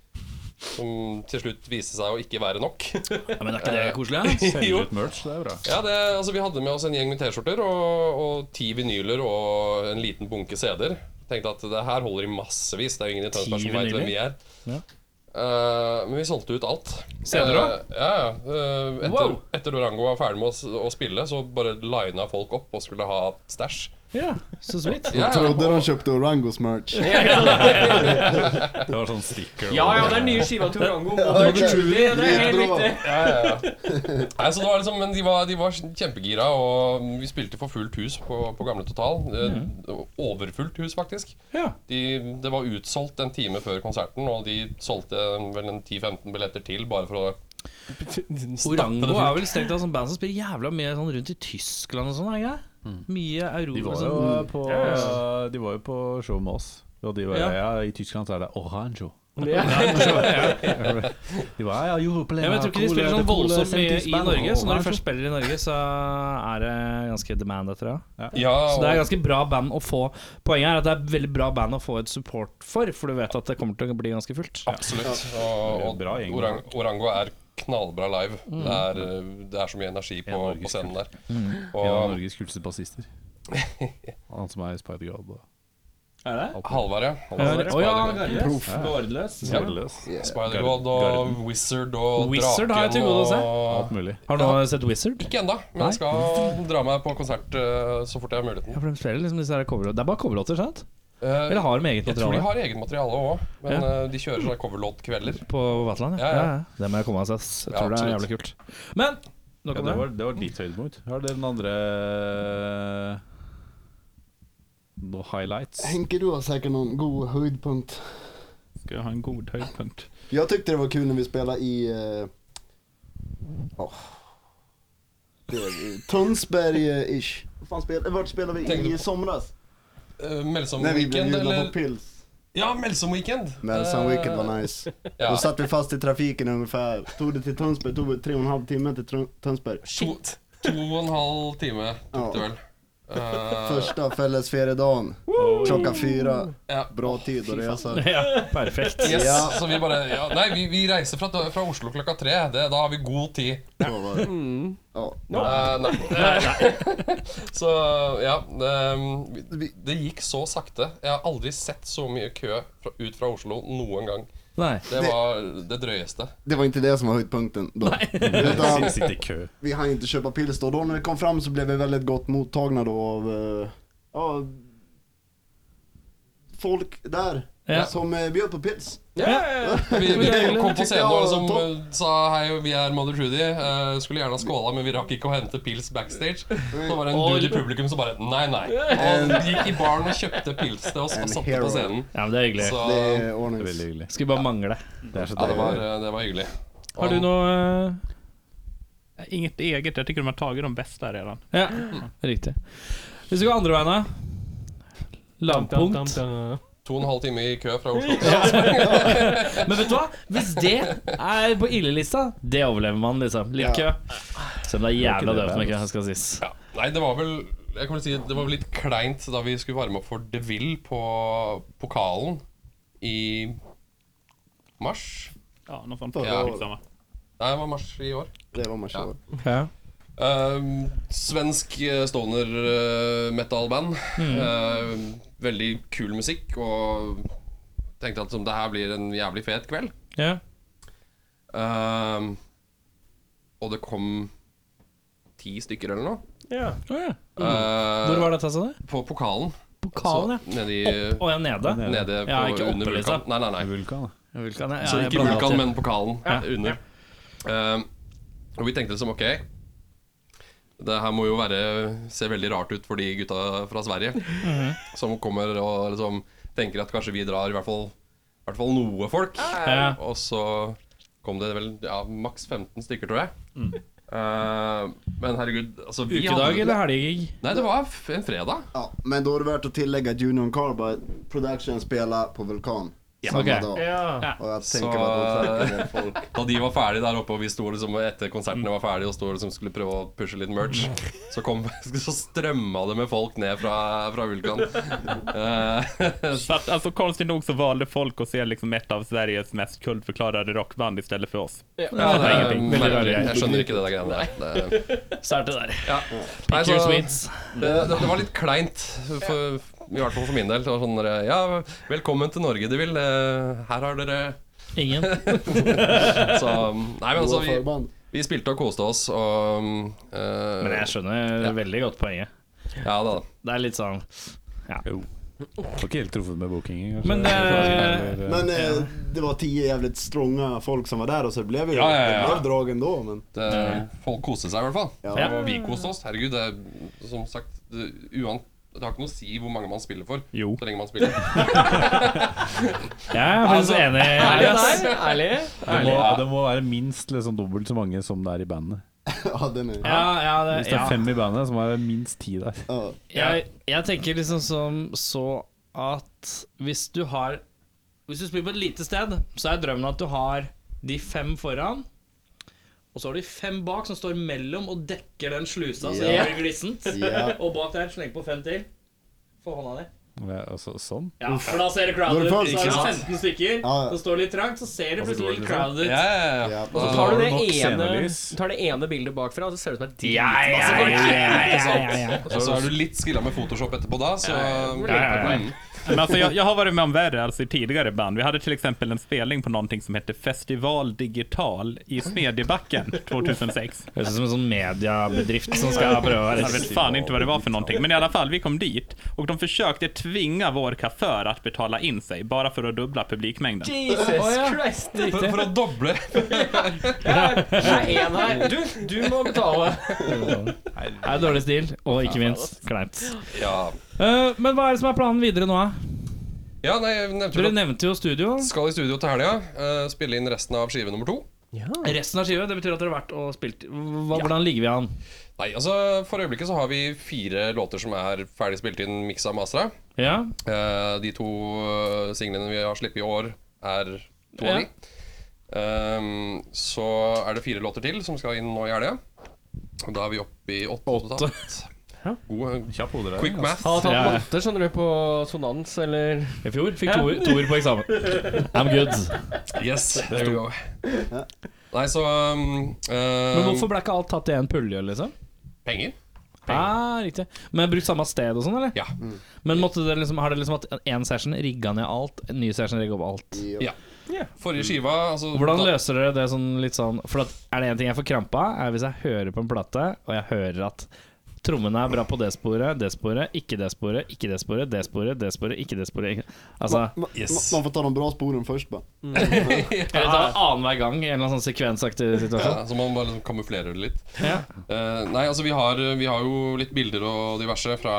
Speaker 7: Som til slutt viste seg å ikke være nok.
Speaker 2: ja. Men er ikke det koselig? da?
Speaker 7: jo,
Speaker 3: Litt merch, det er bra.
Speaker 7: ja, det, altså Vi hadde med oss en gjeng med T-skjorter og, og ti vinyler og en liten bunke CD-er. Tenkte at det her holder i massevis. Det er jo ingen i Tønsberg som vet hvem vi er.
Speaker 2: Ja.
Speaker 7: Eh, men vi solgte ut alt.
Speaker 2: CD-er også?
Speaker 7: Eh, ja, ja. Eh, etter,
Speaker 2: Wow.
Speaker 7: etter Orango var ferdig med å, s- å spille, så bare lina folk opp og skulle ha stæsj.
Speaker 2: Ja, så så vidt.
Speaker 7: Ja, ja.
Speaker 8: Trodde de kjøpte Orangos merch.
Speaker 3: Det var sånn sticker.
Speaker 4: Ja, ja, det er nye skiva til Orango. Mother
Speaker 8: ok.
Speaker 4: Trudy, det er helt
Speaker 8: Bra.
Speaker 4: riktig.
Speaker 7: Ja, ja, ja. Nei, så det var liksom, men de var, de var kjempegira, og vi spilte for fullt hus på, på gamle total. Eh, Overfullt hus, faktisk.
Speaker 2: Mm. Ja.
Speaker 7: De, det var utsolgt en time før konserten, og de solgte vel en 10-15 billetter til bare for å
Speaker 2: Orango er vel strengt tatt sånn band som spiller jævla mye sånn rundt i Tyskland og sånn, er det ikke? det? Mye
Speaker 3: Mm. De
Speaker 2: Europa
Speaker 3: var
Speaker 2: sånn.
Speaker 3: jo på, de var jo på show med oss. Og de var,
Speaker 2: Ja.
Speaker 3: ja. I Tyskland så er det Oranjo. De var, ja, jo,
Speaker 2: Ja, men jeg tror ikke de spiller sånn voldsomt mye i Norge, så når de først spiller i Norge, så er det ganske demand etter det.
Speaker 7: Ja,
Speaker 2: Så det er
Speaker 7: og,
Speaker 2: ganske bra band å få Poenget er at det er veldig bra band å få et support for, for du vet at det kommer til å bli ganske fullt.
Speaker 7: absolutt. Og, og
Speaker 3: Bra gjeng.
Speaker 7: orang, Orango er knallbra live.
Speaker 2: Mm.
Speaker 7: Det, er, eh, det er så mye energi på,
Speaker 3: Norges
Speaker 7: på scenen der.
Speaker 3: En av
Speaker 7: Og
Speaker 3: Norges kuleste bassister. Han som er i Spider-God. og-
Speaker 6: Er det?
Speaker 7: Halvard, ja.
Speaker 2: Å ja,
Speaker 6: Gårdløs.
Speaker 3: Gardeløs.
Speaker 7: Spider-God og Wizard og
Speaker 2: Wizard har jeg til
Speaker 7: Draken
Speaker 2: gode å se.
Speaker 7: og-
Speaker 3: Alt mulig.
Speaker 2: Har du sett Wizard?
Speaker 7: Ikke ennå, men jeg skal dra meg på konsert eh, så fort jeg har muligheten.
Speaker 2: Ja, for de spiller liksom disse her coverlåter. Det er bare coverlåter, sant?
Speaker 7: Eh,
Speaker 2: Eller har de eget
Speaker 7: jeg tror de
Speaker 2: materiale?
Speaker 7: har eget materiale òg, men eh, de kjører sånne coverlåtkvelder.
Speaker 2: På Vatland,
Speaker 7: Ja, ja.
Speaker 2: Det må jeg komme meg ass. Jeg
Speaker 7: Ja,
Speaker 2: tror det er
Speaker 7: absolutt.
Speaker 2: jævlig kult. Men nok
Speaker 3: Ja, det,
Speaker 2: om det.
Speaker 3: var, det var ditt høydepunkt. Har dere den andre noe highlights?
Speaker 8: Henke, du har sikkert noen god høydepunkt.
Speaker 6: Skal ha en god høydepunkt.
Speaker 8: Jag tyckte det var kul när vi spelade i... eh, åh. Det är- Tønsberg-ish. Vad fan spel- eh, Vart spelade
Speaker 7: Tänker
Speaker 8: vi
Speaker 7: du
Speaker 8: i
Speaker 7: på-
Speaker 8: somras?
Speaker 7: Uh, Melsom
Speaker 8: När vi blev
Speaker 7: Weekend,
Speaker 8: bjudna på
Speaker 7: eller?
Speaker 8: pils.
Speaker 7: Ja, Melsom Weekend.
Speaker 8: Melson
Speaker 7: Eh,
Speaker 8: Weekend var nice.
Speaker 7: Ja.
Speaker 8: Då satt vi fast i trafiken ungefär. Tog det till Tønsberg, tog det tre och en halv timme till Tr- Tønsberg.
Speaker 7: To, to og en halv time tok det
Speaker 8: Ja.
Speaker 7: vel. Eh,
Speaker 8: Första fällesferiedagen. Klockan fyra.
Speaker 7: ja.
Speaker 8: Bra tid att resa.
Speaker 2: Perfekt.
Speaker 7: Yes,
Speaker 8: Ja.
Speaker 7: så vi bare ja, Nei, vi, vi reiser fra, fra Oslo klokka tre. Det, da har vi god tid.
Speaker 8: Så var det. Ja.
Speaker 7: Eh, nei. så ja ehm, vi- vi- Det gikk så sakte. Jeg har aldri sett så mye kø fra, ut fra Oslo noen gang.
Speaker 2: Nei.
Speaker 7: Det var det drøyeste.
Speaker 8: Det var inte det som var høydepunkten då. Utan-
Speaker 3: Sitte sitte i kø.
Speaker 8: vi hann inte köpa pils då. Då när vi kom fram så blev vi väldigt gott mottagna då av, eh, ja, folk där
Speaker 2: Ja.
Speaker 8: som eh, bjöd på pils.
Speaker 7: Vi, vi kom på
Speaker 8: Tyckte
Speaker 7: scenen
Speaker 8: jag
Speaker 7: og
Speaker 8: var
Speaker 7: som
Speaker 8: topp.
Speaker 7: eh, sa hei, vi er Mother Trudy. eh, skulle gjerne ha skåla, men vi rakk ikke å hente pils backstage. Så var det en dude i publikum som bare nei, nei. Og gikk i baren og kjøpte pils til oss og
Speaker 8: En
Speaker 7: satte
Speaker 8: hero.
Speaker 7: på scenen.
Speaker 2: Ja, men det er hyggelig.
Speaker 7: Så
Speaker 8: Det
Speaker 7: ja,
Speaker 8: är ordnings.
Speaker 3: Veldig hyggelig.
Speaker 2: Skulle bare mangle.
Speaker 7: det var, eh, det var hyggelig.
Speaker 2: Har du noe
Speaker 6: Inget eget. Jeg syns de har tatt de beste allerede.
Speaker 2: eh, Ja, riktig. Hvis vi går andre veien, da. Lavpunkt.
Speaker 7: To og en halv time i kø fra Oslo.
Speaker 2: Men vet du hva? Hvis det er på ille-lista, det overlever man, liksom. Litt kø. Selv om det er jævla døvt med kø, skal sies.
Speaker 7: Ja. Nei, det var vel Jeg kan vel si Det var vel litt kleint da vi skulle varme opp for De Ville på pokalen i mars.
Speaker 6: Ja, noe sånt.
Speaker 8: Ja.
Speaker 6: Litt samme.
Speaker 7: Nei, det var mars i år.
Speaker 8: Det var man kör.
Speaker 2: Ja.
Speaker 7: Ehm, svensk eh, stoner eh, metal-band.
Speaker 2: Mm.
Speaker 7: Ehm, veldig kul musikk, og tenkte at som det her blir en jævlig fet kveld.
Speaker 2: ja.
Speaker 7: Ehm, og det kom ti stykker eller noe.
Speaker 2: Å, ja.
Speaker 7: Ehm,
Speaker 2: Hvor var dette, sa du?
Speaker 7: På pokalen.
Speaker 2: Mm. Pokalen,
Speaker 7: Så nede i
Speaker 2: ja. Å ja, nede?
Speaker 7: Nede på,
Speaker 2: Ja, ikke oppe,
Speaker 7: under
Speaker 2: liksom.
Speaker 7: vulkan. Nei, nei, nei.
Speaker 3: Vulkan, da.
Speaker 2: Vulkan, ja.
Speaker 7: Så
Speaker 2: Ja, jeg
Speaker 7: ikke
Speaker 2: blander
Speaker 7: vulkan,
Speaker 2: alltid.
Speaker 7: men pokalen
Speaker 2: Ja.
Speaker 7: under. Ehm, og vi tenkte liksom ok Det her må jo være se veldig rart ut for de gutta fra Sverige
Speaker 2: Mhm.
Speaker 7: som kommer og liksom tenker at kanskje vi drar i hvert fall, i hvert fall noe folk.
Speaker 2: Ja.
Speaker 7: Og så kom det vel ja, maks 15 stykker, tror jeg. Ehm, men herregud altså, vi
Speaker 2: Mm. Ukedag
Speaker 7: hadde-
Speaker 2: eller helgegig?
Speaker 7: Nei, det var f- en fredag.
Speaker 8: Ja, men då är det värt att tillägga att Junior Carbide Production spelar på Vulkan samma
Speaker 2: Okej.
Speaker 8: dag.
Speaker 2: Ja.
Speaker 8: Och jag
Speaker 7: Så-
Speaker 8: tänker på att de säkert är folk.
Speaker 7: Da de var ferdige der oppe, og vi sto liksom etter konsertene var ferdige og sto liksom skulle prøve å pushe litt merch, så, kom, så strømma det med folk ned fra, fra Vulkan. Eh,
Speaker 6: Så att, alltså, konstigt nog så valde folk att se liksom ett av Sveriges mest kultförklarade rockband istället för oss.
Speaker 7: ja, det er
Speaker 2: Veldig rar
Speaker 7: merkelig.
Speaker 2: greie.
Speaker 7: eh, Jeg skjønner ikke det der greiene der. Det,
Speaker 2: Starte der.
Speaker 7: ja. Nei,
Speaker 2: Pick
Speaker 7: så,
Speaker 2: your
Speaker 7: det,
Speaker 2: sweets.
Speaker 7: det var litt kleint, for, i hvert fall for min del. Det var sånn der, Ja, velkommen til Norge, du vil. Eh, Her har dere
Speaker 2: Ingen.
Speaker 7: Så Nei, men altså,
Speaker 8: Bra
Speaker 7: vi,
Speaker 8: förband.
Speaker 7: vi spilte og koste oss, og eh,
Speaker 2: Men jeg skjønner veldig godt poenget.
Speaker 7: Ja da.
Speaker 2: Det er litt sånn
Speaker 3: Får ikke helt truffet med bookingen, kanskje.
Speaker 2: Men eh, det-
Speaker 3: Eller-
Speaker 8: Men eh, det var tio jävligt stronga folk som var där och så det blev ju
Speaker 7: Ja, ja, ja.
Speaker 8: Det blev drag ändå. Men,
Speaker 7: Det, eh, folk koste seg i hvert fall.
Speaker 8: Ja.
Speaker 7: Og vi koste oss. Herregud, det er som sagt det, uan, det har ikke noe å si hvor mange man spiller for.
Speaker 3: Jo.
Speaker 7: Så lenge man spiller.
Speaker 3: Jeg er
Speaker 2: Altså,
Speaker 3: faktisk enig.
Speaker 1: Ærlig der. Ærlig.
Speaker 3: Det må, det må være minst liksom, dobbelt så mange som det er i bandet.
Speaker 8: ja, den är,
Speaker 2: Ja, ja, det,
Speaker 3: Hvis det
Speaker 2: ja.
Speaker 3: er fem i bandet, så må det være minst ti der.
Speaker 8: ja.
Speaker 2: Jeg, jeg tenker liksom som så at hvis du har Hvis du spiller på et lite sted, så er drømmen at du har de fem foran. Og så har du de fem bak som står mellom og dekker den slusa så
Speaker 8: Ja.
Speaker 2: det blir glissent.
Speaker 8: Ja.
Speaker 2: Og bak der sleng på fem til. Få hånda di.
Speaker 3: Ja, altså, sånn.
Speaker 2: Ja, for da ser du crowded.
Speaker 8: Når du
Speaker 2: Så
Speaker 8: får-
Speaker 2: er det 15 stykker.
Speaker 8: Ja, ja.
Speaker 2: Så står det litt trangt, så ser du plutselig litt crowded.
Speaker 7: Ja, ja, ja.
Speaker 8: liksom. Ja, altså,
Speaker 7: Da-
Speaker 8: og så
Speaker 1: Tar du det
Speaker 3: nok
Speaker 1: ene,
Speaker 3: scenelys.
Speaker 1: tar det ene bildet bakfra, så ser det ut som et
Speaker 2: Ja, ja, ja, ja, ja, ja.
Speaker 7: Og så er du litt skilla med Photoshop etterpå da, så Mm.
Speaker 6: Men alltså, jag, jag har varit med om värre alltså, i tidigare band. Vi hade till exempel en spelning på någonting som hette Festival Digital i Smedjebacken 2006.
Speaker 2: Høres ut som en sånn mediebedrift som skal prøve å
Speaker 6: Jag vet fan inte vad det var för någonting. Men i alla fall, vi kom dit och de försökte tvinga vår kassör att betala in sig bara för att dubbla publikmängden.
Speaker 1: Jesus Christ!
Speaker 7: For, for å doble
Speaker 1: Det er en her. Du, du må betale.
Speaker 2: Det er dårlig stil, og ikke minst kleint.
Speaker 7: Ja,
Speaker 2: Eh, men hva er det som er planen videre nå? da?
Speaker 7: ja nei, jeg nevnte
Speaker 2: Dere
Speaker 7: vel at
Speaker 2: nevnte jo studio.
Speaker 7: vi skal i studio til helga. eh, spille inn resten av skive nummer to.
Speaker 2: Resten av skiva, det betyr at dere har vært og spilt. Hva, Hvordan ligger vi an?
Speaker 7: Nei, altså For øyeblikket så har vi fire låter som er ferdig spilt inn, miksa og mastra.
Speaker 2: Ja,
Speaker 7: Eh, de to eh, singlene vi har sluppet i år, er to
Speaker 2: Ja.
Speaker 7: av de. Ehm, så er det fire låter til som skal inn nå i helga. Og da er vi oppe i åtte. totalt. God, eh,
Speaker 3: Kjapp hode der. altså.
Speaker 7: quick math.
Speaker 1: Har tatt matte, skjønner du, på sonans, eller
Speaker 2: I fjor fikk toer toer på eksamen. Um, I'm good.
Speaker 7: Yes, there we go. Nei, så um,
Speaker 2: Men hvorfor ble ikke alt tatt i en pulje, liksom?
Speaker 7: eh, Penger?
Speaker 2: Ah, riktig. Men brukt samme sted og sånn, eller?
Speaker 7: Ja.
Speaker 2: Men måtte dere liksom, har dere liksom hatt én session, rigga ned alt, en ny session, rigga opp alt?
Speaker 7: Ja. Forrige skiva altså,
Speaker 2: Hvordan
Speaker 7: da-
Speaker 2: løser dere det sånn litt sånn For at, er det én ting jeg får krampe av, er hvis jeg hører på en plate, og jeg hører at trommene er bra på det sporet, det sporet, ikke det sporet, ikke det sporet, det sporet, det sporet, ikke det sporet ikke. Altså
Speaker 8: Man, man får ta de bra sporen först bara.
Speaker 2: Eller ta det annenhver gang i en eller annen sånn sekvensaktig situasjon.
Speaker 7: ja, Så man bare liksom kamuflerer det litt.
Speaker 2: Ja.
Speaker 7: Eh, nei, altså vi har, vi har jo litt bilder og diverse fra,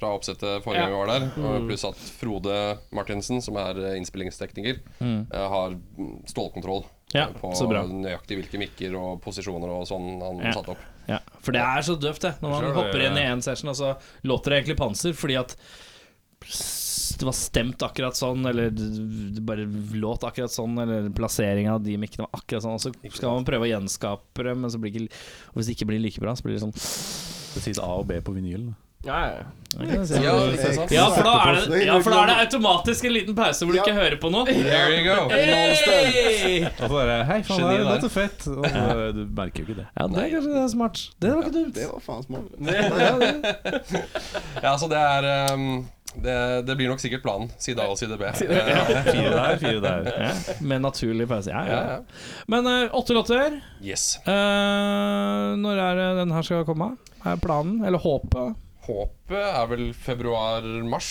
Speaker 7: fra oppsettet forrige gang vi var der.
Speaker 2: Mm.
Speaker 7: og Pluss at Frode Martinsen, som er eh, innspillingstekniker, eh, har mm, stålkontroll
Speaker 2: Ja,
Speaker 7: eh, på
Speaker 2: så bra.
Speaker 7: nøyaktig hvilke mikker og posisjoner og sånn han
Speaker 2: Ja.
Speaker 7: satte opp.
Speaker 2: Ja, for det er så døvt, det. Når man
Speaker 7: Sure,
Speaker 2: hopper
Speaker 7: det-
Speaker 2: inn i én session, og så låter det egentlig panser fordi at s- det var stemt akkurat sånn, eller d- d- bare låt akkurat sånn, eller plasseringa av de mikkene var akkurat sånn, og så skal man prøve å gjenskape det, men så blir ikke Og hvis det ikke blir like bra, så blir det sånn
Speaker 3: Det sies A og B på vinyl.
Speaker 1: Ja, ja.
Speaker 7: Ja, ikke sant?
Speaker 2: ja for, da er det, ja, for da er det automatisk en liten pause hvor du ikke hører på noe.
Speaker 7: There you go.
Speaker 2: Hey!
Speaker 3: Og så bare Hei, faen,
Speaker 7: Geni
Speaker 3: det er
Speaker 7: der.
Speaker 3: dette fett. Og så, du merker jo ikke det.
Speaker 2: Ja, det er kanskje det er smart. Det var ikke dumt.
Speaker 8: Det var fan smart.
Speaker 7: Ja, så det er ehm, det, det blir nok sikkert planen. Side A og side B.
Speaker 3: Fire der, fire der.
Speaker 2: Ja, med naturlig pause. Ja, ja.
Speaker 7: Ja, ja.
Speaker 2: ja. Men eh, åtte låter.
Speaker 7: Yes.
Speaker 2: Eh, når er det den her skal komme? Er planen, eller håpet?
Speaker 7: Håpet er vel februar-mars.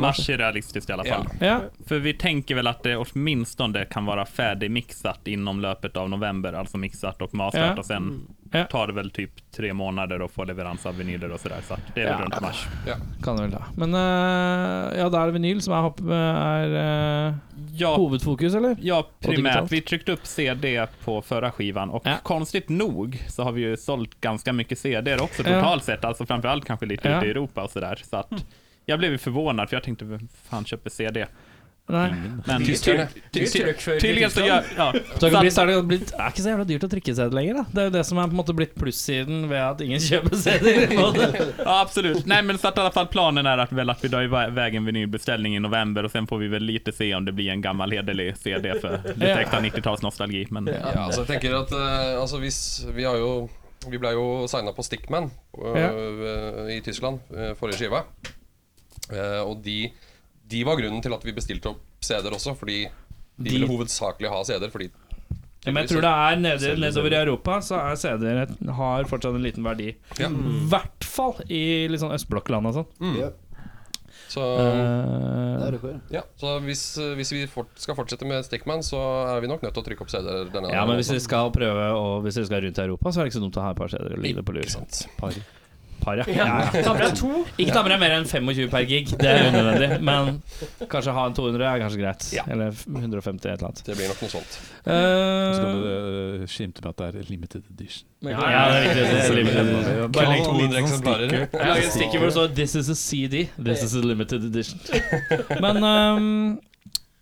Speaker 6: Mars är realistiskt i alla fall.
Speaker 2: Ja.
Speaker 6: För vi tänker väl att det åtminstone kan vara färdigmixat inom löpet av november, alltså mixat och masat
Speaker 2: Ja.
Speaker 6: och sen
Speaker 2: Ja.
Speaker 6: tar det väl typ tre månader att få leverans av vinyler och sådär. Så att det är väl
Speaker 2: Ja.
Speaker 6: runt mars.
Speaker 2: Kan det vel da. Men eh, ja, da er det vinyl som er, hopp, er eh,
Speaker 6: Ja,
Speaker 2: hovedfokus, eller?
Speaker 6: ja,
Speaker 2: digitalt.
Speaker 6: primärt. Vi tryckte upp CD på förra skivan och
Speaker 2: Ja.
Speaker 6: konstigt nog så har vi ju sålt ganska mycket CD också
Speaker 2: Ja.
Speaker 6: totalt sett. Alltså framförallt kanske lite
Speaker 2: Ja.
Speaker 6: ute i Europa och sådär. Så att jag blev ju förvånad för jag tänkte, vem fan köper CD?
Speaker 2: Nei.
Speaker 6: Men
Speaker 7: Tyskerne.
Speaker 6: tydligen så gör... Ja,
Speaker 2: Så det, kan bli, så er det, jo blitt, det er ikke så jævla dyrt å trykke CD lenger, da. Det er jo det som er på en måte blitt plussiden ved at ingen kjøper CD-er.
Speaker 6: Ja, absolut. Nej, men så att i alla fall planen är att, väl att vi drar iväg en vinylbeställning i november och sen får vi väl lite se om det blir en gammal hederlig CD för lite
Speaker 2: Ja.
Speaker 6: extra 90-talsnostalgi. Men ja.
Speaker 7: Ja, altså jeg tenker at eh, altså hvis, Vi har jo Vi ble jo signa på Stickman eh, i Tyskland eh, forrige skiva. Eh, og de, de var grunnen til at vi bestilte opp CD-er også, fordi de, ville hovedsakelig ha CD-er fordi
Speaker 2: Ja, men jeg tror det er nede, Mm. nedover i Europa så er CD-er et- har fortsatt en liten verdi. I
Speaker 7: Ja.
Speaker 2: hvert fall i litt sånn østblokkland og sånn.
Speaker 8: Ja,
Speaker 7: Så,
Speaker 2: Eh.
Speaker 8: det er det skjer.
Speaker 7: Mm. ja, så hvis, eh, hvis vi fort, skal fortsette med Stickman, så er vi nok nødt til å trykke opp CD-er denne
Speaker 2: Ja, men hvis
Speaker 7: også.
Speaker 2: dere skal prøve Og hvis dere skal rundt i Europa, så er det ikke så dumt å ha et par CD-er og ligge på lur.
Speaker 7: Ikke sant.
Speaker 2: Par. Par, ja.
Speaker 4: Ja,
Speaker 2: Ja, ja.
Speaker 4: Ta med deg to.
Speaker 2: Ikke ta med deg mer enn 25 per gig, det er unødvendig. Men kanskje ha en 200 er kanskje greit.
Speaker 7: Ja.
Speaker 2: Eller 150, et eller annet.
Speaker 7: Det blir nok noe sånt.
Speaker 3: Så kan
Speaker 2: Eh,
Speaker 3: du eh, skimte med at det er limited edition.
Speaker 2: ja, ja, det er riktig. Det er limited.
Speaker 7: Bare legg 200 eksemplarer.
Speaker 2: Jeg lager et stikker hvor det står 'This is a CD'. This is a limited edition. Men ehm,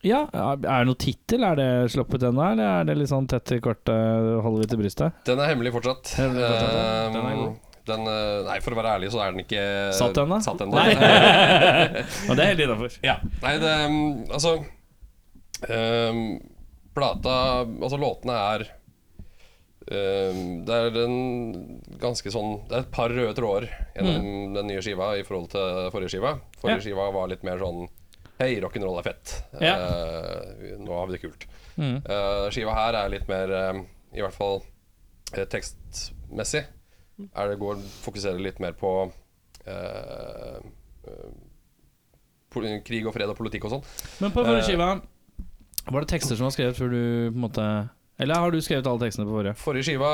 Speaker 2: ja, er det noe tittel? Er det sluppet ennå, eller er det litt sånn tett i kortet, holder vi til brystet?
Speaker 7: Den er hemmelig fortsatt.
Speaker 2: Hemmelig fortsatt, ja. Den er
Speaker 7: Eh,
Speaker 2: god.
Speaker 7: den, eh, nei, for å være ærlig, så er den ikke
Speaker 2: Satt ennå?
Speaker 7: Satt ennå.
Speaker 2: Nei. Men det er helt innafor.
Speaker 7: Ja. Nei, det mm, Altså ehm, Plata Altså, låtene er ehm, Det er en ganske sånn Det er et par røde tråder gjennom den nye skiva i forhold til forrige skiva. Forrige skiva var litt mer sånn Hei, rock'n'roll er fett.
Speaker 2: Ja.
Speaker 7: Eh, nå har vi det kult. Eh, skiva her er litt mer ehm, I hvert fall eh, tekstmessig er det går fokuserer litt mer på eh, eh, pol- krig og fred og politikk og sånn.
Speaker 2: Men på forrige skiva, var det tekster som var skrevet før du på en måte Eller har du skrevet alle tekstene på forrige?
Speaker 7: Forrige skiva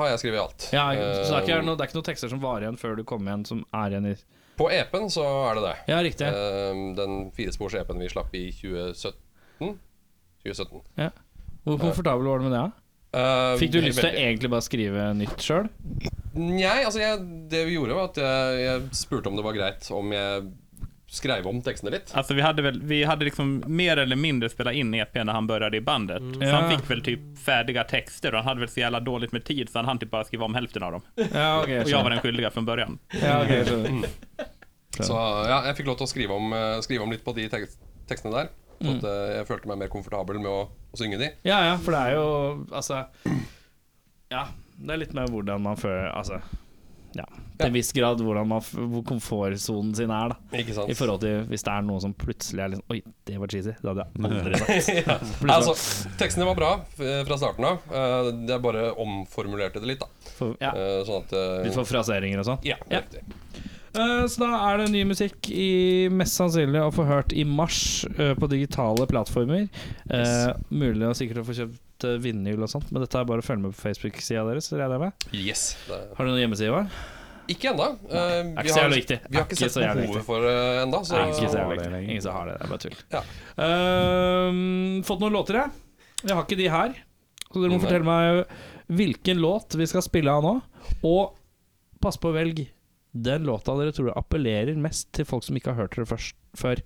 Speaker 7: har jeg skrevet alt.
Speaker 2: Ja, så det er, ikke
Speaker 7: Eh,
Speaker 2: noe, det er ikke noen tekster som varer igjen før du kommer igjen, som er igjen i
Speaker 7: På EP-en så er det det.
Speaker 2: Ja, riktig.
Speaker 7: Eh, den firespors EP-en vi slapp i 2017. 2017.
Speaker 2: Ja. Hvor komfortabel var du med det? da?
Speaker 7: Eh,
Speaker 2: Fikk du lyst til E å
Speaker 7: veldig.
Speaker 2: egentlig bare skrive nytt sjøl?
Speaker 7: Nei, altså jeg, det vi gjorde var at jeg, jeg spurte om det var greit om jeg skrev om tekstene litt.
Speaker 6: Alltså vi hade, väl, vi hade liksom mer eller mindre spelat in EP när han började i bandet. Så han
Speaker 2: Mm. Ja.
Speaker 6: fick väl typ färdiga texter och han hade väl så jävla dåligt med tid så han hann typ bara skriva om hälften av dem.
Speaker 2: Ja, ok.
Speaker 6: Och jag var den skyldiga från början.
Speaker 2: Ja, ok, jeg skjønner.
Speaker 7: Så ja, jeg fikk lov til å skrive om, eh, skrive om litt på de tek tekstene der. Så
Speaker 2: Mm.
Speaker 7: at eh, jeg følte meg mer komfortabel med å, å synge de.
Speaker 2: Ja, ja, for det er jo Altså Ja, det er litt med hvordan man føler Altså ja, til en viss grad hvordan man, f- hvor komfortsonen sin er. da
Speaker 7: Ikke sant?
Speaker 2: I forhold til hvis det er noe som plutselig er liksom Oi, det var cheesy. Det hadde jeg aldri sagt.
Speaker 7: ja.
Speaker 2: Plutselig-
Speaker 7: Altså, tekstene var bra eh, fra starten av. Eh, Jeg bare omformulerte det litt, da.
Speaker 2: For, ja,
Speaker 7: Eh, Sånn at eh,
Speaker 2: litt for fraseringer og sånn.
Speaker 7: Ja,
Speaker 2: Ja.
Speaker 7: riktig.
Speaker 2: Eh, Så da er det ny musikk i mest sannsynlig å få hørt i mars eh, på digitale plattformer. Eh, Mulig og sikkert å få kjøpt eh, vinyl og sånt, men dette er bare å følge med på Facebook-sida deres. regner jeg med.
Speaker 7: Yes. Det.
Speaker 2: Har du noen hjemmeside? Ivar?
Speaker 7: Ikke ennå. Eh,
Speaker 2: er
Speaker 7: Vi
Speaker 2: ikke så
Speaker 7: har,
Speaker 2: jævlig viktig.
Speaker 7: vi har
Speaker 2: Er
Speaker 7: ikke
Speaker 2: ikke
Speaker 7: sett
Speaker 2: så jævlig viktig.
Speaker 7: behovet for det ennå, så
Speaker 2: Nei, ikke så
Speaker 3: har
Speaker 2: jævlig.
Speaker 3: det lenger.
Speaker 2: Ingen som har det. Det er bare tull.
Speaker 7: Ja.
Speaker 2: Ehm, fått noen låter, jeg. Jeg har ikke de her. Så dere må
Speaker 7: Nei.
Speaker 2: fortelle meg hvilken låt vi skal spille av nå. Og pass på å velge den låta dere tror appellerer mest til folk som ikke har hørt dere først, før.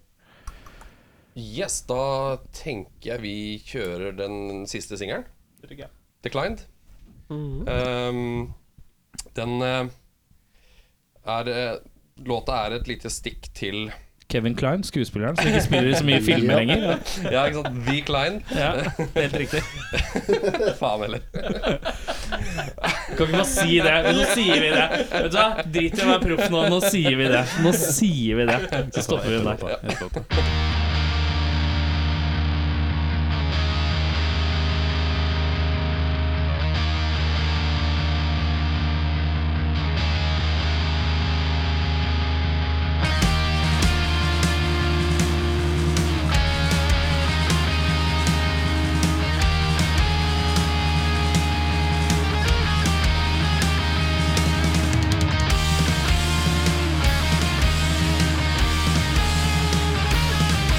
Speaker 7: Yes, da tenker jeg vi kjører den siste singelen. Declined.
Speaker 2: Mhm.
Speaker 7: Ehm, den eh, er eh, Låta er et lite stikk til
Speaker 2: Kevin Klein, skuespilleren som ikke spiller i så mye filmer lenger.
Speaker 7: Ja, ikke sant? The Klein.
Speaker 2: Ja, Helt riktig.
Speaker 7: Faen heller.
Speaker 2: Kan ikke bare si det. Nå sier vi det. Vet du hva? Drit i å være proff nå. Nå sier vi det. Nå sier vi det. Så stopper vi der.
Speaker 9: Thank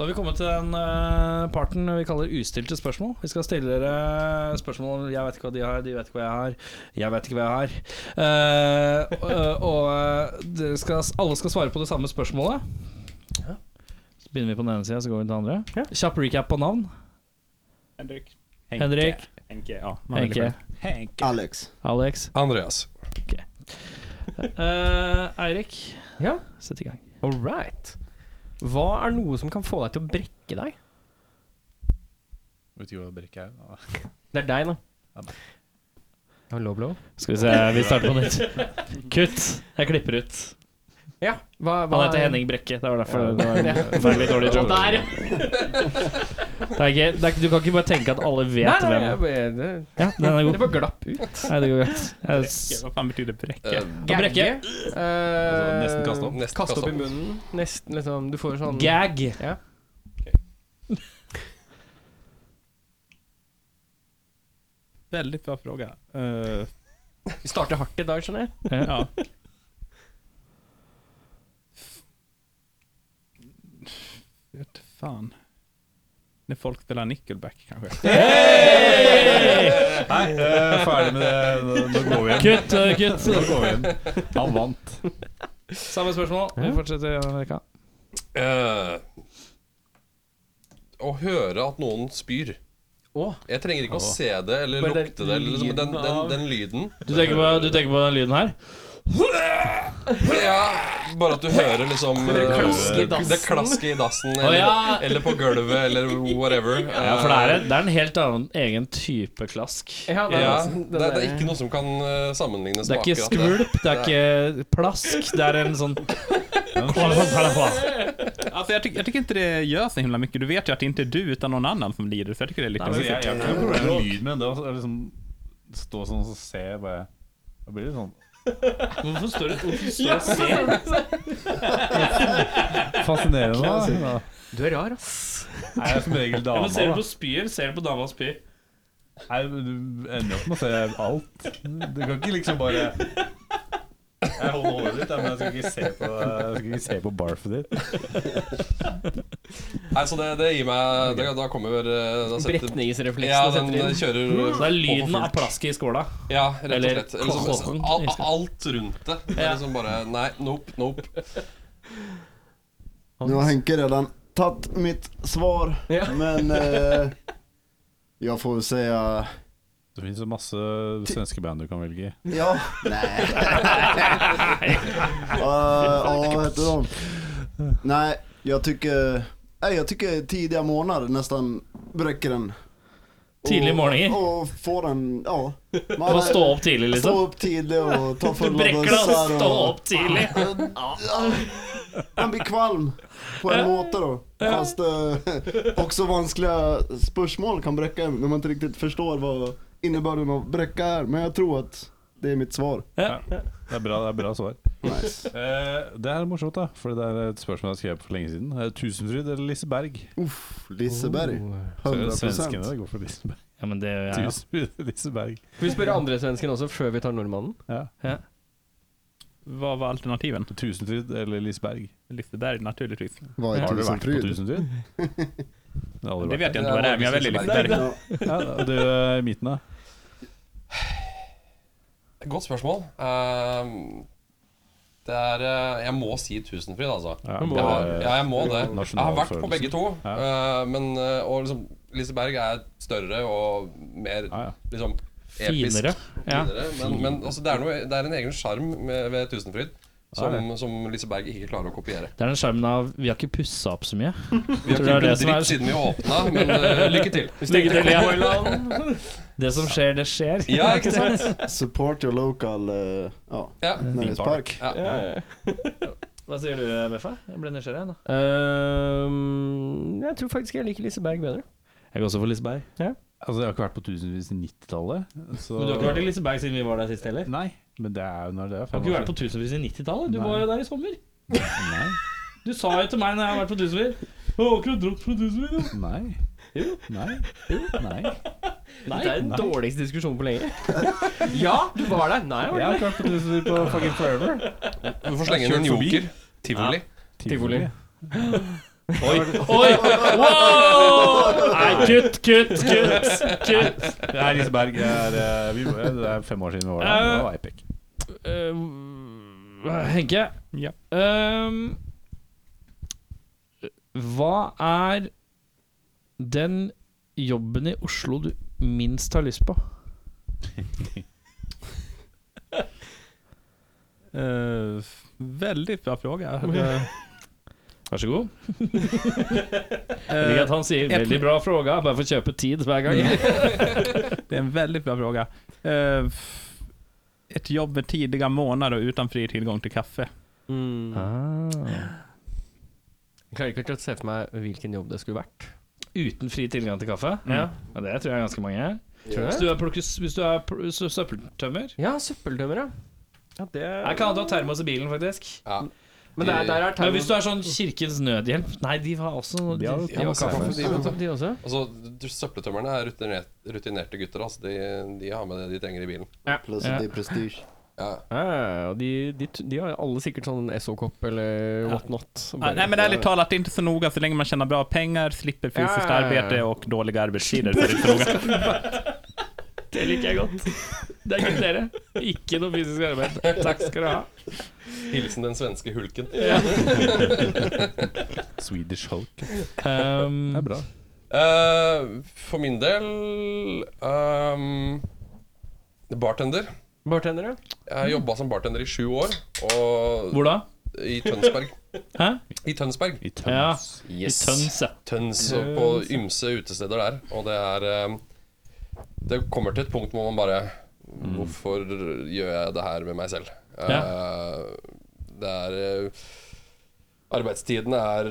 Speaker 2: Da har vi kommet til den eh, parten vi kaller ustilte spørsmål. Vi skal stille dere spørsmål om jeg vet ikke hva de har, de vet ikke hva jeg har, jeg vet ikke hva jeg har. Eh, og og eh, dere skal, alle skal svare på det samme spørsmålet. Så begynner vi på den ene sida, så går vi til den andre.
Speaker 6: Ja.
Speaker 2: Kjapp recap på navn.
Speaker 6: Henrik.
Speaker 2: Henrik.
Speaker 6: Henke, ja.
Speaker 2: Henke.
Speaker 6: Henke.
Speaker 8: Alex.
Speaker 2: Alex.
Speaker 7: Andreas.
Speaker 2: Eh, Eirik,
Speaker 1: Ja.
Speaker 2: sett i gang.
Speaker 1: All right. Hva er noe som kan få deg til å brekke deg?
Speaker 9: Vet ikke hva brekk er. Ah.
Speaker 1: Det er deg, da. Ja, Low blow?
Speaker 2: Skal vi se, vi starter på nytt. Kutt. Jeg klipper ut.
Speaker 1: Ja. Hva, hva
Speaker 2: Han heter Henning Brekke. Det var derfor det var
Speaker 1: Ja.
Speaker 2: en forferdelig dårlig joke.
Speaker 1: Der!
Speaker 2: Det er ikke, det er, ikke- du kan ikke bare tenke at alle vet
Speaker 1: Nei, nei,
Speaker 2: hvem
Speaker 1: jeg bare- det-
Speaker 2: Ja, den er
Speaker 1: Det
Speaker 2: god.
Speaker 1: bare glapp ut.
Speaker 2: Nei, det går greit. Jeg s-
Speaker 6: Hva faen betyr det brekke?
Speaker 1: Brekke. Eh,
Speaker 9: nesten kaste opp.
Speaker 7: Nesten
Speaker 1: Kaste opp i munnen. Nesten liksom Du får sånn
Speaker 2: Gag.
Speaker 1: Ja.
Speaker 6: Veldig bra fråga. Eh,
Speaker 1: Vi starter hardt i dag, skjønner jeg.
Speaker 6: ja. Vet fan. Når folk spiller Nickelback, kanskje.
Speaker 3: Nei, eh, ferdig med det. Nå går vi hjem.
Speaker 2: Kutt, eh, kutt.
Speaker 3: Nå går vi hjem. Han vant.
Speaker 2: Samme spørsmål. Vi fortsetter i Amerika.
Speaker 7: Eh, å høre at noen spyr.
Speaker 1: Åh.
Speaker 7: Jeg trenger ikke å se det eller
Speaker 1: Bare den
Speaker 7: lukte det. Eller, liksom, den,
Speaker 1: lyden
Speaker 7: den,
Speaker 1: av-
Speaker 7: den lyden.
Speaker 2: Du tenker på, du tenker på den lyden her?
Speaker 7: Ja, bare at du hører liksom eh,
Speaker 1: klasker i dassen.
Speaker 7: Det klasker i dassen.
Speaker 2: Å,
Speaker 7: Eller,
Speaker 2: ja.
Speaker 7: eller på gulvet, eller whatever.
Speaker 2: Ja, for det er, en- det er en helt annen egen type klask.
Speaker 1: Ja, det er,
Speaker 7: Eh, ja,
Speaker 1: nesten den
Speaker 7: det, er- det er
Speaker 1: der-
Speaker 7: ikke noe som kan eh, sammenlignes
Speaker 2: Det er
Speaker 7: med
Speaker 2: ikke
Speaker 7: akkurat det.
Speaker 2: skvulp, det er ikke plask. Det er en sånn
Speaker 6: Alltså, jag, tycker- jag tycker inte det gör så himla mycket. Du vet ju att det inte är du utan någon annan som lider, så jag tycker det är lite...
Speaker 3: Altså, jeg, jeg har ikke noe problem med lyd, men det å liksom stå sånn og se bare Da blir det sånn
Speaker 2: Hvorfor står det
Speaker 3: fascinerende. da.
Speaker 1: Du er rar, ass.
Speaker 3: Nei, jeg er som regel dama.
Speaker 2: Ser du på
Speaker 3: da.
Speaker 2: spyr, ser du på dama og spyr.
Speaker 3: Nei, men Du ender jo opp med å se alt. Du kan ikke liksom bare Jeg holder håret ditt, da, men jeg skal ikke se på, jeg skal ikke se på barfet ditt.
Speaker 7: Nei, så det, det gir meg det, Da kommer eh, da setter-
Speaker 1: Bretningsrefleksen
Speaker 7: Ja,
Speaker 1: setter
Speaker 7: den
Speaker 1: inn.
Speaker 7: kjører
Speaker 2: Så det er
Speaker 7: på
Speaker 2: lyden
Speaker 7: for
Speaker 2: av
Speaker 7: fullt.
Speaker 2: plasket i skåla.
Speaker 7: Ja, rett og
Speaker 2: Eller
Speaker 7: slett. Eller som-
Speaker 2: kåpen,
Speaker 7: al-
Speaker 2: riktig.
Speaker 7: alt rundt det. Det er
Speaker 2: Ja.
Speaker 7: liksom bare Nei, nope, nope.
Speaker 8: Nu har Henke redan tagit mitt svar,
Speaker 1: Ja.
Speaker 8: men eh, jag får eh, väl säga...
Speaker 3: Det finnes jo masse svenske band du kan velge i.
Speaker 8: Ja. Nej. Eh, Ja, vad heter de? Nej, jag tycker... Nej, jag tycker tidiga månader nästan bräcker den.
Speaker 2: Tidlig morgner.
Speaker 8: Och får den, ja.
Speaker 2: Du
Speaker 8: Man
Speaker 2: må stå opp tidlig,
Speaker 8: Stå
Speaker 2: liksom.
Speaker 8: upp tidigt och ta
Speaker 2: Du
Speaker 8: fulla
Speaker 2: brekker deg av å stå opp tidlig.
Speaker 8: Man blir kvalm på en måte då. Fast eh, också vanskliga spörsmål kan bräcka en när man inte riktigt förstår vad innebörden av bräcka är. Men jag tror att det är mitt svar.
Speaker 3: Det er bra, det er bra svar.
Speaker 8: Nice.
Speaker 3: Eh, det her er morsomt, da, for det er et spørsmål jeg har skrevet for lenge siden. Eh, Tusenfryd eller Liseberg?
Speaker 8: Uff, Liseberg.
Speaker 3: Så er det
Speaker 8: 100%.
Speaker 3: Svenskene går for Liseberg.
Speaker 2: Ja, men det gjør jeg,
Speaker 3: Tusenfryd eller Liseberg.
Speaker 1: Skal vi spørre andre svensken også, før vi tar nordmannen?
Speaker 3: Ja.
Speaker 6: Vad var alternativen?
Speaker 3: Tusenfryd eller Liseberg?
Speaker 6: Liseberg naturligtvis.
Speaker 8: Vad är
Speaker 3: Har du vært på
Speaker 8: tusenfryd?
Speaker 3: Tusenfryd? Det har aldri
Speaker 6: Det
Speaker 3: vært.
Speaker 6: vet jag inte vad det är, men jag väljer Liseberg.
Speaker 8: Ja.
Speaker 3: Ja, du er i midten, da.
Speaker 7: Godt spørsmål. Ehm, det er eh, Jeg må si Tusenfryd, altså.
Speaker 3: Ja,
Speaker 1: Du må-
Speaker 7: Jeg
Speaker 3: det
Speaker 7: har,
Speaker 3: er-
Speaker 7: ja, jeg må det.
Speaker 3: Nasjonal
Speaker 7: Jeg har vært på
Speaker 3: følelse.
Speaker 7: begge to. eh, men, eh, og liksom, Liseberg er større og mer
Speaker 3: ja, ja.
Speaker 7: liksom episk.
Speaker 2: Finere. Ja.
Speaker 7: Finere, Men, men altså, det, er noe, det er en egen sjarm med- ved Tusenfryd som, som Liseberg ikke klarer å kopiere.
Speaker 2: Det er den sjarmen av Vi har ikke pussa opp så mye.
Speaker 7: Vi har
Speaker 2: Tror du det er
Speaker 7: ikke
Speaker 2: det
Speaker 7: gjort
Speaker 2: som
Speaker 7: en
Speaker 2: er-
Speaker 7: dritt siden vi åpna, men eh, lykke til.
Speaker 2: Lykke til, ja. Det som skjer, det skjer.
Speaker 7: Ja, ikke sant?
Speaker 8: Support your local, eh, ja,
Speaker 7: Ja.
Speaker 8: nöjespark.
Speaker 7: Ja.
Speaker 2: Hva sier du, Beffa? Jeg ble nysgjerrig nå.
Speaker 1: Ehm, jeg tror faktisk jeg liker Liseberg bedre.
Speaker 2: Jeg går også for Liseberg.
Speaker 3: Altså, jeg har ikke vært på tusenvis i 90-tallet. Så...
Speaker 2: Men du har ikke vært i Liseberg siden vi var der sist heller?
Speaker 3: Nei, men det er jo når det er
Speaker 2: Du har ikke vært på tusenvis i 90-tallet? Du
Speaker 3: Nei.
Speaker 2: var jo der i sommer.
Speaker 3: Nei.
Speaker 2: Du sa jo til meg når jeg har vært på tusenvis Jeg har akkurat dratt fra tusenvis. ja.
Speaker 3: Nei. Nei. Nei.
Speaker 1: Nei, det er den dårligste diskusjonen på lenge. ja, du var der. Nei, jeg var der.
Speaker 3: Jeg har ikke vært på tusenvis på fucking Forever.
Speaker 7: Du får slenge inn en
Speaker 3: Kjørt forbi.
Speaker 7: joker. Tivoli.
Speaker 1: Tivoli.
Speaker 6: Oi.
Speaker 2: Oi! Wow! Nei, kutt, kutt, kutt! kutt.
Speaker 3: Nei, Liseberg er, eh, vi, det er fem år siden vi var der. men Det var epic.
Speaker 2: Eh, Henke,
Speaker 6: Ja.
Speaker 2: Ehm, hva er den jobben i Oslo du minst har lyst på?
Speaker 6: Eh, väldigt bra fråga.
Speaker 2: Vær så god. Liker at han sier
Speaker 6: Eh,
Speaker 2: 'veldig bra fråga', bare for å kjøpe tid hver gang.
Speaker 6: Det är en väldigt bra fråga. Eh, f- ett jobb med tidiga månader och utan fri tillgång till kaffe.
Speaker 1: Jeg klarer ikke helt å se for meg hvilken jobb det skulle vært.
Speaker 2: Uten fri tilgang til kaffe? Ja. ja det tror jeg er ganske mange.
Speaker 1: Tror
Speaker 2: Hvis
Speaker 1: du det?
Speaker 2: du er, plukker, hvis du er pl- sø- søppeltømmer
Speaker 1: Ja, søppeldømmer, ja. ja det...
Speaker 2: Jeg kan ha termos i bilen, faktisk.
Speaker 7: Ja.
Speaker 1: Men der, der er
Speaker 2: Men hvis du er sånn Kirkens Nødhjelp Nei, de har også
Speaker 3: De har jo
Speaker 7: Ja,
Speaker 3: kaffe.
Speaker 7: kaffe, de, vet du.
Speaker 1: De også?
Speaker 7: Altså, du- Søppeltømmerne er rutinert, rutinerte gutter. Altså. De, de har med det de trenger i bilen.
Speaker 8: Pluss
Speaker 2: Ja.
Speaker 8: at det er prestige.
Speaker 7: Ja.
Speaker 1: Ja, ja, ja, de, de, de har alle sikkert sånn SO-kopp eller whatnot.
Speaker 6: Ah, Nej men ärligt talat, det är inte så noga så länge man tjänar bra pengar, slipper fysiskt
Speaker 1: Ja, ja, ja, ja.
Speaker 6: arbete och dåliga arbetstider. Så är det inte så noga.
Speaker 2: Det liker jeg godt. Det er ikke dere. Ikke noe fysisk arbeid. Takk skal du ha.
Speaker 7: Hilsen den svenske hulken. Eh,
Speaker 3: Swedish Hulk.
Speaker 2: Um,
Speaker 3: Det er bra.
Speaker 7: Eh, for min del ehm, Bartender.
Speaker 1: Bartendere?
Speaker 7: Jeg har jobba som bartender i sju år, og
Speaker 2: Hvor da?
Speaker 7: i Tønsberg.
Speaker 2: Hæ?
Speaker 7: I Tønsberg.
Speaker 3: I tønn.
Speaker 2: Ja, i
Speaker 7: Yes.
Speaker 2: Tønse.
Speaker 7: Tøns og på ymse utesteder der. Og det er eh, Det kommer til et punkt hvor man bare Hvorfor gjør jeg det her med meg selv? Eh, Det er eh, Arbeidstiden er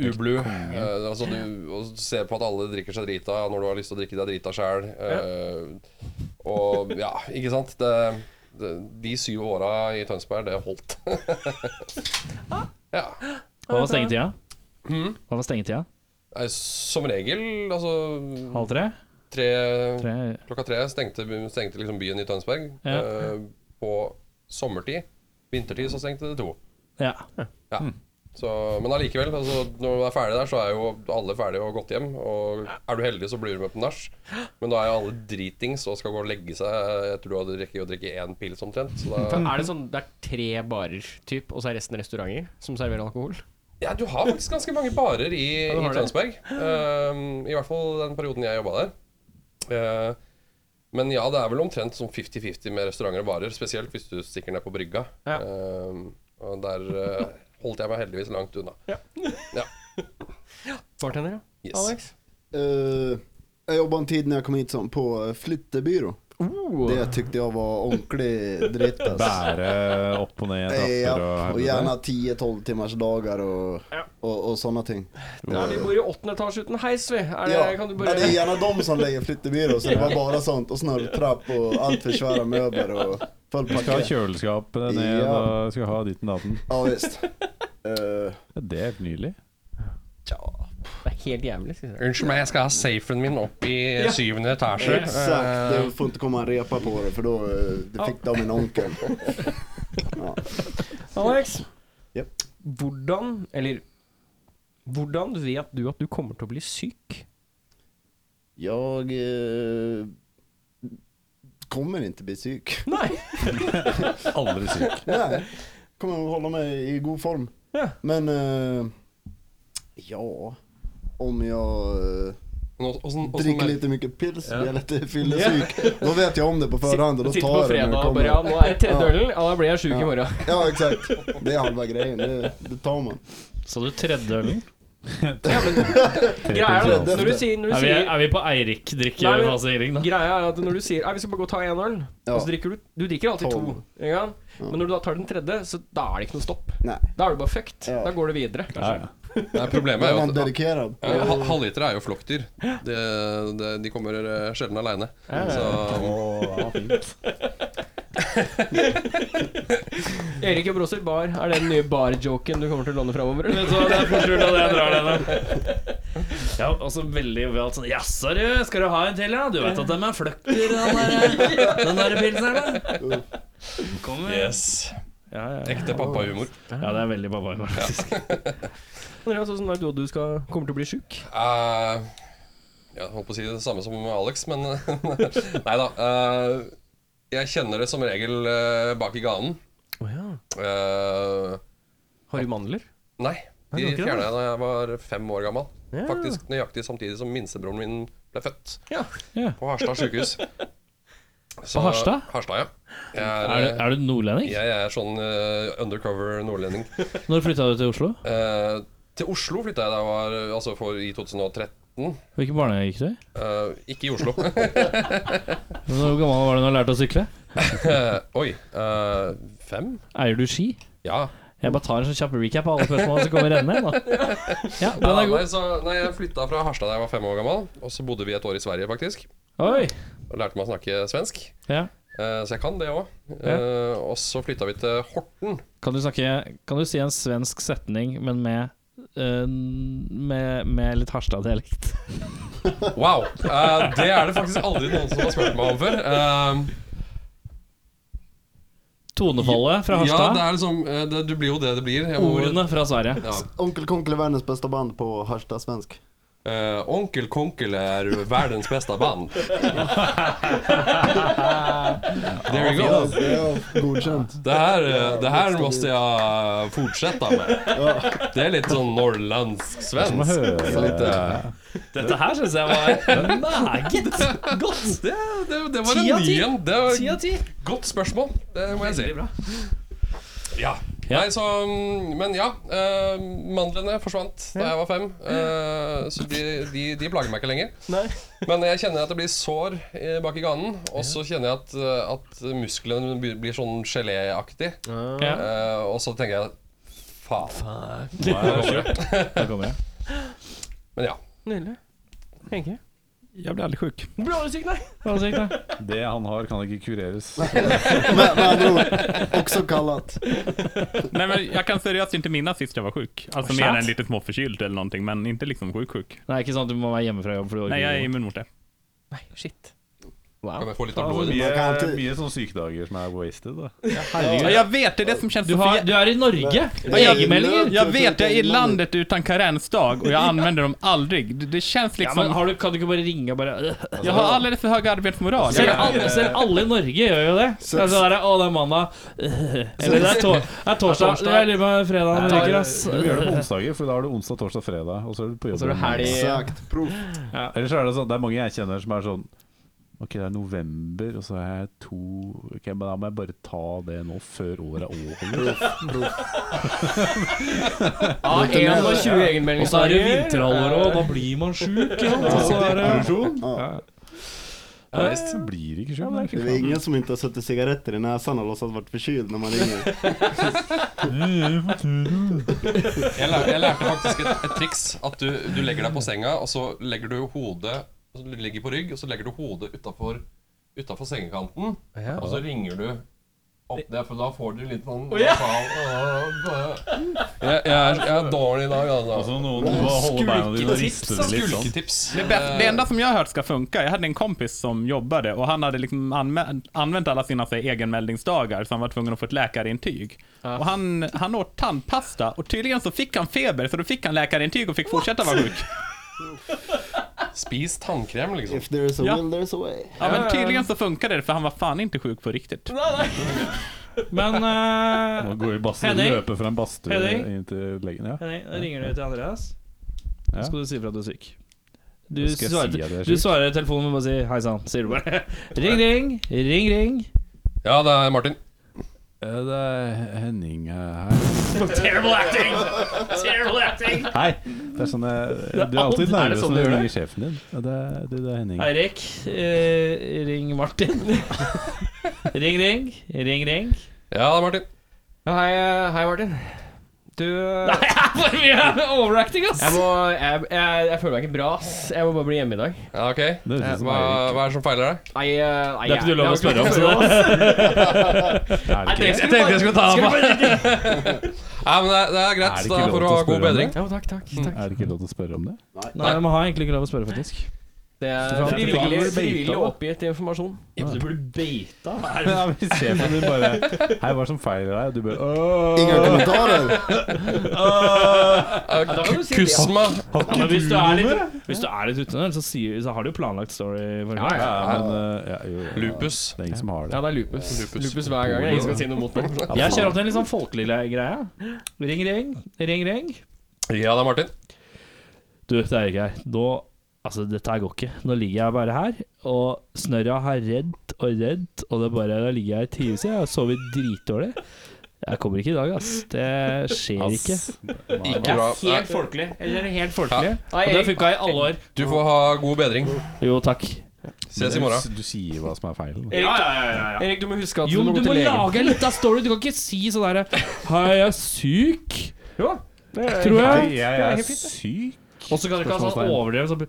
Speaker 7: ublu. Eh, altså du og ser på at alle drikker seg drita når du har lyst til å drikke deg drita sjæl. Eh, og ja, ikke sant? Det, det, de syv åra i Tønsberg, det holdt. ja.
Speaker 2: Hva var stengetida? Hva var stengetida?
Speaker 7: Nei, som regel, altså
Speaker 2: Halv tre?
Speaker 7: tre,
Speaker 2: tre.
Speaker 7: Klokka tre stengte, stengte liksom byen i Tønsberg.
Speaker 2: Ja.
Speaker 7: Eh, på sommertid. Vintertid så stengte det to.
Speaker 2: Ja.
Speaker 7: Ja.
Speaker 2: Hmm.
Speaker 7: Så, men allikevel, altså, når man er ferdig der, så er jo alle ferdige og gått hjem. Og er du heldig, så blir du med på nach. Men da er jo alle dritings og skal gå og legge seg. Jeg tror du rekker å drikke én pils omtrent. Så da,
Speaker 1: Er det sånn det er tre barer, typ, og så er resten restauranter som serverer alkohol?
Speaker 7: ja, du har faktisk ganske mange barer i,
Speaker 1: du har
Speaker 7: i
Speaker 1: det.
Speaker 7: Tønsberg. Eh, I hvert fall den perioden jeg jobba der. Eh, men ja, det er vel omtrent sånn 50-50 med restauranter og barer, spesielt hvis du stikker ned på brygga.
Speaker 1: Ja.
Speaker 7: Eh, og der eh, holdt jeg meg heldigvis langt unna.
Speaker 1: Bartender, ja.
Speaker 7: Yes.
Speaker 1: Alex?
Speaker 8: Eh, jeg jobba en tid når jeg kom hit sånn, på eh, flyttebyrå. Det tykte jeg var ordentlig dritt. ass.
Speaker 3: Bære opp og ned
Speaker 8: ja,
Speaker 3: trapper og
Speaker 8: og gjerne 10-12 timers dager og, og, og sånne ting.
Speaker 1: Ja, vi bor i åttende etasje uten heis, vi. Er det,
Speaker 8: Ja,
Speaker 1: kan du
Speaker 8: ja, det
Speaker 1: bare
Speaker 8: er gjerne de som leier flyttebyrå, så det var bare sånt. Og snørrtrapp og altfor svære møbler og full
Speaker 3: Du skal ha
Speaker 8: pakke.
Speaker 3: kjøleskapet ned
Speaker 8: Ja.
Speaker 3: og skal ha ditten datten.
Speaker 8: Ja visst. Eh,
Speaker 3: Ja, Det er helt nydelig.
Speaker 1: Det er helt jævlig. Skal jeg si.
Speaker 7: Unnskyld meg, jeg skal ha safen min opp i syvende etasje.
Speaker 8: exakt. Det får inte komma en repa på det för då eh, det fick de en onkel. Ja.
Speaker 1: Alex,
Speaker 8: Jep.
Speaker 1: hvordan Eller hvordan vet du at du kommer til å bli syk?
Speaker 8: Jag eh, kommer inte bli psyk.
Speaker 1: Nei.
Speaker 3: Aldri syk.
Speaker 8: Nej, kommer att hålla mig i god form.
Speaker 1: Ja.
Speaker 8: Men eh, ja, om jag eh,
Speaker 7: Nå- åssen- åssen
Speaker 8: dricker
Speaker 7: mer-
Speaker 8: lite mycket pils blir jag lite fyllesyk. Då vet jag om det på förhand och då
Speaker 1: Sitter
Speaker 8: tar
Speaker 1: på
Speaker 8: jag det
Speaker 1: fredag
Speaker 8: när det
Speaker 1: og bare Ja,
Speaker 8: kommer.
Speaker 1: nå er det tredje ølen. Ja, da blir jeg sjuk i
Speaker 8: Ja.
Speaker 1: morgen.
Speaker 8: Ja exakt, det är halva grejen. Det, det tar man.
Speaker 2: Så du tredje ølen?
Speaker 1: Greia er at
Speaker 8: det-
Speaker 1: når du sier, når du
Speaker 2: Er vi,
Speaker 1: sier
Speaker 2: er vi på Eirik-drikke?
Speaker 1: Nei, men-
Speaker 2: fase, Eirik, da?
Speaker 1: Greia er at når du sier Nei, vi skal bare gå og ta en øl,
Speaker 8: Ja.
Speaker 1: og så drikker du Du drikker alltid to.
Speaker 8: Tolv.
Speaker 1: Ikke sant? Men når du da tar den tredje, så da er det ikke noe stopp.
Speaker 8: Nej,
Speaker 1: Da er du bare fucked.
Speaker 8: Ja.
Speaker 1: Da går du videre.
Speaker 3: Ja, ja.
Speaker 7: Nei, problemet
Speaker 8: är
Speaker 7: er jo
Speaker 8: man
Speaker 7: at
Speaker 8: dedikerad?
Speaker 7: ja, hal- halvliter er jo flokkdyr. Det, det, de kommer eh, sjelden aleine. Så um,
Speaker 1: Erik og Broser Bar, er det den nye bar-joken du kommer til å låne framover?
Speaker 2: Vet du hva, det er for skjult at jeg drar den. da. Ja, også veldig jovialt sånn Jaså, du, skal du ha en til, ja? Du vet at de er fløkter, den der, den der pilsen her, da? Kom igjen.
Speaker 7: Yes.
Speaker 2: Ja, ja, ja.
Speaker 7: Ekte pappahumor.
Speaker 2: ja, det er veldig babai, faktisk.
Speaker 1: Andreas, hvordan er sånn, du og du skal, kommer til å bli sjuk?
Speaker 7: Eh, ja, jeg holdt på å si det samme som Alex, men Nei da. eh, jeg kjenner det som regel eh, bak i ganen.
Speaker 1: Å ja.
Speaker 7: Eh,
Speaker 1: Har du mandler?
Speaker 7: nei,
Speaker 1: Nei,
Speaker 7: de
Speaker 1: det var ikke det.
Speaker 7: fjerna jeg da jeg var fem år gammel.
Speaker 1: Ja.
Speaker 7: Faktisk nøyaktig samtidig som minstebroren min ble født.
Speaker 1: Ja.
Speaker 2: Ja.
Speaker 7: På Harstad sykehus.
Speaker 2: På Harstad?
Speaker 7: Harstad, ja. Jeg er,
Speaker 2: Er, du- er du nordlending?
Speaker 7: jeg er sånn eh, undercover nordlending.
Speaker 2: Når flytta du til Oslo?
Speaker 7: Eh, til Oslo flytta jeg da jeg var Altså for i 2013.
Speaker 2: Hvilken barnehage gikk du i?
Speaker 7: Eh, ikke i Oslo.
Speaker 2: Hvor gammel var du da du lærte å sykle?
Speaker 7: Oi. eh, fem?
Speaker 2: Eier du ski?
Speaker 7: Ja.
Speaker 2: Jeg bare tar en sånn kjapp recap av alle spørsmålene som kommer rennende. Da. Ja, den er
Speaker 7: Nei,
Speaker 2: god.
Speaker 7: så, nei, jeg flytta fra Harstad da jeg var fem år gammel. Og så bodde vi et år i Sverige, faktisk.
Speaker 2: Oi!
Speaker 7: Og lærte meg å snakke svensk.
Speaker 2: Ja.
Speaker 7: Eh, så jeg kan det òg. og så flytta vi til Horten.
Speaker 2: Kan du, snakke, kan du si en svensk setning, men med, eh, med, med litt Harstad-dialekt?
Speaker 7: Wow! Eh, det er det faktisk aldri noen som har spurt meg om før. Eh,
Speaker 2: Tonefallet fra
Speaker 7: ja,
Speaker 2: Harstad,
Speaker 7: det er liksom eh, det, Du blir jo det det blir. Jeg må-
Speaker 2: ordene fra Sverige.
Speaker 7: Ja.
Speaker 8: Onkel Konkel är världens bästa band på Harstad svensk.
Speaker 7: Eh, onkel Konkel er verdens beste band. There we go.
Speaker 8: Ja, godkänt.
Speaker 7: Det her, eh, det her måste jeg fortsette med. Det er litt sånn norrlandsk-svensk. Det er litt, eh,
Speaker 2: Dette her syns jeg var meget godt.
Speaker 7: det, det, det var en
Speaker 2: Ti av
Speaker 7: ny
Speaker 2: ti.
Speaker 7: en. Det var
Speaker 2: Ti av ti.
Speaker 7: Godt spørsmål, det må jeg si.
Speaker 2: Veldig bra.
Speaker 7: Ja.
Speaker 2: Ja.
Speaker 7: Nei, så, mm, men ja. eh, mandlene forsvant da jeg var fem. eh, så de, de, de plager meg ikke lenger.
Speaker 1: Nei.
Speaker 7: Men jeg kjenner at det blir sår eh, bak i ganen. Og så kjenner jeg at, eh, at musklene blir- blir sånn geléaktig.
Speaker 2: Ja,
Speaker 7: Eh, og så tenker jeg faen.
Speaker 2: der kommer jeg.
Speaker 7: Men ja.
Speaker 1: Nydelig. Henke?
Speaker 3: Jeg blir aldri sjuk.
Speaker 1: Blir aldri syk, nei.
Speaker 2: Hva var det sykt, da?
Speaker 3: Det han har, kan ikke kureres.
Speaker 8: Med, med andra ord, också kallat.
Speaker 6: Nej, men jag kan seriöst inte minnas sist jag var sjuk. Alltså mer än lite småförkyld eller någonting, men inte liksom sjuk-sjuk.
Speaker 2: Nei, ikke sånn at du må være hjemme fra jobb. For du orker
Speaker 6: Nej, jag är
Speaker 2: ikke.
Speaker 6: immun mot det.
Speaker 1: Nei, shit.
Speaker 7: Kan
Speaker 1: Wow.
Speaker 7: jeg få litt av blodet?
Speaker 3: Mye,
Speaker 8: altså, Man kan alltid-
Speaker 3: mye sånne sykedager som er wasted, da.
Speaker 6: Ja, jag vet, det är det som känns
Speaker 2: du,
Speaker 6: så
Speaker 2: har,
Speaker 6: för...
Speaker 2: du er i Norge!
Speaker 6: jag-
Speaker 2: Egenmeldinger!
Speaker 6: Jag vet, jag är i landet utan karensdag och jag använder dem aldrig. Det, det känns
Speaker 2: Ja,
Speaker 6: liksom...
Speaker 2: men har du, kan du ikke bare ringe og bare øh,
Speaker 6: Jag har alldeles för hög arbetsmoral.
Speaker 2: Selv
Speaker 6: Jag,
Speaker 2: alle, selv alle i Norge gjør jo det. Det er sånn der, Å, det er mandag. Eller det er, tor det er torsdag. Det er litt med fredagen vi liker, ass.
Speaker 3: Du gjør det på onsdager, for da har du onsdag, torsdag, fredag, og så er du på jobb.
Speaker 1: Så er det helg.
Speaker 8: Exakt, proof.
Speaker 3: Ellers er det sånn, det er mange jeg kjenner som er sånn Ok, det er november, og så har jeg to Ok, men da må jeg bare ta det nå før året er over.
Speaker 1: Av 21
Speaker 2: Og så er det
Speaker 1: egenmeldingsdager.
Speaker 2: vinterhalvåret, og da blir man sjuk. ikke sant? Og så er det
Speaker 3: Produksjon?
Speaker 8: Ja.
Speaker 3: Ja, visst. Det blir ikke sånn.
Speaker 8: Det är ingen som inte har suttit cigaretter i näsan och låtsas varit förkyld när man ringer.
Speaker 7: Jeg, lær, jeg lærte faktisk et, et triks. At du, du legger deg på senga, og så legger du hodet og så Du ligger på rygg, og så legger du hodet utafor Utenfor sengekanten. Og så ringer du opp det, for da får du litt sånn jeg, jeg, er, jeg er dårlig i dag, altså.
Speaker 3: Altså, noen må holde beina dine og riste det litt sånn.
Speaker 7: Skulketips.
Speaker 6: det, bäst, det enda som jag har hört ska funka, jag hade en kompis som jobbade och han hade liksom anvä- använt alla sina så här, egenmeldningsdagar så han var tvungen att få ett läkarintyg. Och han, han åt tandpasta och tydligen så fick han feber så då fick han läkarintyg och fick fortsätta vara sjuk.
Speaker 7: Eh, Spis tannkrem, liksom.
Speaker 8: If there is a
Speaker 6: Ja.
Speaker 8: will, there is a way.
Speaker 6: Ja, men tydligen så funkade det för han var fan inte sjuk på riktigt.
Speaker 2: Men eh,
Speaker 3: Må gå i badstue,
Speaker 2: Henning?
Speaker 3: løpe fra en badstue
Speaker 2: Henning?
Speaker 3: inn til legen. Ja.
Speaker 2: Henning, da ringer du til Andreas.
Speaker 3: Ja.
Speaker 2: Så skal du si ifra at du er syk. Du
Speaker 3: Da skal jeg si
Speaker 2: svarer,
Speaker 3: at jeg er
Speaker 2: du
Speaker 3: syk.
Speaker 2: svarer i telefonen med å bare si 'hei sann', sier du bare. Ring, ring, ring, ring.
Speaker 7: Ja, det er Martin.
Speaker 3: Eh, Det er Henning eh, her.
Speaker 2: Terrible acting! Terrible acting!
Speaker 3: Hei! Det er sånn jeg, Du er alltid
Speaker 2: Er det
Speaker 3: nervøs
Speaker 2: sånn
Speaker 3: når
Speaker 2: du
Speaker 3: du
Speaker 2: gjør
Speaker 3: ringer sjefen din. Ja, Det er, du, det er Henning.
Speaker 2: Eirik, eh, ring Martin. ring, ring. Ring, ring.
Speaker 7: Ja, det er Martin.
Speaker 1: Hei, eh, hei, Martin. Du eh,
Speaker 2: For mye overacting, ass!
Speaker 1: Jeg, må, jeg, jeg, jeg føler meg ikke bra, ass. Jeg må bare bli hjemme i dag.
Speaker 7: Ja, ok.
Speaker 3: Det høres ut som
Speaker 7: Hva,
Speaker 3: Eirik.
Speaker 7: hva er det som feiler deg?
Speaker 1: Nei, eh, nei,
Speaker 2: Det er ikke du
Speaker 1: jeg-
Speaker 2: lov å
Speaker 1: jeg-
Speaker 2: spørre om, så
Speaker 3: Er det ikke?
Speaker 2: tenkte jeg skulle ta
Speaker 7: Nei, men det, det er greit.
Speaker 3: Er det ikke
Speaker 7: da
Speaker 3: lov til å
Speaker 7: får du ha
Speaker 3: spørre om
Speaker 7: god bedring. Mm.
Speaker 1: Ja, takk, takk. takk.
Speaker 3: Er det ikke lov til å spørre om det?
Speaker 2: Nei, man har egentlig ikke lov å spørre, faktisk.
Speaker 1: Det er
Speaker 3: Fra-
Speaker 1: frivillig,
Speaker 3: fra-
Speaker 1: frivillig oppgitt informasjon.
Speaker 3: Ja.
Speaker 9: Du burde beita.
Speaker 3: Ja, men Sjefen din bare Hei, hva er det som feiler deg? Og du bare «Åh,
Speaker 8: Inga kommentarer.
Speaker 7: Eh,
Speaker 9: da kan du si
Speaker 7: Kuss
Speaker 9: det.
Speaker 7: meg!
Speaker 3: har
Speaker 2: Ja,
Speaker 3: ikke
Speaker 2: men hvis
Speaker 3: du
Speaker 2: du er
Speaker 3: nummer?»
Speaker 2: litt, hvis du er litt utenfor, så, sier- så har du jo planlagt story. For
Speaker 3: Ja, ja, men eh, ja, jo, ja.
Speaker 7: Lupus.
Speaker 3: Det er ingen som har
Speaker 1: Ja,
Speaker 3: det.
Speaker 1: det er lupus.
Speaker 7: Lupus.
Speaker 1: Lupus, hver gang. Ingen skal si noe mot meg.
Speaker 2: Jeg ser alltid en litt sånn folkelig le- greie. Ring, ring. Ring, ring.
Speaker 7: Ja da, Martin.
Speaker 2: Du, det er ikke her. Nå Altså, dette her går ikke. Nå ligger jeg bare her, og snørra har redd og redd, og det er bare Da ligger jeg i timevis, jeg har sovet dritdårlig. Jeg kommer ikke i dag, ass. Det skjer ikke.
Speaker 7: Ikke bra. Nei,
Speaker 2: Helt folkelig. Eller helt
Speaker 7: folkelig.
Speaker 2: folkelig. Og det har funka i alle år.
Speaker 7: Du får ha god bedring.
Speaker 2: Jo, takk.
Speaker 7: Ses i morgen.
Speaker 3: Du, du sier hva som er feilen.
Speaker 1: Ja, Erik, du må huske at
Speaker 2: Jo,
Speaker 1: du må
Speaker 2: men
Speaker 1: gå
Speaker 2: du må
Speaker 1: til legen.
Speaker 2: lage en liten story. Du kan ikke si sånn herre Hei, jeg er syk.
Speaker 1: Det-
Speaker 2: Tror jeg.
Speaker 3: Hei, jeg er syk.
Speaker 2: Og så kan du ikke ha sånn overdrevet sånn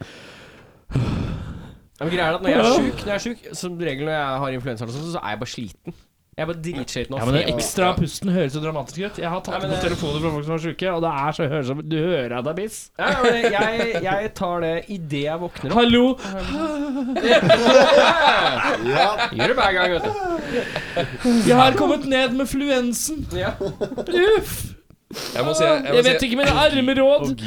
Speaker 1: Ja, men greia er at Når jeg er syk, når jeg er syk som regel når jeg har influensa, eller sånn, så er jeg bare sliten. Jeg er bare dritsliten. og
Speaker 2: Ja, men Den
Speaker 1: feber.
Speaker 2: ekstra pusten høres så dramatisk ut. Jeg har tatt imot telefoner fra folk som er syke, og det er så høres som Du hører at det er biss.
Speaker 1: Ja, ja, men jeg, jeg tar det idet jeg våkner opp.
Speaker 2: Hallo!
Speaker 8: Ja.
Speaker 1: Gjør det hver gang, vet du.
Speaker 2: Jeg har kommet ned med fluensen.
Speaker 1: Ja.
Speaker 2: Uff!
Speaker 7: Jeg må si jeg
Speaker 2: Jeg
Speaker 7: må
Speaker 2: vet
Speaker 7: si,
Speaker 2: ikke mine arme råd.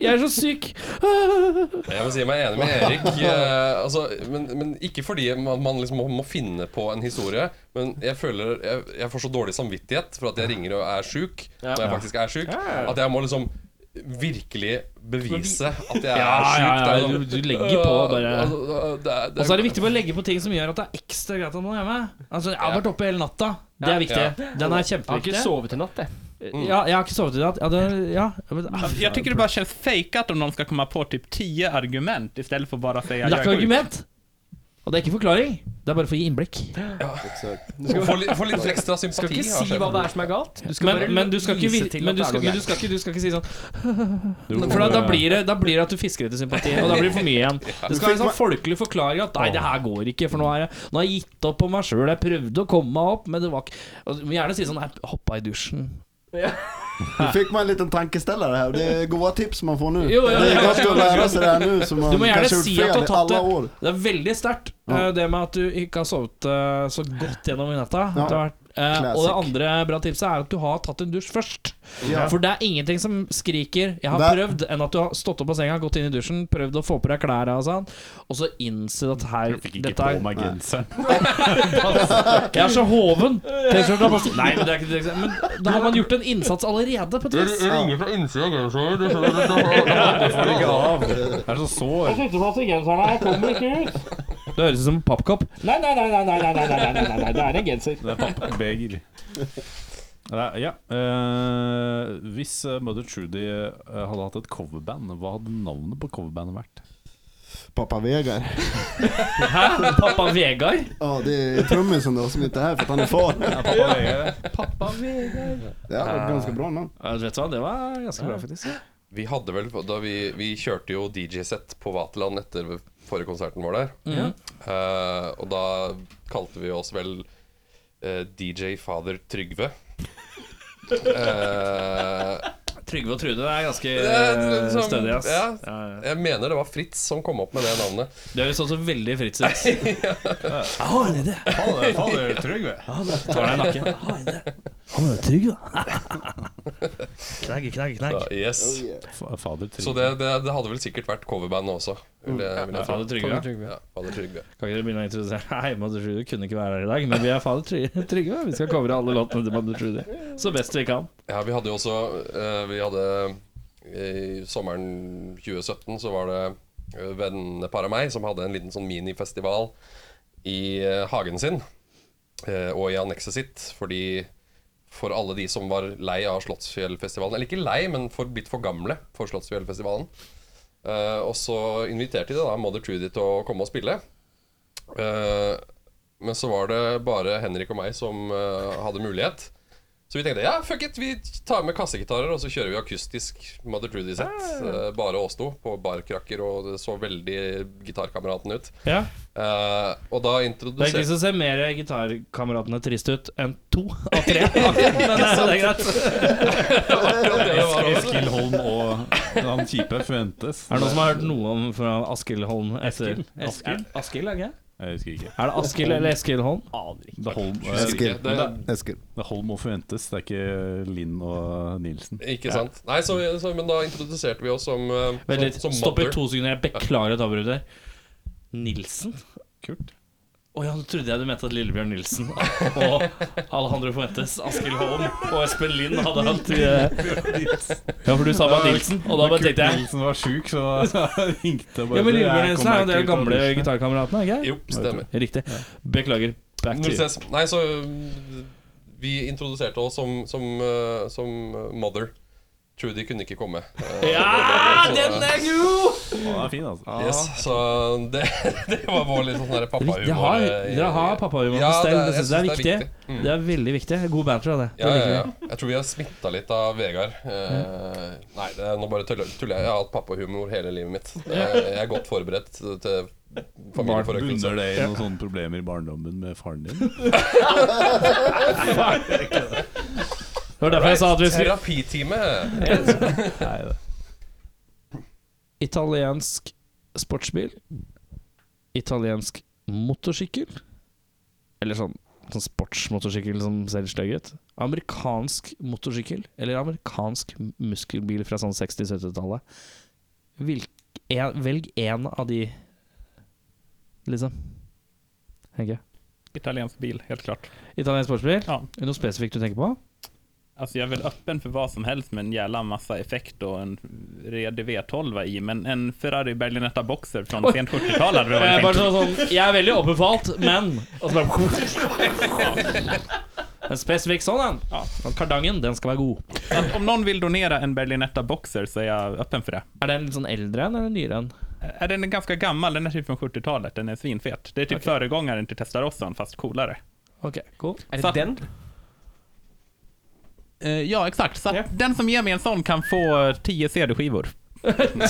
Speaker 2: Jeg er så syk.
Speaker 7: jeg, må si meg enig med Erik. eh, altså, men, men ikke fordi man, man liksom må, må finne på en historie. Men jeg føler jeg, jeg får så dårlig samvittighet for at jeg ringer og er sjuk, når jeg faktisk er sjuk, at jeg må liksom virkelig bevise at jeg er
Speaker 2: Ja,
Speaker 7: sjuk.
Speaker 2: Ah, ja,
Speaker 7: Det
Speaker 2: ja,
Speaker 7: er sånn,
Speaker 2: du- du legger på,
Speaker 7: øh,
Speaker 2: bare.
Speaker 7: altså, øh, det er- det
Speaker 2: Og så er det
Speaker 7: er-
Speaker 2: viktig å legge på ting som gjør at det er ekstra greit at man er hjemme. Altså, jeg har vært oppe hele natta. Det er viktig. Den er
Speaker 1: Jeg har ikke
Speaker 2: kjempeviktig. Eh,
Speaker 1: sovet i natt, jeg.
Speaker 2: Ja, jeg har ikke sovet i natt. Ja, det- ja. Men,
Speaker 6: Jag tycker det bara känns fejkat om någon ska komma på typ 10 argument istället för bara säga
Speaker 2: det er ikke
Speaker 6: jag är sjuk.
Speaker 2: argument. Og det er ikke forklaring. Det er bare for å gi innblikk.
Speaker 7: Få litt, få litt ekstra sympati.
Speaker 1: Du skal ikke si
Speaker 7: av sjefen.
Speaker 1: hva det er som er galt. Du skal
Speaker 2: Men,
Speaker 1: bare
Speaker 2: men, du, skal ikke,
Speaker 1: vise
Speaker 2: vir-
Speaker 1: til
Speaker 2: men
Speaker 1: at det
Speaker 2: du,
Speaker 1: er
Speaker 2: skal,
Speaker 1: noe
Speaker 2: men du,
Speaker 1: galt.
Speaker 2: skal ikke, du skal ikke si sånn For da, da, blir det, da blir det at du fisker etter sympati, og da blir det for mye igjen. Det skal være en sånn folkelig forklaring at 'nei, det her går ikke', for nå har jeg, nå har jeg gitt opp på meg sjøl. Jeg prøvde å komme meg opp, men det var ikke og Du må gjerne si sånn 'jeg hoppa i dusjen'.
Speaker 8: Nu fick man en liten tankeställare här. Det är goda tips man får nu.
Speaker 2: Jo, ja,
Speaker 8: det
Speaker 2: ja,
Speaker 8: är ganska
Speaker 2: ja,
Speaker 8: att lära sig det här nu som man
Speaker 2: Du må gjerne
Speaker 8: kanske gjort
Speaker 2: si at
Speaker 8: fel
Speaker 2: du
Speaker 8: i
Speaker 2: har tatt
Speaker 8: alla
Speaker 2: det.
Speaker 8: år.
Speaker 2: Det er veldig sterkt, eh, det med at du ikke har sovet eh, så godt gjennom i natta.
Speaker 8: Ja.
Speaker 2: Det har vært- eh, Og det
Speaker 8: Classic.
Speaker 2: andre bra tipset er at du har tatt en dusj først.
Speaker 8: Ja.
Speaker 2: For det er ingenting som skriker 'jeg har
Speaker 8: Det er-
Speaker 2: prøvd', enn at du har stått opp av senga, gått inn i dusjen, prøvd å få på deg klærne og sånn, og så innse at her dette er,
Speaker 3: meg genseren.
Speaker 2: Jeg er så hoven! T-skjorta passer Nei, men det er ikke det. Men da har man gjort en innsats allerede, på et vis.
Speaker 3: Det er så sår.
Speaker 2: Det høres ut som en pappkopp.
Speaker 3: Det er pappbeger. Nei, Ja. eh, hvis eh, Mother Trudy eh, hadde hatt et coverband, hva hadde navnet på coverbandet vært?
Speaker 8: Pappa Vegar.
Speaker 2: Pappa Vegard.
Speaker 8: Ja, det är trummisen då som inte är här för att han är far.
Speaker 3: Pappa Vegard.
Speaker 8: Det hade varit ganska bra namn.
Speaker 2: Ja, vet du hva, det var ganske bra, faktisk.
Speaker 7: Vi hadde vel da vi, vi kjørte jo DJ-sett på Vaterland etter forrige konserten vår der. Eh, og da kalte vi oss vel eh, DJ Fader Trygve. Eh,
Speaker 2: Trygve og Trude er ganske
Speaker 7: er
Speaker 2: eh,
Speaker 7: som-
Speaker 2: stødig, ass.
Speaker 7: ja.
Speaker 2: Ja, ja.
Speaker 7: jeg mener det var Fritz som kom opp med det navnet.
Speaker 2: Det høres også veldig Fritz ut. Jeg har en idé.
Speaker 3: Fader Trygve.
Speaker 2: Tar deg i nakken. Jeg har en idé. Han er trygg, da. Knegg, knegg, knegg.
Speaker 7: Ja, yes.
Speaker 3: Fader Trygve.
Speaker 7: Så det, det, det hadde vel sikkert vært coverband også. Vil jeg, vil jeg tro.
Speaker 2: Fader Trygve. Mm. ja.
Speaker 7: Ja, Fader Trygve.
Speaker 2: Kan ikke dere begynne å introdusere Hei, Mother Trudy kunne ikke være her i dag, men vi er fader Try- Trygve. Vi skal covre alle låtene til Mother Trudy så best vi kan.
Speaker 7: Ja, vi hadde jo også eh, Vi hadde I sommeren 2017 så var det eh, vennepar av meg som hadde en liten sånn minifestival i eh, hagen sin. eh, og i annekset sitt. Fordi for alle de som var lei av Slottsfjellfestivalen Eller ikke lei, men for, blitt for gamle for Slottsfjellfestivalen. Eh, og så inviterte de da Mother Trudy til å komme og spille. Eh, men så var det bare Henrik og meg som eh, hadde mulighet. Så vi tenkte ja, fuck it, vi tar med kassegitarer og så kjører vi akustisk Mother Trudy-sett.
Speaker 2: Ah.
Speaker 7: eh, Bare oss to på barkrakker, og det så veldig gitarkameraten ut.
Speaker 2: Ja.
Speaker 7: Eh, og
Speaker 2: Det
Speaker 7: da
Speaker 2: er ikke
Speaker 7: introduserte
Speaker 2: så å se mer gitarkameratene trist ut enn to av tre. Men eh, det er greit.
Speaker 3: Eskil Holm og han kjipe forventes.
Speaker 2: Er det noen som har hørt noe om fra Askild Holm etter Askild? Askild, er det ikke?
Speaker 3: Jeg husker ikke.
Speaker 2: Er det Askild eller Eskild Holm?
Speaker 3: Det er Holm,
Speaker 7: Husker ikke. Det-
Speaker 8: Eskil.
Speaker 3: det er Holm og forventes, det er ikke Linn og Nilsen.
Speaker 7: Ikke sant? Nei, så, så, men da introduserte vi oss som, eh,
Speaker 2: Vent litt,
Speaker 7: som, som
Speaker 2: stopp i
Speaker 7: Mother.
Speaker 2: to sekunder. Jeg beklager at jeg avbryter. Nilsen?
Speaker 3: Kult.
Speaker 2: Å ja, nå trodde jeg du mente at Lillebjørn Nilsen og Alejandro Fuentes, Askild Holm og Espen Lind hadde hatt eh, Ja, for du sa bare Nilsen, og da bare tenkte jeg
Speaker 3: Nilsen var sjuk, så ringte jeg bare
Speaker 2: Ja, men
Speaker 3: Jeg
Speaker 2: Lillebjørn Nilsen
Speaker 3: kommer
Speaker 2: er jo
Speaker 3: meg ikke ut av
Speaker 2: det gamle
Speaker 3: dusjen.
Speaker 2: gitarkameratene, ikke
Speaker 7: Jo, stemmer.
Speaker 2: sant? Riktig. Beklager. Back to
Speaker 7: Null
Speaker 2: you.
Speaker 7: stress. Nei, så mm, vi introduserte oss som, som, eh, som eh, Mother. Trudy kunne ikke komme. Eh,
Speaker 2: Ja,
Speaker 7: så,
Speaker 2: den er god!
Speaker 3: Å, Den er fin, altså.
Speaker 2: Ah.
Speaker 7: Yes, så det, det var vår litt sånn der pappahumor.
Speaker 2: Dere har,
Speaker 7: eh, i-
Speaker 2: dere har pappahumor på stell. Det, synes jeg er
Speaker 7: jeg
Speaker 2: viktig. Mm. Det er veldig viktig. God banter av det.
Speaker 7: Ja,
Speaker 2: det
Speaker 7: ja,
Speaker 2: liker
Speaker 7: ja.
Speaker 2: vi.
Speaker 7: Jeg tror vi har smitta litt av Vegard. Eh, nei, det, er- nå bare tuller tuller jeg. Jeg har hatt pappahumor hele livet mitt. Det er, jeg er godt forberedt til familieforøkelse.
Speaker 3: Bunner det i noen sånne problemer i barndommen med faren din?
Speaker 2: Det var derfor jeg sa at vi skulle
Speaker 7: Terapitime!
Speaker 3: Nei, det.
Speaker 2: Italiensk sportsbil. Italiensk motorsykkel. Eller sånn, sånn sportsmotorsykkel som ser litt stygg ut. Amerikansk motorsykkel. Eller amerikansk muskelbil fra sånn 60-70-tallet. Hvilk- en- Velg én av de, liksom. Tenker jeg.
Speaker 6: Italiensk bil, helt klart.
Speaker 2: Italiensk sportsbil.
Speaker 6: Ja.
Speaker 2: Er det noe spesifikt du tenker på?
Speaker 6: Alltså jag är väl öppen för vad som helst med en jävla massa effekt och en redig V12 i, men en Ferrari Berlinetta Boxer från sent 70-tal hade vi varit
Speaker 2: bare
Speaker 6: tänkt.
Speaker 2: sånn, sånn Jeg er veldig oppbefalt, men Og så bare En spesifikk sånn en.
Speaker 6: Ja.
Speaker 2: Og Kardangen, den skal være god.
Speaker 6: Att Om någon vill donera en Berlinetta Boxer så är jeg öppen for det.
Speaker 2: Er den litt sånn eldre en eller nyere en?
Speaker 6: Är den är ganska gammal, den är typ från 70-talet, den är svinfet. Det är typ föregångaren till Testarossa fast coolare.
Speaker 2: Ok, cool.
Speaker 1: Er
Speaker 6: Sa-
Speaker 1: det den?
Speaker 6: Eh, ja, exakt. Så att den som ger mig en sån kan få 10 CD-skivor.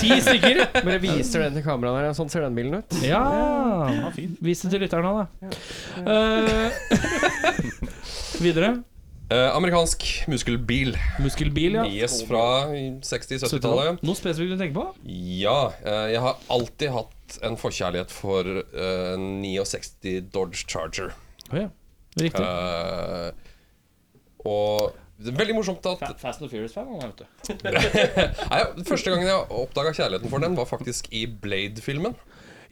Speaker 2: Ti stykker?
Speaker 1: Bare viser den til kameraet der. Sånn ser den bilen ut.
Speaker 2: Ja. Vis det til lytteren nå, da. Eh, videre.
Speaker 7: Eh, amerikansk muskelbil.
Speaker 2: Muskelbil, ja.
Speaker 7: Yes, fra 60-70-tallet.
Speaker 2: Noe spesifikt du tenker på?
Speaker 7: Ja, eh, jeg har alltid hatt en forkjærlighet for eh, 69 Dodge Charger.
Speaker 2: Oh, ja. Riktig.
Speaker 7: Eh, og det er veldig morsomt at
Speaker 2: Fa- Fast and Furious-fan, han, vet du.
Speaker 7: Nei, Første gangen jeg oppdaga kjærligheten for den, var faktisk i Blade-filmen.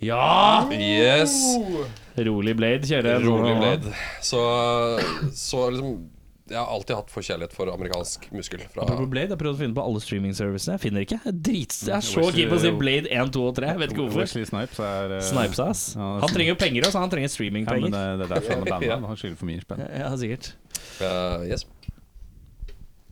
Speaker 2: Ja!
Speaker 7: Yes!
Speaker 2: Rolig Blade kjører.
Speaker 7: Rolig Blade. Så, så liksom Jeg har alltid hatt forkjærlighet for amerikansk muskel. Fra,
Speaker 2: Apropos Blade, jeg har prøvd å finne på alle streaming-servicene. Jeg finner ikke. Jeg er drits- jeg er så keen på å si Blade 1, 2 og 3. Jeg vet ikke hvorfor.
Speaker 3: Wesley Snipes er eh,
Speaker 2: Snipes, ass.
Speaker 3: Ja,
Speaker 2: Han trenger jo penger også, han
Speaker 3: Ja,
Speaker 2: trenger
Speaker 3: men eh,
Speaker 2: streamingpenger.
Speaker 3: det, det er derfor han er bandet. Han skylder for mye spenn.
Speaker 2: Ja, sikkert.
Speaker 7: Eh, yes.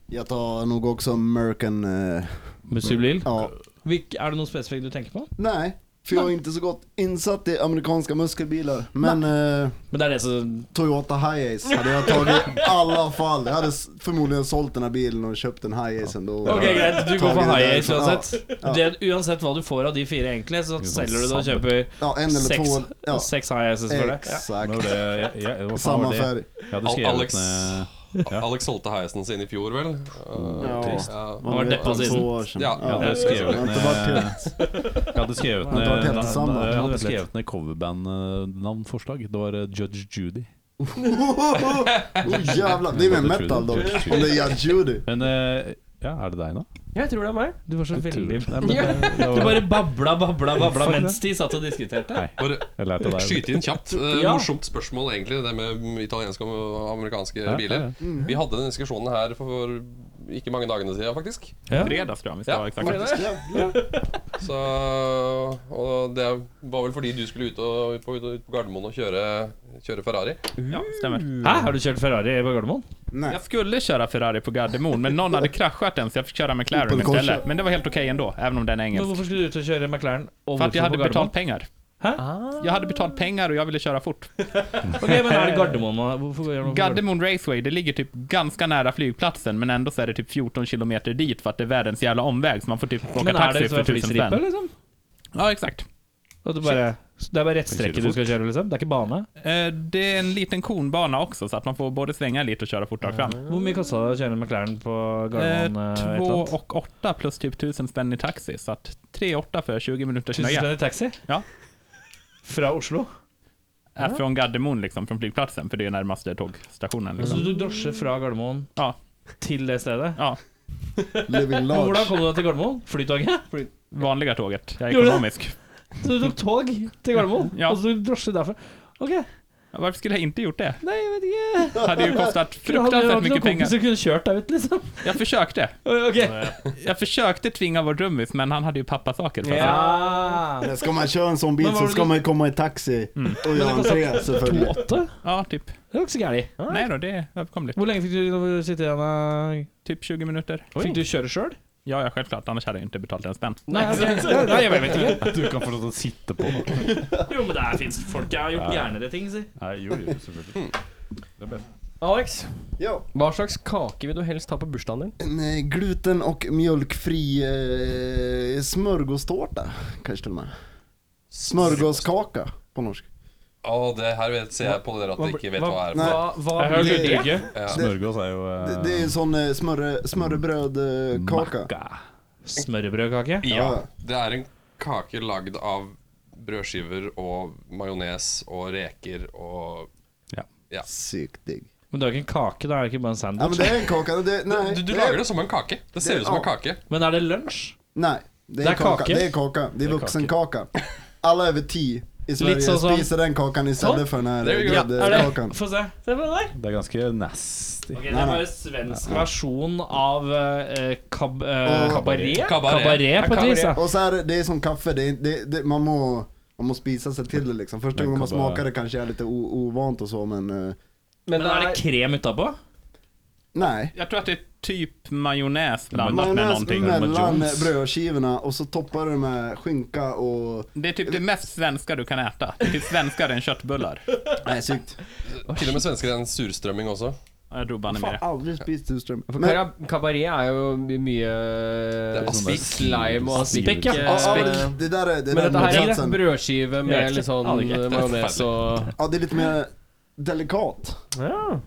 Speaker 8: Jeg tar nog også American eh,
Speaker 2: Musselbil.
Speaker 8: ja.
Speaker 2: Hvilk- Er det noe spesifikt du tenker på?
Speaker 8: Nej, för jag är inte så gott insatt i amerikanska muskelbilar. Men eh,
Speaker 2: Men det er det som
Speaker 8: Toyota Hiace hade jag tagit i alla fall. Jag hade s- förmodligen sålt den här bilen och köpt en Hiace ändå.
Speaker 2: Ok, greit. Du går
Speaker 8: Tagen
Speaker 2: for
Speaker 8: i
Speaker 2: high
Speaker 8: den.
Speaker 2: ace uansett.
Speaker 8: Ja.
Speaker 2: Det, uansett hva du får av de fire, egentlig, så selger du det og kjøper
Speaker 8: Ja, en eller
Speaker 2: seks,
Speaker 8: två. Ja,
Speaker 2: seks high aces for det. Ja.
Speaker 8: exakt.
Speaker 3: Nå, det, jeg, jeg, hva faen
Speaker 8: Samma
Speaker 3: var det?
Speaker 8: färg.
Speaker 3: Jeg hadde
Speaker 7: Al-
Speaker 3: skrevet
Speaker 7: Alex,
Speaker 3: ned
Speaker 7: Alex solgte heisen sin i fjor, vel? Eh,
Speaker 8: Ja.
Speaker 7: ja.
Speaker 2: var
Speaker 8: vet,
Speaker 2: deppad
Speaker 8: två
Speaker 2: siden.
Speaker 8: år sedan.
Speaker 7: Ja.
Speaker 8: Ja,
Speaker 3: Ja, det skrev
Speaker 8: jag har inte
Speaker 3: jag.
Speaker 8: varit helt
Speaker 3: Jeg hadde skrevet
Speaker 8: Ja,
Speaker 3: ned,
Speaker 8: det var helt det samme.
Speaker 3: jeg
Speaker 2: Det var
Speaker 3: hadde
Speaker 2: litt.
Speaker 3: skrevet ned coverband-navnforslag. Det var eh, Judge Judy.
Speaker 8: oh, jävlar, det är mer
Speaker 3: Både
Speaker 8: metal dock.
Speaker 3: Trudy och
Speaker 8: Om det är Judge Judy.
Speaker 3: Men eh, ja, er det deg nå?
Speaker 1: Jeg tror det er meg.
Speaker 2: Du var så veldig
Speaker 3: Nei, men eh, det, det var,
Speaker 2: Du bare babla, babla, babla mens de satt og diskuterte.
Speaker 3: Nei.
Speaker 7: Bare
Speaker 3: jeg lærte deg
Speaker 7: skyte inn kjapt. Eh,
Speaker 2: Ja.
Speaker 7: Morsomt spørsmål, egentlig, det med italienske og amerikanske
Speaker 3: Ja,
Speaker 7: biler.
Speaker 3: ja,
Speaker 7: Vi hadde den diskusjonen her for, for ikke mange dagene siden, faktisk.
Speaker 2: Ja.
Speaker 6: Fredags tror jag vi ska
Speaker 7: Ja,
Speaker 6: vara exakt.
Speaker 7: faktisk. Så, og det var vel fordi du skulle ut, og, på, ut på Gardermoen og kjøre, kjøre Ferrari.
Speaker 6: Ja, stämmer.
Speaker 2: Hæ, har du kjørt Ferrari på Gardermoen?
Speaker 8: Nej.
Speaker 6: Jag skulle köra Ferrari på Gardermoen, men någon hade kraschat den så jag fick köra McLaren
Speaker 8: Opel Corsa.
Speaker 6: istället. Men det var helt okej ändå, även om den är
Speaker 2: Men
Speaker 6: engelsk.
Speaker 2: hvorfor skulle du ut og kjøre McLaren? Og
Speaker 6: För att jag
Speaker 2: hvorfor
Speaker 6: hade
Speaker 2: på Gardermoen?
Speaker 6: betalt pengar. Jag hade betalt pengar och jag ville köra fort.
Speaker 2: Okej, men er det Gardermoen man Hvorfor gjør man
Speaker 6: Gardermoen Raceway, det ligger typ ganska nära flygplatsen men ändå så är det typ 14 kilometer dit för att det är världens jävla omväg så man får typ åka
Speaker 2: Men er det
Speaker 6: taxi
Speaker 2: så
Speaker 6: för tusen
Speaker 2: flystripe,
Speaker 6: spänn.
Speaker 2: liksom?
Speaker 6: Ja, exakt.
Speaker 2: At du bare, det er bare rettstrekket du skal kjøre, liksom? Det er ikke bane?
Speaker 6: Eh, Det är en liten konbana också så att man får både svänga lite och köra fortare fram.
Speaker 2: Hvor mye kosta det å kjøre McLaren på Gardermoen? eh, et eller
Speaker 6: Två
Speaker 2: annet?
Speaker 6: och åtta plus typ tusen spänn i taxi så att tre åtta för 20 minuters
Speaker 2: Tusen
Speaker 6: nöje.
Speaker 2: spenn i taxi?
Speaker 6: Ja.
Speaker 2: Fra Oslo?
Speaker 6: Är från Gardermoen liksom, från flygplatsen för det är närmaste tågstationen.
Speaker 2: Så
Speaker 6: Liksom.
Speaker 2: du tok drosje fra Gardermoen
Speaker 6: Ja.
Speaker 2: til det stedet?
Speaker 6: Ja,
Speaker 8: Living
Speaker 2: Men Hvordan
Speaker 8: large.
Speaker 2: kom du deg til Gardermoen? Flytoget?
Speaker 6: vanliga tåget. Jag är
Speaker 2: Gjorde du?
Speaker 6: ekonomisk.
Speaker 2: Så du tok tog til Gardermoen,
Speaker 6: Ja.
Speaker 2: og så tok du drosje derfra? Ok,
Speaker 6: Varför skulle jag inte gjort det?
Speaker 2: nei, jeg vet ikke.
Speaker 6: Det hade ju kostat
Speaker 2: Hadde
Speaker 6: fruktansvärt
Speaker 2: du
Speaker 6: mycket
Speaker 2: noen
Speaker 6: pengar.
Speaker 2: kompiser kunne kjørt deg ut, liksom?
Speaker 6: Jag försökte.
Speaker 2: Ok.
Speaker 6: Jag försökte tvinga vår drömmis, men han hade ju pappasaker för sig.
Speaker 2: Ja.
Speaker 8: Ska man köra en sån
Speaker 2: Men
Speaker 8: bil
Speaker 2: var
Speaker 8: så
Speaker 2: det
Speaker 8: ska man ju komma i taxi och göra entré såklart.
Speaker 2: Åtte?
Speaker 6: Ja, typ.
Speaker 2: Det var ikke så gærent.
Speaker 6: Nej då, det är överkomligt.
Speaker 2: Hvor lenge fikk du sitte igjen? eh?
Speaker 6: Typ 20 minuter.
Speaker 2: Fikk du kjøre sjøl?
Speaker 6: Ja, ja, självklart. Annars hade jag inte betalt en spänn.
Speaker 2: Nei, ok. Nei, jeg vet ikke.
Speaker 3: Du kan få lov til å sitte på den.
Speaker 2: Jo, men der fins folk. Jeg har gjort gjernere ting, si.
Speaker 3: Nei, jo, jo, selvfølgelig.
Speaker 1: Alex,
Speaker 8: Ja,
Speaker 1: hva slags kake vil du helst ha på bursdagen din?
Speaker 8: en eh, gluten och mjölkfri eh, smörgåstårta kanske till och med. Smörgåskaka på norska.
Speaker 7: Å, det her vet, ser jeg på dere at dere ikke vet hva er.
Speaker 8: Nei.
Speaker 1: hva
Speaker 2: Jeg hørte
Speaker 8: blir-
Speaker 2: ikke.
Speaker 3: Smørgås er jo eh,
Speaker 8: Det, det är en sånn eh, smörre, smörrebrödkaka.
Speaker 2: Makka. Smørbrødkake?
Speaker 7: Ja, det er en kake lagd av brødskiver och majones och reker och
Speaker 8: Sykt digg.
Speaker 2: Men det er jo ikke en kake, det er jo ikke bare en
Speaker 8: Ja men
Speaker 2: sandwich.
Speaker 8: det är en kaka. Det, nej,
Speaker 7: du, du
Speaker 8: det-
Speaker 7: lager det som en kake. Det ser
Speaker 8: Det-
Speaker 7: ut som en
Speaker 8: ja.
Speaker 7: kake.
Speaker 2: Men er det lunsj?
Speaker 8: Nej, det är,
Speaker 2: Det är
Speaker 8: kaka.
Speaker 2: kake.
Speaker 8: Det är kaka. Det är vuxenkaka. Alla över tio i Sverige
Speaker 2: så som-
Speaker 8: spiser den kakan istället för den här
Speaker 7: There you go.
Speaker 2: Er det?
Speaker 8: gräddkakan.
Speaker 2: Få se. Se på den der.
Speaker 3: Det er ganske nasty.
Speaker 2: det er bare svensk versjon av eh, kab eh,
Speaker 8: Og-
Speaker 2: kabaret.
Speaker 7: Kabaret.
Speaker 2: Kabaret, på et vis. ja.
Speaker 8: Och så är det, det är som kaffe, det, är- det, det, man må man må spisa sig till det liksom. Första
Speaker 3: Men
Speaker 8: gången man
Speaker 3: kan bara-
Speaker 8: smakar det kanske är lite o, ovant och så men eh,
Speaker 1: Men
Speaker 2: Men er det krem utapå?
Speaker 8: nej.
Speaker 6: Jag tror att det är typ majonnäs blandat med
Speaker 8: Majonnäs
Speaker 6: någonting.
Speaker 8: mellan brödskivorna och så toppar du med skinka och...
Speaker 6: Det är typ det mest svenska du kan äta. Det är typ svenskare än köttbullar.
Speaker 8: Nej, sykt.
Speaker 7: Til og med svensker er en surstrømming også.
Speaker 6: Jag drog banne med
Speaker 8: Fan,
Speaker 6: det.
Speaker 8: aldrig spist surström.
Speaker 1: For
Speaker 8: Men-
Speaker 1: kara- Kabaret er jo mye
Speaker 7: Det er aspik.
Speaker 1: slime og aspik.
Speaker 2: Aspik, ja.
Speaker 1: eh,
Speaker 8: Ja, ja, men det där är, det
Speaker 1: Men
Speaker 8: där
Speaker 1: dette her
Speaker 8: är
Speaker 1: er
Speaker 8: motsatsen.
Speaker 1: sånn brødskive
Speaker 2: Jeg
Speaker 1: med
Speaker 2: vet
Speaker 1: litt sånn
Speaker 2: ikke.
Speaker 1: eh, majones og
Speaker 8: Ja, det är lite mer delikat.
Speaker 2: Ja.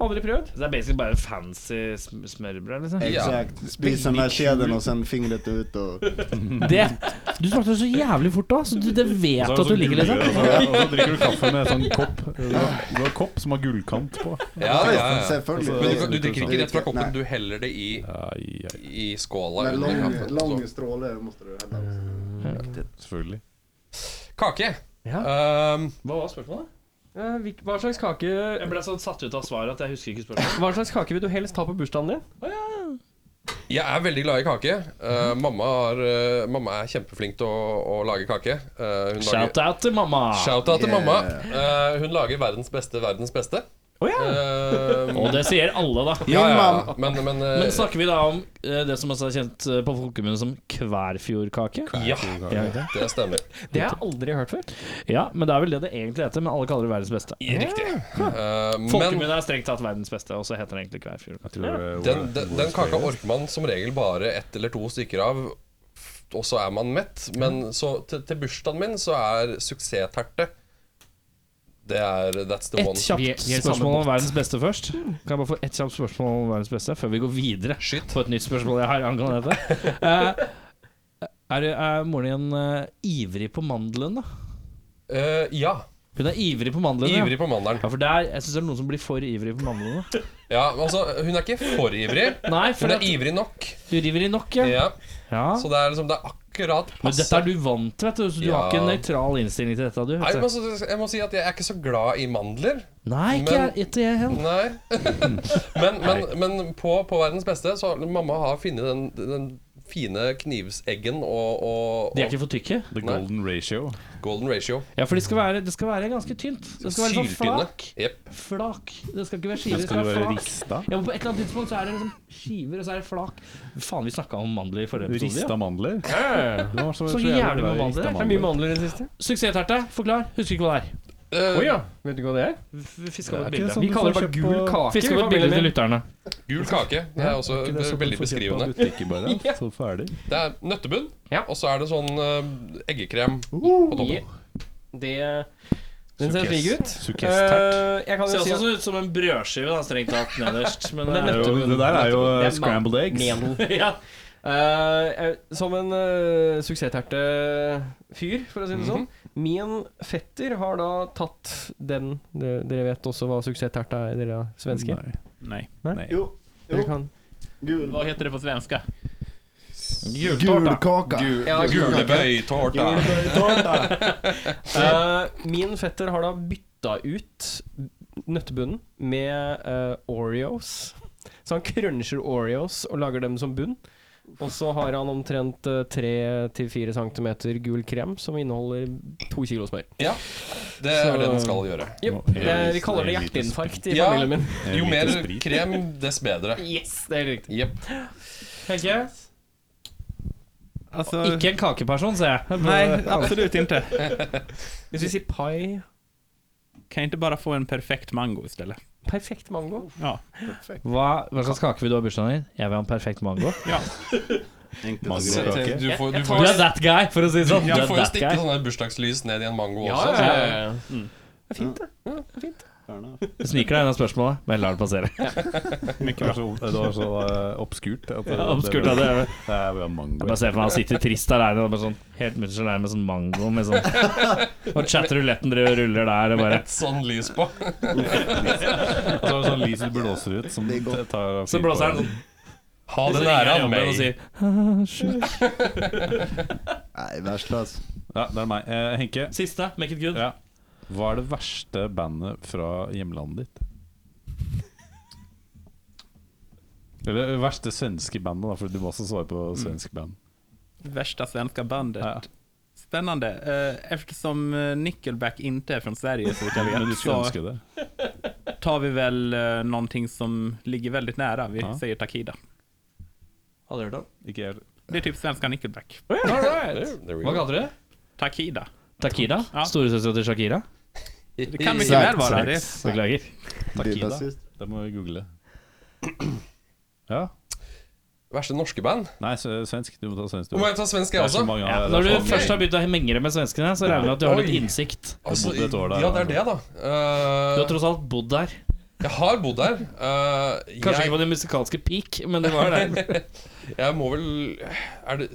Speaker 2: Aldri prøvd. Så det er basically bare fancy sm smørbrød, liksom.
Speaker 7: Ja.
Speaker 8: Exakt. Spis den här kedjan och sen fingret ut och...
Speaker 2: Det, du snakket så jævlig fort da, så du, det vet du at du liker, liksom.
Speaker 3: Og så- og så drikker du kaffe med sånn kopp. Du har, du har kopp som har gullkant på.
Speaker 7: Ja, ja, ja.
Speaker 8: Selvfølgelig.
Speaker 7: Men du, du drikker ikke rett fra
Speaker 8: sånn Nei.
Speaker 7: koppen, du heller det i,
Speaker 3: Ai, ai,
Speaker 7: i skåla.
Speaker 8: Men
Speaker 7: under
Speaker 8: lång,
Speaker 7: kaffen,
Speaker 8: lång
Speaker 7: så.
Speaker 8: stråle måste du hälla.
Speaker 3: selvfølgelig.
Speaker 7: Kake. Ehm,
Speaker 2: Hva var spørsmålet?
Speaker 1: Eh, hvil- Hva slags kake
Speaker 2: Jeg ble sånn satt ut av svaret at jeg husker ikke spørsmålet.
Speaker 1: Hva slags kake vil du helst ha på bursdagen din?
Speaker 7: jeg er veldig glad i kake. Eh, mamma, har, eh, mamma er kjempeflink til å, å lage kake. Eh, hun lager,
Speaker 2: Shout-out til mamma!
Speaker 7: Shout-out til
Speaker 8: Yeah.
Speaker 7: mamma. Eh, hun lager verdens beste, verdens beste.
Speaker 2: Å ja.
Speaker 7: Eh,
Speaker 2: Og det sier alle, da.
Speaker 7: ja, ja,
Speaker 8: Min
Speaker 7: ja. Men, men, eh,
Speaker 2: Men snakker vi da om eh, det som også er kjent eh, på folkemunne som Kværfjordkake?
Speaker 7: Ja,
Speaker 2: Ja.
Speaker 7: det stemmer.
Speaker 1: Det har jeg aldri hørt før.
Speaker 2: ja, men det er vel det det egentlig heter, men alle kaller det verdens beste.
Speaker 7: Riktig. Eh, men
Speaker 2: Folkemunne er strengt tatt verdens beste, og så heter den egentlig Kværfjord.
Speaker 3: Jeg tror det var-
Speaker 7: den, den, den kaka orker man som regel bare ett eller to stykker av. f- Og så er man mett.
Speaker 2: Mm.
Speaker 7: Men så, til, til bursdagen min så er suksessterte Det er That's the
Speaker 2: Ett
Speaker 7: one.
Speaker 1: Vi er-
Speaker 2: kjapt
Speaker 1: vi er i samme
Speaker 2: spørsmål om
Speaker 1: båt.
Speaker 2: verdens beste først. Kan jeg bare få ett kjapt spørsmål om verdens beste før vi går videre
Speaker 7: Skyt.
Speaker 2: på et nytt spørsmål jeg har angående dette? Eh, er, er moren din eh, ivrig på mandelen, da?
Speaker 7: Eh, ja.
Speaker 2: Hun er ivrig på mandelen,
Speaker 7: Ivrig på
Speaker 2: ja.
Speaker 7: mandelen.
Speaker 2: ja. For der, jeg syns det er noen som blir for ivrig på mandelen. Da.
Speaker 7: Ja, altså, hun er ikke for ivrig.
Speaker 2: Nei,
Speaker 7: Hun
Speaker 2: for
Speaker 7: er
Speaker 2: at
Speaker 7: ivrig nok.
Speaker 2: du river i nok, ja.
Speaker 7: Ja,
Speaker 2: ja.
Speaker 7: så det er liksom Det er akkurat
Speaker 2: Men
Speaker 7: passe.
Speaker 2: dette er du vant til, vet du, så du har
Speaker 7: Ja.
Speaker 2: ikke en nøytral innstilling til dette, du.
Speaker 7: Nei, men
Speaker 2: Vet du.
Speaker 7: så, jeg må si at jeg er ikke så glad i mandler.
Speaker 2: Nei, ikke
Speaker 7: men-
Speaker 2: jeg- ikke jeg heller.
Speaker 7: Nei. Men, men, men på, på verdens beste så har mamma har funnet den, den fine knivseggen og, og,
Speaker 2: De er
Speaker 7: og
Speaker 2: ikke for tykke?
Speaker 3: The golden ratio.
Speaker 7: golden ratio.
Speaker 2: Ja, for det skal være, det skal være ganske tynt. Det skal være sånn
Speaker 7: Syltynne.
Speaker 2: flak.
Speaker 7: Jep.
Speaker 2: Flak. Det skal ikke være
Speaker 3: Det
Speaker 2: skiver,
Speaker 3: skal
Speaker 2: det skal
Speaker 3: jo
Speaker 2: være
Speaker 3: være
Speaker 2: flak.
Speaker 3: rista.
Speaker 2: Ja, men på et eller annet tidspunkt så er det liksom skiver, og så er det flak. Faen, vi snakka om mandler i forrige episode.
Speaker 3: Rista
Speaker 2: Ja.
Speaker 3: mandler. Det var
Speaker 2: Så
Speaker 3: jævlig
Speaker 2: jævlig
Speaker 3: bra
Speaker 2: med mandler.
Speaker 3: rista
Speaker 2: Det
Speaker 1: Det er mye mandler i det siste.
Speaker 2: Suksessterte, forklar. Husker ikke hva det er.
Speaker 7: Eh,
Speaker 1: Oi ja. Vet du hva det er?
Speaker 2: Fiska
Speaker 3: Det er
Speaker 2: opp et
Speaker 3: ikke
Speaker 2: bilde.
Speaker 3: sånn
Speaker 1: Vi
Speaker 3: du
Speaker 1: kaller det
Speaker 3: får
Speaker 1: bare
Speaker 3: kjøpt
Speaker 1: gul
Speaker 3: på-
Speaker 1: kake.
Speaker 2: Fiska opp et bilde til lytterne.
Speaker 7: Gul kake. Det er også
Speaker 3: Ikke det sånn
Speaker 7: veldig
Speaker 3: du får kjøpt på
Speaker 7: beskrivende.
Speaker 3: butikken bare, ja. Så ferdig.
Speaker 7: Det er nøttebunn,
Speaker 1: Ja.
Speaker 7: og så er det sånn eh, eggekrem
Speaker 2: Uh,
Speaker 7: på toppen.
Speaker 1: Det Den ser slik ut.
Speaker 3: Sukkesttert.
Speaker 1: Eh, jeg kan
Speaker 2: Ser
Speaker 1: jo si
Speaker 2: også
Speaker 1: at
Speaker 2: sånn ut som en brødskive, da, strengt tatt, nederst. Men eh,
Speaker 1: Men
Speaker 2: det er jo
Speaker 3: Det der er jo
Speaker 1: Det
Speaker 3: eh,
Speaker 1: er
Speaker 3: scrambled eggs.
Speaker 1: Meno.
Speaker 2: ja.
Speaker 1: Eh, eh, som en uh, suksessterte-fyr, for å si det sånn. Min fetter har da tatt den Dere dere vet også hva suksessterte er, dere svenske?
Speaker 3: Nei.
Speaker 6: Nej.
Speaker 8: Jo,
Speaker 1: Dere kan
Speaker 8: gul.
Speaker 6: Vad heter det på svenska?
Speaker 8: Gulkaka.
Speaker 1: Ja,
Speaker 7: Gule bøytårta.
Speaker 8: Gulbøytårta.
Speaker 1: Eh, min fetter har da bytta ut nøttebunnen med eh, Oreos. Så han cruncher Oreos og lager dem som bunn. Og så har han omtrent eh, tre til fire centimeter gul krem som inneholder to kilo smør.
Speaker 7: Det er det den skal gjøre.
Speaker 1: Jep,
Speaker 3: Og
Speaker 1: det,
Speaker 3: en-
Speaker 1: vi kaller det
Speaker 3: en liten
Speaker 1: hjerteinfarkt i
Speaker 7: Ja.
Speaker 1: familien min.
Speaker 3: En
Speaker 7: Jo
Speaker 3: liter
Speaker 7: mer
Speaker 3: sprit.
Speaker 7: krem, dess bedre.
Speaker 1: Yes, det er helt riktig.
Speaker 7: Jepp.
Speaker 2: Henke?
Speaker 6: Alltså,
Speaker 2: Ikke en kakeperson, ser jeg.
Speaker 6: nej, absolut inte.
Speaker 1: Hvis vi sier pai
Speaker 6: Kan jag inte bara få en perfekt mango istället?
Speaker 1: Perfekt mango.
Speaker 6: Ja.
Speaker 2: Hva, hva slags kake vil du ha i bursdagen din? Jeg vil ha en perfekt mango.
Speaker 7: Så
Speaker 3: Mandelkake.
Speaker 7: Du får, du
Speaker 1: Jeg
Speaker 7: får,
Speaker 2: Du er that guy, for å si det sånn.
Speaker 7: du
Speaker 2: Du er
Speaker 7: får jo
Speaker 2: that
Speaker 7: stikke
Speaker 2: guy.
Speaker 7: sånne bursdagslys ned i en mango
Speaker 1: Ja, ja,
Speaker 7: også. Så
Speaker 1: ja, ja. Det er fint, det. Ja, det er fint.
Speaker 2: Du sniker deg unna spørsmålet, men lar det passere.
Speaker 3: Det var så- det var så eh, obskurt. at det-
Speaker 2: Ja, obskurt, ja,
Speaker 3: det
Speaker 2: det er det.
Speaker 3: er jo mango.
Speaker 2: Jeg bare ser for meg han sitter trist aleine med sånn helt mutter med sånn mango med sånn Og chatteruletten driver og ruller der og bare
Speaker 7: et sånn lys på.
Speaker 3: Og så er det sånn lyset blåser ut. Som det tar
Speaker 2: Så blåser han sånn.
Speaker 7: Ha det nære av
Speaker 2: Og
Speaker 7: meg.
Speaker 2: sier
Speaker 8: Nei, verst, ass.
Speaker 3: Ja, det er meg. Eh, Henke,
Speaker 2: Siste, make it good.
Speaker 3: Ja. hva er det verste bandet fra hjemlandet ditt? Eller det verste svenske bandet, da, for du må også svare
Speaker 2: Mm.
Speaker 3: på svensk band.
Speaker 6: Värsta svenska bandet.
Speaker 3: Ja.
Speaker 6: Spännande. Eh, Eftersom eh, Nickelback inte är från Sverige så vitt jag
Speaker 3: Men du
Speaker 6: vet
Speaker 3: skulle
Speaker 6: så
Speaker 3: ønske det.
Speaker 6: tar vi väl eh, någonting som ligger väldigt nära. Vi
Speaker 3: Ja.
Speaker 6: säger Takida.
Speaker 2: Hadde hørt om.
Speaker 3: Ikke jeg.
Speaker 6: Det är typ svenska Nickelback.
Speaker 2: All right.
Speaker 7: There we
Speaker 2: Hva
Speaker 7: go.
Speaker 2: kalte du det?
Speaker 6: Takida.
Speaker 2: Takida?
Speaker 6: Ja.
Speaker 2: Storesøstera til Shakira?
Speaker 6: Det kan mycket
Speaker 8: Exakt,
Speaker 6: väl vara det.
Speaker 8: exakt.
Speaker 2: Beklager.
Speaker 8: Blir
Speaker 3: Takida.
Speaker 8: rasist.
Speaker 3: Det må vi google. Ja.
Speaker 7: Verste norske band?
Speaker 3: Nei, s- svensk. Du må ta svensk. du.
Speaker 7: Hvor må jeg ta svensk,
Speaker 3: Det
Speaker 7: jeg
Speaker 3: er så
Speaker 7: også?
Speaker 3: mange
Speaker 2: Ja,
Speaker 3: av-
Speaker 2: når
Speaker 3: det er
Speaker 2: du
Speaker 3: så
Speaker 2: først
Speaker 3: mange-
Speaker 2: har begynt å mengre med svenskene, så regner jeg med at du har litt
Speaker 7: Oi.
Speaker 2: innsikt.
Speaker 7: Altså,
Speaker 3: bodde et år der,
Speaker 7: ja, det er det, da.
Speaker 2: Du har
Speaker 7: Eh,
Speaker 2: tross alt bodd der.
Speaker 7: jeg har bodd der. Eh,
Speaker 2: Kanskje
Speaker 7: jeg-
Speaker 2: ikke på din musikalske peak, men det var der.
Speaker 7: Jeg må vel Er det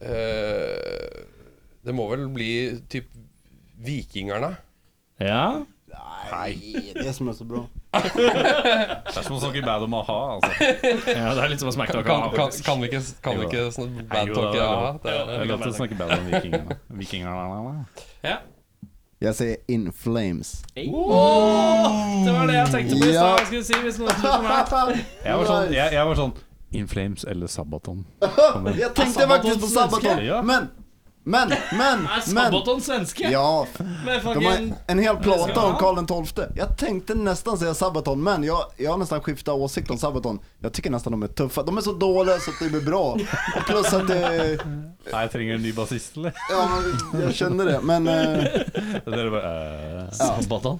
Speaker 7: Eh, Det må vel bli typ Vikingerne.
Speaker 2: Ja.
Speaker 8: Nei, det som er så bra.
Speaker 3: Det er som å snakke bad om a-ha, altså.
Speaker 2: ja, det er litt som å smekke
Speaker 7: Kan,
Speaker 2: tak
Speaker 7: kan,
Speaker 2: av.
Speaker 7: kan, kan vi ikke, kan vi ikke sånn bad
Speaker 3: Jo,
Speaker 7: talk?
Speaker 3: det er
Speaker 7: Ja,
Speaker 3: lov.
Speaker 7: det
Speaker 3: Det er
Speaker 7: er-
Speaker 3: lov til å snakke bad om vikingene. Vikingerne
Speaker 8: Jeg sier In Flames.
Speaker 2: Det var det jeg tenkte på i stad. Hva skulle jeg si hvis noen skulle komme her?
Speaker 3: Jeg var sånn, jeg, jeg var sånn In Flames eller Sabaton.
Speaker 8: Jeg tenkte faktisk på Sabaton,
Speaker 3: Ja.
Speaker 8: men Men, men,
Speaker 2: Er
Speaker 8: men
Speaker 2: Sabaton svenske?
Speaker 8: Ja,
Speaker 2: Men
Speaker 8: de
Speaker 2: fucking
Speaker 8: har en hel plata om Karl XII. Jag tänkte nästan säga Sabaton, men jag, jag har nästan skiftat åsikt om Sabaton. Jag tycker nästan de är tuffa. De är så dåliga så att det blir bra. Och plus att det...
Speaker 3: Nei, jeg trenger en ny bassist, eller?
Speaker 8: Ja, men jag kände det. Men... eh,
Speaker 3: Dere bare eh,
Speaker 2: Sabaton?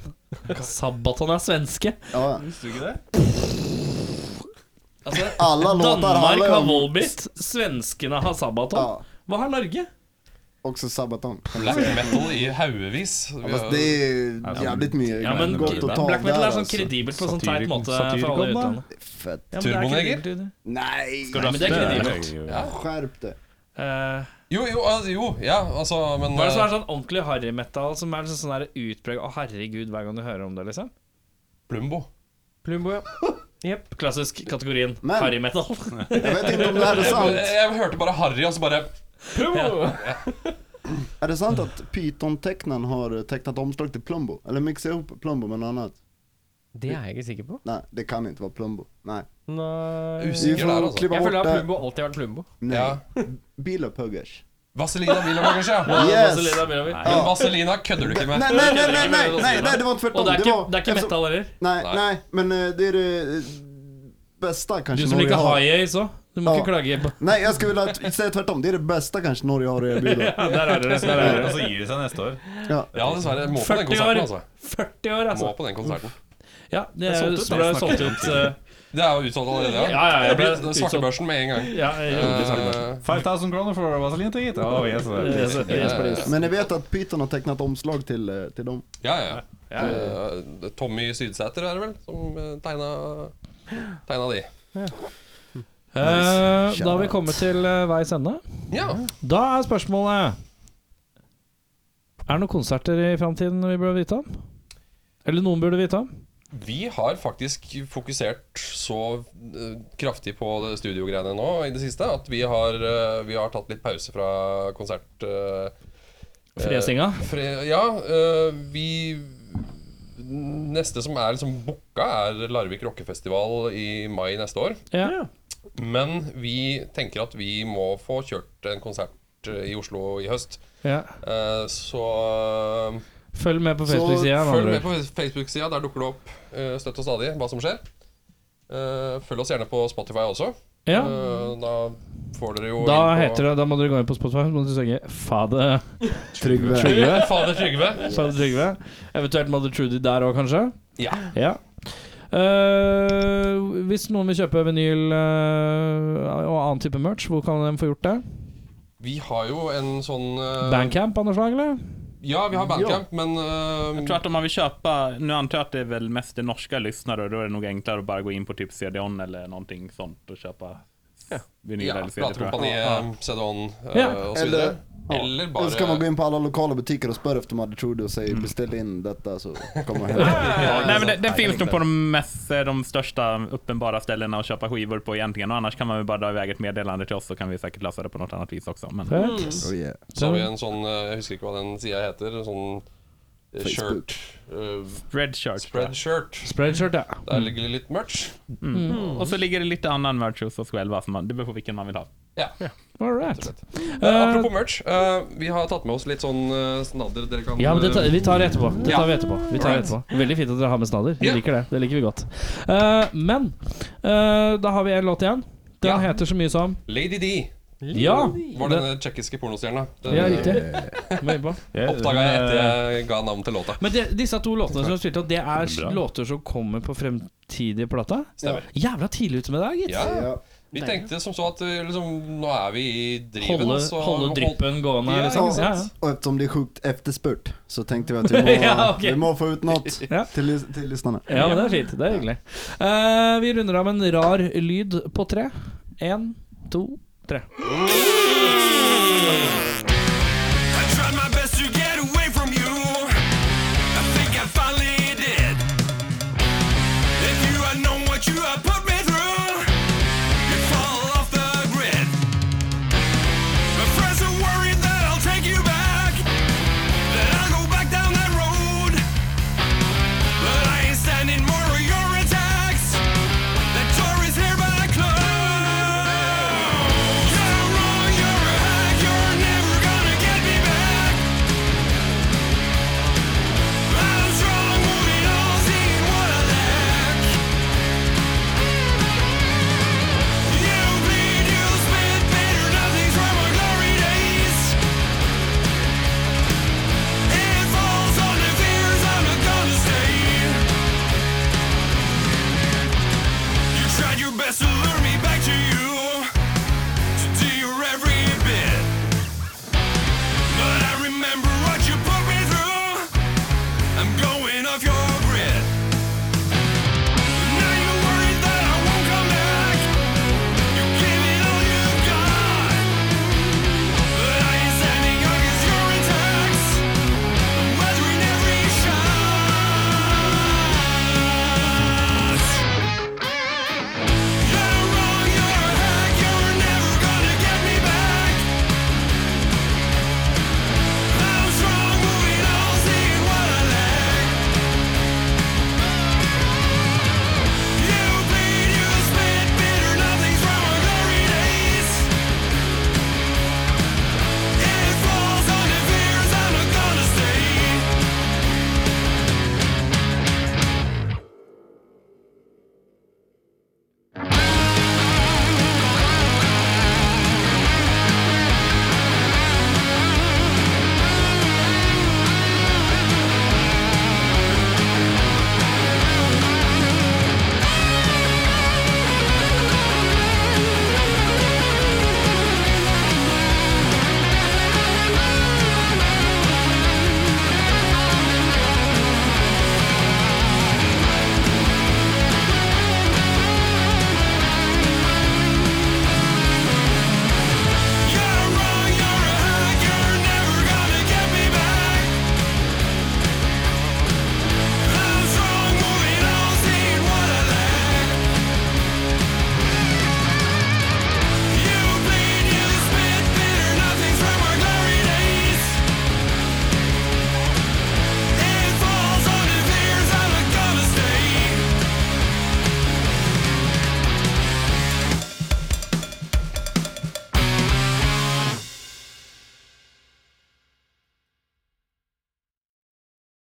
Speaker 2: Sabaton er svenske.
Speaker 8: Ja.
Speaker 2: Altså,
Speaker 8: Alla låtar
Speaker 2: Danmark
Speaker 8: handlar
Speaker 2: har
Speaker 8: om...
Speaker 2: Volbit, svenskene har Sabaton.
Speaker 8: Ja,
Speaker 2: Hva har Norge?
Speaker 8: också Sabaton.
Speaker 7: Black metal i haugevis. Vi
Speaker 8: Fast
Speaker 7: har-
Speaker 8: det är ju jävligt mycket
Speaker 2: Ja, men
Speaker 8: gott att ta
Speaker 2: Black metal
Speaker 8: där,
Speaker 2: er sånn
Speaker 8: alltså.
Speaker 2: kredibelt på sånn teit
Speaker 3: Satirikon-
Speaker 2: måte for alle i
Speaker 3: satirikon, da?
Speaker 2: utlandet.
Speaker 8: Fett.
Speaker 2: Ja, men det er
Speaker 7: Turboneger?
Speaker 2: kredibelt, det.
Speaker 8: Nej!
Speaker 2: Nei, men det er kredibelt.
Speaker 3: Ja.
Speaker 8: Skärp det.
Speaker 2: Eh,
Speaker 7: Jo, jo, altså, jo, ja, altså, men
Speaker 2: Hva er det som er
Speaker 7: eh,
Speaker 2: sånn ordentlig harrymetal som er liksom sånn der utpreg Å, herregud, hver gang du hører om det, liksom?
Speaker 7: eh, Plumbo.
Speaker 1: Plumbo, ja.
Speaker 2: Jep, Klassisk kategorien
Speaker 8: Men-
Speaker 2: harrymetal.
Speaker 8: Jag vet inte om det här är sant.
Speaker 7: Jeg, jeg hørte bare Harry, og så bare
Speaker 8: Är det sant att Python-tecknaren har tecknat omslag till Plumbo? Eller mixat ihop Plumbo med något annat?
Speaker 1: Det er jeg ikke sikker på.
Speaker 8: Nei, det kan ikke være Plumbo. Nei.
Speaker 1: Nei
Speaker 8: Vi
Speaker 7: Usikker
Speaker 8: får
Speaker 7: der, altså.
Speaker 8: klippa
Speaker 1: Jeg føler at
Speaker 8: bort det.
Speaker 1: Plumbo alltid har vært Plumbo.
Speaker 8: Nei.
Speaker 7: Ja.
Speaker 8: Bilopphøggers.
Speaker 7: Vaselina vil ha meg, kanskje? ja.
Speaker 8: Yes!
Speaker 4: Vazelina Milovic.
Speaker 7: Men Vaselina kødder du ikke
Speaker 8: Nei,
Speaker 7: med.
Speaker 8: nei, nei, nei, nei, nei, nei, nei, det var
Speaker 4: Og
Speaker 8: tvärtom.
Speaker 4: det er
Speaker 8: det
Speaker 4: ikke,
Speaker 8: var,
Speaker 4: det er ikke metal heller.
Speaker 8: Nei,
Speaker 7: Nei.
Speaker 8: nei, men eh, det er det eh, bästa kanske
Speaker 2: Du som liker
Speaker 8: har.
Speaker 2: high ace òg. Du må
Speaker 8: Ja.
Speaker 2: ikke klage. på
Speaker 8: Nej, jag skulle vilja t- säga tvärtom. Det är det bästa kanske Norge har att erbjuda.
Speaker 9: Og så gir de seg neste år.
Speaker 8: Ja.
Speaker 7: Ja, dessverre. Må på
Speaker 2: 40 år.
Speaker 7: den konserten, altså.
Speaker 2: 40 år,
Speaker 7: Må
Speaker 2: altså.
Speaker 7: på den konserten.
Speaker 2: Ja, det er jo- så ble det solgt ut. eh,
Speaker 7: Det er jo utsolgt allerede, ja.
Speaker 2: Ja, ja, jeg
Speaker 7: Det
Speaker 2: ble
Speaker 7: blir svartebørsen med en gang.
Speaker 2: Ja, jeg gjorde det
Speaker 9: 5000 kroner for vaselin til gitt. Oh, yes, det
Speaker 2: samme.
Speaker 7: Eh,
Speaker 8: Men ni vet att Python har tecknat omslag till, eh, till dem?
Speaker 7: Ja, ja. Eh, Tommy Sydsæter er det vel som eh, tegna, tegna de.
Speaker 2: Eh, Da har vi kommet til eh, veis ende.
Speaker 7: Ja.
Speaker 2: Da er spørsmålet Er det noen konserter i framtiden vi burde vite om? Eller noen burde vite om?
Speaker 7: Vi har faktisk fokusert så eh, kraftig på det studiogreiene nå i det siste at vi har, eh, vi har tatt litt pause fra konsert... eh,
Speaker 2: Fresinga?
Speaker 7: Fre ja, eh, vi Neste som er liksom booka, er Larvik rockefestival i mai neste år.
Speaker 2: Ja.
Speaker 7: Men vi tenker at vi må få kjørt en konsert eh, i Oslo i høst.
Speaker 2: ja.
Speaker 7: Eh, Så eh,
Speaker 2: Følg med på
Speaker 8: Så
Speaker 2: Facebook-sida. med
Speaker 7: følg
Speaker 2: andre
Speaker 7: med
Speaker 2: ord.
Speaker 7: på Facebook-sida. Der dukker det opp eh, støtt og stadig hva som skjer. Eh, Følg oss gjerne på Spotify også.
Speaker 2: Ja.
Speaker 7: Eh, Da får dere jo
Speaker 2: Da heter det Da må dere gå inn på Spotify så må dere søke Fade
Speaker 8: Trygve.
Speaker 2: Trygve.
Speaker 7: Fader Trygve.
Speaker 2: Fade Trygve. Eventuelt Mother Trudy der òg, kanskje.
Speaker 7: Ja.
Speaker 2: Ja. Eh, hvis noen vil kjøpe vinyl eh, og annen type merch, hvor kan de få gjort det?
Speaker 7: Eh. Vi har jo en sånn eh,
Speaker 2: Bandcamp av noe slag, eller?
Speaker 7: Ja, vi har Bandcamp, men eh,
Speaker 6: Jag tror att om man vill köpa, nu antar jag att det är väl mest det norska lyssnare och då är det nog enklare att bara gå in på typ CDON eller någonting sånt och köpa vinyl
Speaker 7: Ja,
Speaker 6: eller CD tror jag.
Speaker 7: Platekompaniet, eh, CD-ON eh,
Speaker 2: Ja.
Speaker 7: og så videre.
Speaker 8: Eller, ja.
Speaker 7: Eller
Speaker 8: Eller så kan man gå
Speaker 7: bare
Speaker 8: in på alla lokala butiker och spöra efter Mother Trudy och säga beställ in detta så kommer det hända.
Speaker 6: Nej men den, den finns nog på de, mest, eh, de största uppenbara ställena att köpa skivor på egentligen och annars kan man väl bara dra iväg ett meddelande till oss så kan vi säkert lösa det på något annat vis också. Men,
Speaker 2: Fett.
Speaker 8: Oh, yeah.
Speaker 7: Så har vi en sånn eh, Jeg husker ikke hva den sida heter. en Sånn eh,
Speaker 8: Facebook.
Speaker 7: shirt eh,
Speaker 6: Spread shirt. tror jag.
Speaker 7: Spreadshirt.
Speaker 2: Spreadshirt, ja.
Speaker 7: Der ligger det litt merch.
Speaker 6: Och så ligger det lite annan merch hos oss själva, så altså, man, det beror på vilken man vill ha.
Speaker 7: Ja.
Speaker 2: All right.
Speaker 7: Eh, apropos merch. eh, vi har tatt med oss litt sånn eh, snadder dere kan
Speaker 2: Ja, men det tar,
Speaker 7: eh,
Speaker 2: vi tar det etterpå. Det
Speaker 7: Ja.
Speaker 2: tar vi etterpå. Vi tar det
Speaker 7: Alright.
Speaker 2: etterpå. Veldig fint at dere har med snadder. Vi
Speaker 7: Ja.
Speaker 2: liker det. Det liker vi godt. Eh, men eh, da har vi en låt igjen. Den
Speaker 7: Ja.
Speaker 2: heter så mye som
Speaker 7: Lady D
Speaker 2: Ja!
Speaker 7: var denne tjekkiske pornostjerna. Den,
Speaker 2: Ja,
Speaker 7: eh,
Speaker 2: riktig. Må innpå.
Speaker 7: Oppdaga jeg etter jeg ga navn til låta.
Speaker 2: Men det, disse to låtene som du spilte, det er låter som kommer på fremtidige plata?
Speaker 7: Stemmer.
Speaker 2: Jævla tidlig ute med deg, gitt.
Speaker 7: Ja.
Speaker 8: Ja.
Speaker 7: Vi tenkte som så at eh, liksom, nå er vi i driven. altså.
Speaker 2: Holde,
Speaker 7: så
Speaker 2: holde
Speaker 7: hold-
Speaker 2: dryppen gående.
Speaker 7: Ja,
Speaker 2: liksom.
Speaker 7: ikke
Speaker 2: Ja,
Speaker 7: sant?
Speaker 8: Och eftersom det är sjukt efterspurt så tänkte vi att vi må,
Speaker 2: Ja, okej.
Speaker 8: vi må få ut något
Speaker 2: Ja.
Speaker 8: till, lys- till lyssnarna.
Speaker 2: ja. ja, men det er fint. Det er hyggelig. Eh, vi runder av med en rar lyd på tre. Én, to, tre.
Speaker 7: Oi!